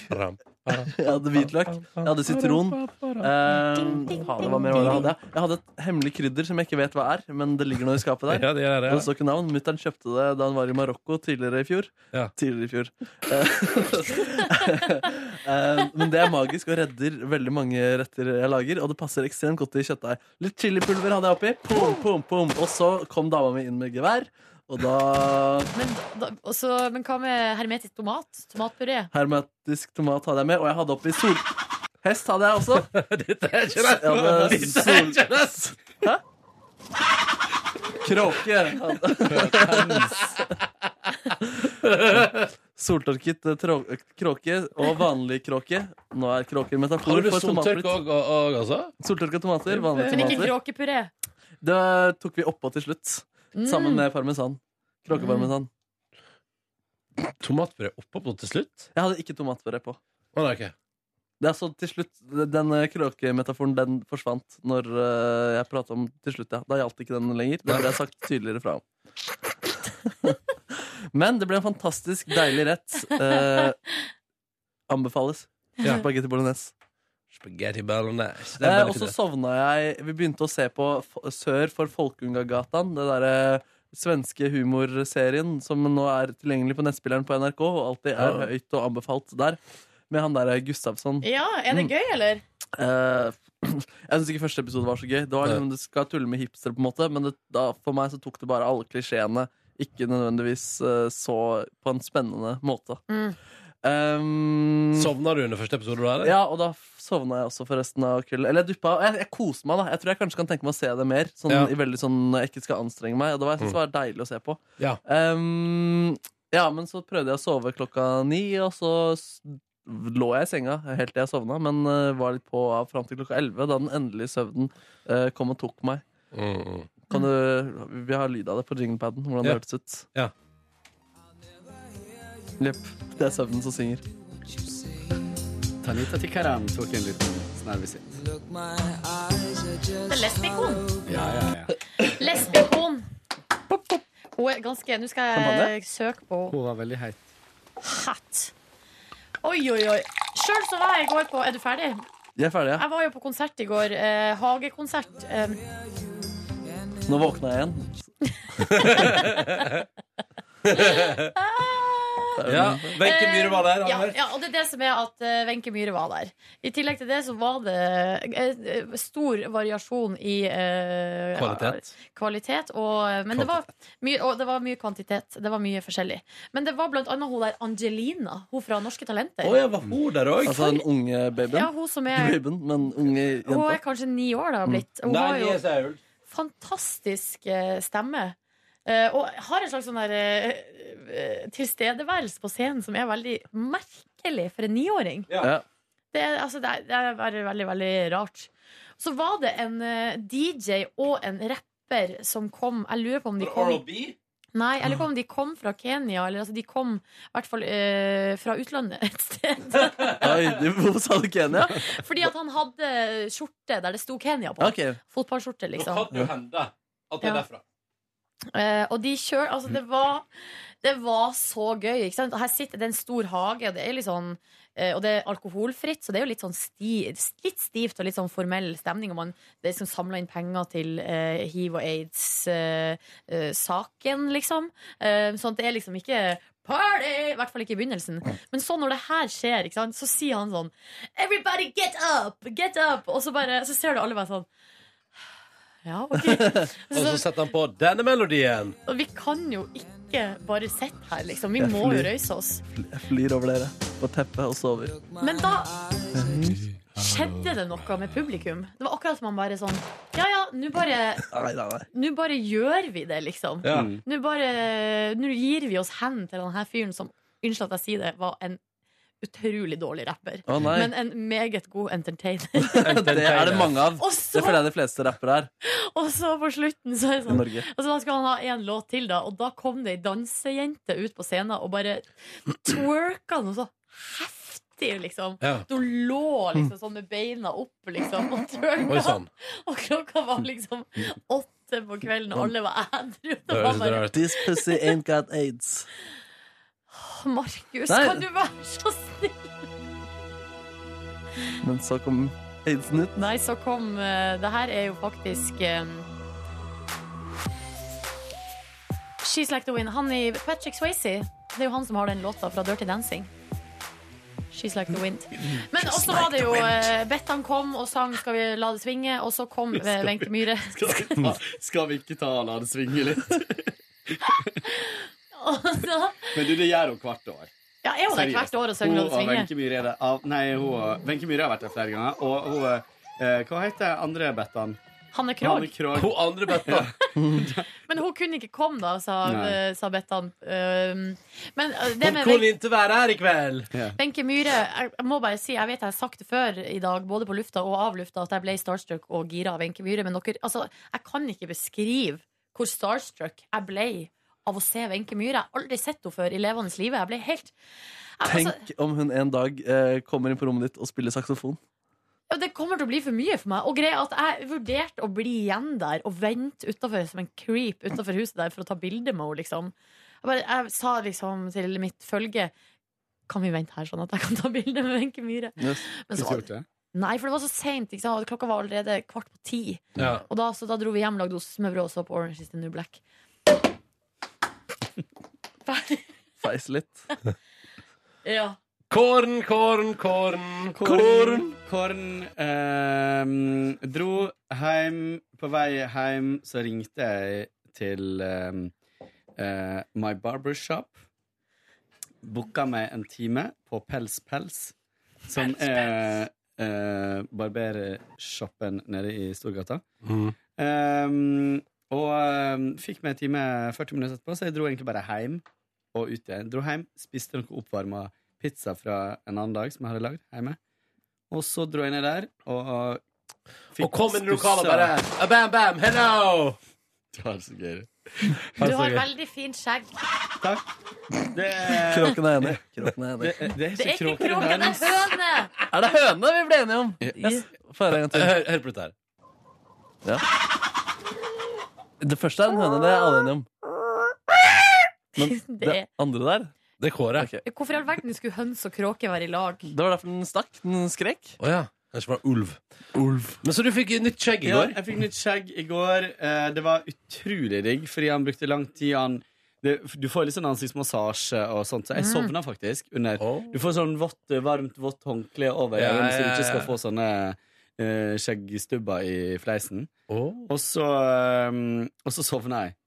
Speaker 2: Jeg hadde hvitløk. Jeg hadde sitron. Eh, faen, det var mer hva jeg hadde. Jeg hadde et hemmelig krydder som jeg ikke vet hva er, men det ligger noe i skapet der.
Speaker 1: Ja, det gjør det,
Speaker 2: Og
Speaker 1: ja.
Speaker 2: det står ikke navn. Mutter'n kjøpte det da han var i Marokko tidligere i fjor. Tidligere i fjor. Eh, eh, men det er magisk og redder veldig mange retter jeg lager, og det passer ekstremt godt i kjøttdeig. Litt chilipulver hadde jeg oppi. Pum, pum, pum. Og så kom dama mi inn med gevær, og da
Speaker 3: Men, da, og så- men hva med hermetisk tomat? Tomatpuré?
Speaker 2: Hermetisk tomat hadde jeg med, og jeg hadde oppi sol... Hest hadde jeg også.
Speaker 1: Dette
Speaker 2: er
Speaker 1: ikke rett. Dette er ikke
Speaker 2: Hæ? Kråke. hadde- Soltørket eh, trå- kråke og vanlig kråke. Nå er kråker
Speaker 1: Har
Speaker 2: metafor
Speaker 1: du
Speaker 2: for
Speaker 1: soltørk
Speaker 2: tomatfritt.
Speaker 1: og, og, og altså?
Speaker 2: Soltørka tomater, vanlige
Speaker 3: Men ikke
Speaker 2: tomater.
Speaker 3: kråkepuré?
Speaker 2: Det tok vi oppå til slutt,
Speaker 3: Mm.
Speaker 2: sammen med parmesan. Kråkeparmesan.
Speaker 1: Tomatpuré oppå på til slutt?
Speaker 2: Jeg hadde ikke tomatpuré på.
Speaker 1: Å, nei, ok.
Speaker 2: Det er så til slutt, Den eh, kråkemetaforen den forsvant når eh, jeg prata om til slutt. ja. Da gjaldt ikke den lenger. Det ble jeg sagt tydeligere fra om. Men det ble en fantastisk deilig rett. Eh, anbefales.
Speaker 1: Ja.
Speaker 2: Spagetti bolognese.
Speaker 1: Spaghetti bolognese. Det er
Speaker 2: Eh,
Speaker 1: veldig
Speaker 2: og så
Speaker 1: fint, det.
Speaker 2: sovna jeg Vi begynte å se på F Sør for Folkungagatan. Det derre svenske humorserien som nå er tilgjengelig på nettspilleren på NRK, og alltid er
Speaker 3: Ja.
Speaker 2: høyt og anbefalt der. eh, Med han derre Gustavsson.
Speaker 3: Ja, er det
Speaker 2: Mm.
Speaker 3: gøy, eller?
Speaker 2: Eh, jeg syns ikke første episode var så gøy. Det var liksom, Du skal tulle med hipster, på en måte men det, da, for meg så tok det bare alle klisjeene. Ikke nødvendigvis eh, så på en spennende måte.
Speaker 3: Mm.
Speaker 2: Um,
Speaker 1: Sovna du under første episode? da, eller?
Speaker 2: Ja, og da f- sovna jeg også for resten av kvelden. Eller jeg duppa. Jeg, jeg koste meg, da. Jeg tror jeg kanskje kan tenke meg å se det mer. Sånn,
Speaker 1: Ja.
Speaker 2: i veldig sånn Når jeg ikke skal anstrenge meg. Og det var, jeg synes det var deilig å se på.
Speaker 1: Ja.
Speaker 2: Um, ja, men så prøvde jeg å sove klokka ni, og så s- lå jeg i senga helt til jeg sovna, men eh, var litt på av fram til klokka elleve, da den endelige søvnen eh, kom og tok meg.
Speaker 1: Mm,
Speaker 2: Kan du, vi har lyd av det på jinglepaden, hvordan
Speaker 1: Ja.
Speaker 2: det hørtes ut.
Speaker 1: Ja.
Speaker 2: Jepp. Det er søvnen som synger.
Speaker 13: Tanita Tikaram tok en liten snarvisitt.
Speaker 3: Det er lesbikon.
Speaker 13: Ja, ja, ja.
Speaker 3: Lesbikon. Hun er ganske Nå skal jeg søke på
Speaker 13: Hun var veldig heit.
Speaker 3: hatt. Oi, oi, oi. Sjøl så var jeg i går på Er du ferdig?
Speaker 2: Jeg er ferdig, ja.
Speaker 3: Jeg var jo på konsert i går. Eh, hagekonsert. Eh,
Speaker 2: Nå våkna jeg igjen.
Speaker 3: ah!
Speaker 1: Ja, Wenche Myhre var der.
Speaker 3: Eh, Ja,
Speaker 1: Anne.
Speaker 3: ja, og det er det som er at eh, Wenche Myhre var der. I tillegg til det så var det eh, eh, stor variasjon i eh,
Speaker 1: Kvalitet.
Speaker 3: kvalitet og, eh, men det var, mye, og det var mye kvantitet. Det var mye forskjellig. Men det var blant annet hun der Angelina, hun fra Norske Talenter.
Speaker 1: Å, ja, var hun der òg?
Speaker 2: Altså den unge babyen?
Speaker 3: Ja, hun som er-
Speaker 2: Babyen, men unge jenta.
Speaker 3: Hun er kanskje ni år da har blitt.
Speaker 2: Mm.
Speaker 3: Hun
Speaker 2: Nei,
Speaker 3: har
Speaker 2: ni
Speaker 3: jo
Speaker 2: er så er hun.
Speaker 3: fantastisk eh, stemme. Eh, og har en slags sånn der eh, eh, tilstedeværelse på scenen som er veldig merkelig for en niåring.
Speaker 2: Ja.
Speaker 3: Det, er- altså, det, er, det er bare veldig, veldig rart. Så var det en eh, DJ og en rapper som kom. Jeg lurer på om de kom
Speaker 1: R.O.B.?
Speaker 3: Nei, jeg lurer på om de kom fra Kenya, eller altså, de kom i hvert fall eh, fra utlandet et sted.
Speaker 2: Oi, de- hvorfor sa du Kenya?
Speaker 3: Fordi at han hadde skjorte der det sto Kenya på.
Speaker 2: Ok.
Speaker 3: Fotballskjorte, liksom.
Speaker 1: Nå kan det jo hende at det er
Speaker 3: Ja.
Speaker 1: derfra.
Speaker 3: Eh, og de kjør, altså det var Det var så gøy ikke sant? Og Her sitter det er en stor hage Og det er litt sånn eh, Og det er alkoholfritt Så det er jo litt sånn sti, Litt stivt og litt sånn formell stemning Og man Det er som samler inn penger til eh, HIV og AIDS eh, eh, Saken liksom Eh, Sånn at det er liksom ikke Party! I hvert fall ikke i begynnelsen Men så når det her skjer, ikke sant Så sier han sånn Everybody get up! Get up! Og så bare Så ser du alle bare sånn Ja, ok
Speaker 1: Og så setter han på denne melodien.
Speaker 3: og vi kan jo ikke bare sitte her, liksom. Vi
Speaker 2: Jeg
Speaker 3: må jo
Speaker 2: flyr.
Speaker 3: røyse oss.
Speaker 2: Jeg flyr over dere på teppet og sover.
Speaker 3: Men da skjedde det noe med publikum. Det var akkurat som man bare sånn Ja ja, nå bare
Speaker 2: Nei, nei, nei.
Speaker 3: Nå bare gjør vi det, liksom.
Speaker 2: Ja.
Speaker 3: Nå bare Nå gir vi oss hen til denne fyren som, unnskyld at jeg sier det, var en utrolig dårlig rapper.
Speaker 2: Å, nei.
Speaker 3: men en meget god entertainer.
Speaker 2: Det er det mange av.
Speaker 3: Og så-
Speaker 2: Det føler jeg de fleste rappere er.
Speaker 3: Og så på slutten så er det
Speaker 2: I
Speaker 3: sånn
Speaker 2: Norge.
Speaker 3: Og så da skal han ha en låt til, da. Og da kom det ei dansejente ut på scenen og bare twerka noe så heftig, liksom.
Speaker 1: Ja.
Speaker 3: Hun lå liksom sånn med beina opp, liksom, og
Speaker 1: Oi, sånn.
Speaker 3: twerka.
Speaker 1: sann.
Speaker 3: Og klokka var liksom åtte på kvelden, og alle var ædru. Det
Speaker 1: høres
Speaker 3: var
Speaker 1: litt
Speaker 3: bare
Speaker 1: rart ut.
Speaker 2: This pussy ain't got aids.
Speaker 3: «Åh, Markus,
Speaker 2: Nei.
Speaker 3: kan du være så snill?
Speaker 2: Men så kom aidsen ut.
Speaker 3: Nei, så kom eh, Det her er jo faktisk eh, She's Like The Wind. Han i Patrick Swayze. Det er jo han som har den låta fra Dirty Dancing. She's Like The Wind. Men
Speaker 10: She's
Speaker 3: også
Speaker 10: like
Speaker 3: var det
Speaker 10: the
Speaker 3: jo
Speaker 10: wind.
Speaker 3: eh, Bettan kom og sang 'Skal vi la det svinge', og så kom eh,
Speaker 13: Skal vi-
Speaker 3: Wenche Myhre.
Speaker 13: Skal vi, ta, skal vi ikke ta og la det svinge litt?
Speaker 3: Og så
Speaker 13: Men du, det gjør hun hvert år.
Speaker 3: Ja, er hun der hvert år og synger La det
Speaker 13: Hun og
Speaker 3: svinge?
Speaker 13: Wenche Myhre er det av, Nei, hun og Wenche Myhre har vært der flere ganger. Og hun eh, Hva heter andre Bettan?
Speaker 3: Hanne Krogh.
Speaker 13: Hun
Speaker 1: andre Bettan.
Speaker 3: Men hun kunne ikke komme, da, sa, eh,
Speaker 1: Nei.
Speaker 3: sa Bettan. Um, Men eh, det med
Speaker 1: Hun kunne ikke være her i kveld.
Speaker 3: Benke Myhre, jeg må bare si, jeg vet jeg har sagt det før i dag, både på lufta og av lufta, at jeg ble starstruck og gira av Wenche Myhre, men dere, altså, jeg kan ikke beskrive hvor starstruck jeg ble av å se Wenche Myhre. Jeg har aldri sett henne før i levende live. Jeg ble helt altså,
Speaker 2: Tenk om hun en dag eh, kommer inn på rommet ditt og spiller saksofon.
Speaker 3: ja, Det kommer til å bli for mye for meg. Og greia er at jeg vurderte å bli igjen der og vente utenfor som en creep utenfor huset der for å ta bilde med henne, liksom. Jeg, bare, jeg sa liksom til mitt følge Kan vi vente her, sånn at jeg kan ta bilde med Wenche Myhre? Men så var det- Nei, for det var så seint. ikke sant? Klokka var allerede kvart på ti.
Speaker 1: Ja.
Speaker 3: Og da, så da dro vi hjem, lagde oss smørbrød og så på Orange is the New Black.
Speaker 2: Feis litt.
Speaker 3: Ja.
Speaker 1: Kåren, kåren, kåren.
Speaker 13: Korn, korn ehm, Dro hjem På vei hjem så ringte jeg til ehm, eh, My Barbershop. Booka meg en time på Pels Pels, som er eh, barbershoppen nede i Storgata.
Speaker 1: Mm.
Speaker 13: Ehm, og ehm, fikk meg en time 40 minutter etterpå, så jeg dro egentlig bare hjem og ut igjen. Dro hjem, spiste noe oppvarma pizza fra en annen dag som jeg hadde lagd hjemme. Og så dro jeg ned der og eh,
Speaker 1: Og kom inn i lokalet bare ah, Bam, bam, hello!
Speaker 13: Du har så gøy.
Speaker 3: Du har veldig fint skjegg.
Speaker 13: Takk. Det
Speaker 2: Kråken er enig. Kråken er enig.
Speaker 13: Det, det
Speaker 3: Det er ikke kroken, det er høne!
Speaker 2: Er det høne vi ble enige om? Yes. Få høre en gang til.
Speaker 1: Hør, hør på dette her.
Speaker 2: Ja. Det første er en høne, det er alle enige om. Men
Speaker 3: Det
Speaker 2: det
Speaker 3: er-
Speaker 2: andre der
Speaker 1: Det er kåret.
Speaker 3: Hvorfor i all verden skulle høns og kråke være i lag?
Speaker 2: Det var derfor den stakk. Den skrek.
Speaker 1: Å ja. Kanskje det var ulv. Men så du fikk nytt skjegg i
Speaker 13: Ja,
Speaker 1: går?
Speaker 13: jeg fikk nytt skjegg i går. Eh, Det var utrolig digg, fordi han brukte lang tid. Han det, du får litt sånn ansiktsmassasje og sånt, så jeg
Speaker 12: Mm.
Speaker 13: sovna faktisk under. Du får sånn vått, varmt, vått håndkle over
Speaker 12: Ja,
Speaker 13: øynene,
Speaker 12: ja,
Speaker 13: så du
Speaker 12: ja,
Speaker 13: ikke skal
Speaker 12: ja.
Speaker 13: få sånne eh, skjeggstubber i fleisen. Og så, eh, og så sovna jeg.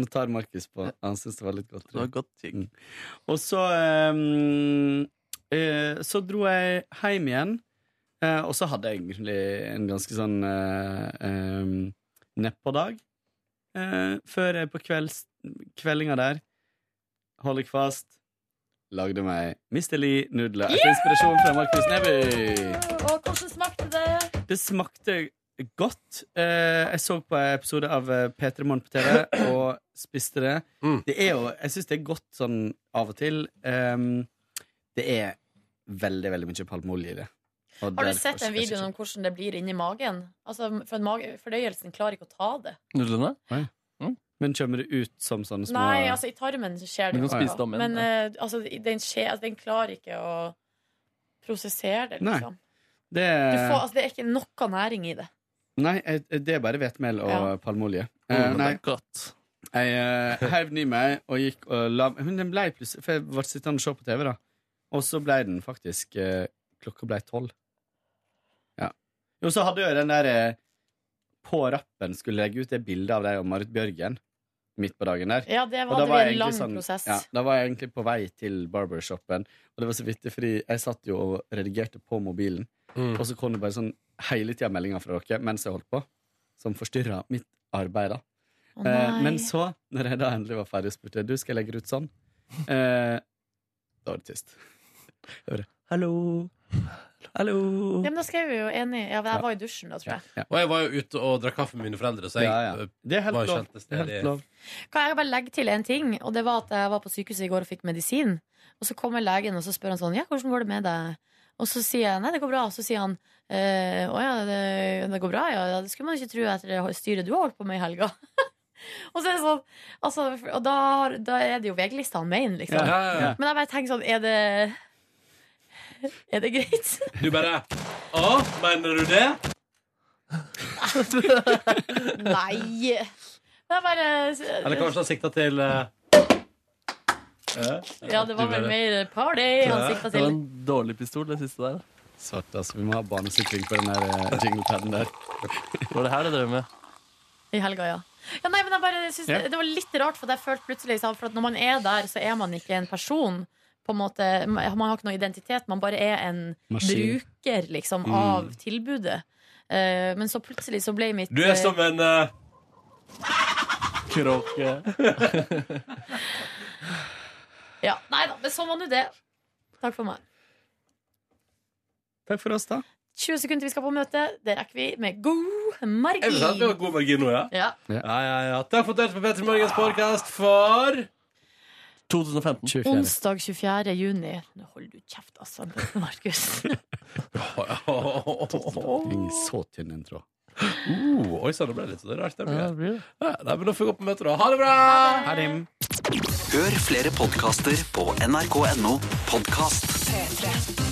Speaker 13: Nå tar Markus på. Han syns det var litt godt. Det var godt ting. Og så eh, eh, Så dro jeg hjem igjen, eh, og så hadde jeg egentlig en ganske sånn uh, nedpå-dag. Eh, før jeg på kvelds, kveldinga der Holder fast. Lagde meg Misteli nudler etter inspirasjon fra Markus Neby.
Speaker 3: Og hvordan smakte det?
Speaker 13: Det smakte godt. Eh, jeg så på en episode av eh, P3 Morgen på TV og spiste det. Det er jo, Jeg syns det er godt sånn av og til. Ehm, det er veldig, veldig mye palmeolje i det. Og
Speaker 3: Har du
Speaker 13: derfor
Speaker 3: sett den
Speaker 13: skal jeg ikke-
Speaker 3: videoen om hvordan det blir inni magen? Altså, for en mage, Fordøyelsen klarer ikke å ta det.
Speaker 13: Nudlene? Men kommer det ut som sånne små
Speaker 3: Nei, altså i tarmen skjer det
Speaker 13: Du kan
Speaker 3: jo
Speaker 13: spise det om igjen,
Speaker 3: Men
Speaker 13: ja.
Speaker 3: eh, altså, den, skje, altså, den klarer ikke å prosessere det,
Speaker 13: Nei. Eh.
Speaker 3: liksom.
Speaker 13: det,
Speaker 3: Du får, altså, det er ikke noe næring i det.
Speaker 13: Nei, eh, det er bare hvetemel og
Speaker 3: Ja.
Speaker 13: palmeolje.
Speaker 2: Mm,
Speaker 13: Eh,
Speaker 2: men
Speaker 13: nei.
Speaker 2: det er godt.
Speaker 13: Jeg eh, heiv den i meg og gikk og la Men den ble plutselig For jeg var sittende og så på TV, da. Og så ble den faktisk eh, Klokka ble tolv. Ja. Jo, så hadde jo den der eh, På rappen skulle legge ut det bildet av deg og Marit Bjørgen midt på dagen der.
Speaker 3: Ja, det var-
Speaker 13: Og
Speaker 3: det var en
Speaker 13: jeg egentlig sånn-
Speaker 3: lang prosess.
Speaker 13: Ja, da var jeg egentlig på vei til barbershopen, og det var så vidt det, fordi jeg satt jo og redigerte på mobilen, og så kom det bare sånn hele tida meldinger fra dere mens jeg holdt på, som forstyrra mitt arbeid, da.
Speaker 12: Å,
Speaker 13: Eh,
Speaker 12: nei.
Speaker 13: men så, når jeg da endelig var ferdig, spurte jeg du skal jeg legge det ut sånn. Eh, da var det tyst. Jeg bare, Hallo. Hallo.
Speaker 3: Ja, men da skrev vi jo enig. Ja, men jeg var i dusjen da, tror jeg.
Speaker 1: Og jeg var jo ute og drakk kaffe med mine foreldre, så jeg
Speaker 13: Ja, ja.
Speaker 1: eh,
Speaker 13: Det er helt
Speaker 1: var jo
Speaker 13: lov.
Speaker 1: ikke helt
Speaker 13: Det er helt
Speaker 1: stedig.
Speaker 13: lov.
Speaker 3: Kan jeg bare legge til en ting? Og det var at jeg var på sykehuset i går og fikk medisin. Og så kommer legen og så spør han sånn Ja, hvordan går det med deg? Og så sier jeg nei, det går bra. Og så sier han eh, å ja, det, det går bra, ja. ja. Det skulle man ikke tro etter det styret du har holdt på med i helga. Og så er det sånn altså, Og da, har- da er det jo VG-lista han mener, liksom.
Speaker 1: Ja, ja, ja.
Speaker 3: Men jeg bare tenker sånn Er det Er det greit?
Speaker 1: Du bare Å, mener du det?
Speaker 3: Nei. Men jeg bare
Speaker 1: Eller kanskje han sikta til eh, eh,
Speaker 3: Ja, det var
Speaker 1: du
Speaker 3: vel
Speaker 1: bare-
Speaker 3: mer party han sikta
Speaker 13: Det
Speaker 3: til.
Speaker 13: var en dårlig pistol, det siste der. Svart, altså. Vi må ha barnesikring på den der jinglepaden der. Var det her du drev med?
Speaker 3: I helga, ja. ja nei, men jeg bare synes
Speaker 13: Ja.
Speaker 3: det, det var litt rart, for at jeg følte plutselig sa- For at når man er der, så er man ikke en person. På en måte, man har ikke noe identitet, man bare er en
Speaker 1: Maskin.
Speaker 3: bruker liksom,
Speaker 1: Mm.
Speaker 3: av tilbudet. Eh, men så plutselig så ble mitt
Speaker 1: Du er som en eh,
Speaker 2: Kråke.
Speaker 3: eh, ja, Nei da, men sånn var nå det. Takk for meg.
Speaker 13: Takk for oss, da.
Speaker 3: 20 sekunder til vi skal på møte. Det rekker vi med god margin.
Speaker 1: Jeg vil si at vi har god margin nå, ja.
Speaker 3: Ja.
Speaker 1: Ja, ja, ja. Takk for at du hørte på Petter Morgens podcast for
Speaker 2: 2015.
Speaker 3: Onsdag 24. juni. Nå holder du kjeft, altså, Markus.
Speaker 13: Ingen så tynn en tråd.
Speaker 1: Uh, oi sann, det ble litt sånn rart. Det
Speaker 13: Ja, det
Speaker 1: blir. Ja, nei, men da får vi gå på møte, da. Ha det bra!
Speaker 13: Ha det.
Speaker 4: Hør flere podkaster på nrk.no podkast.
Speaker 14: P3.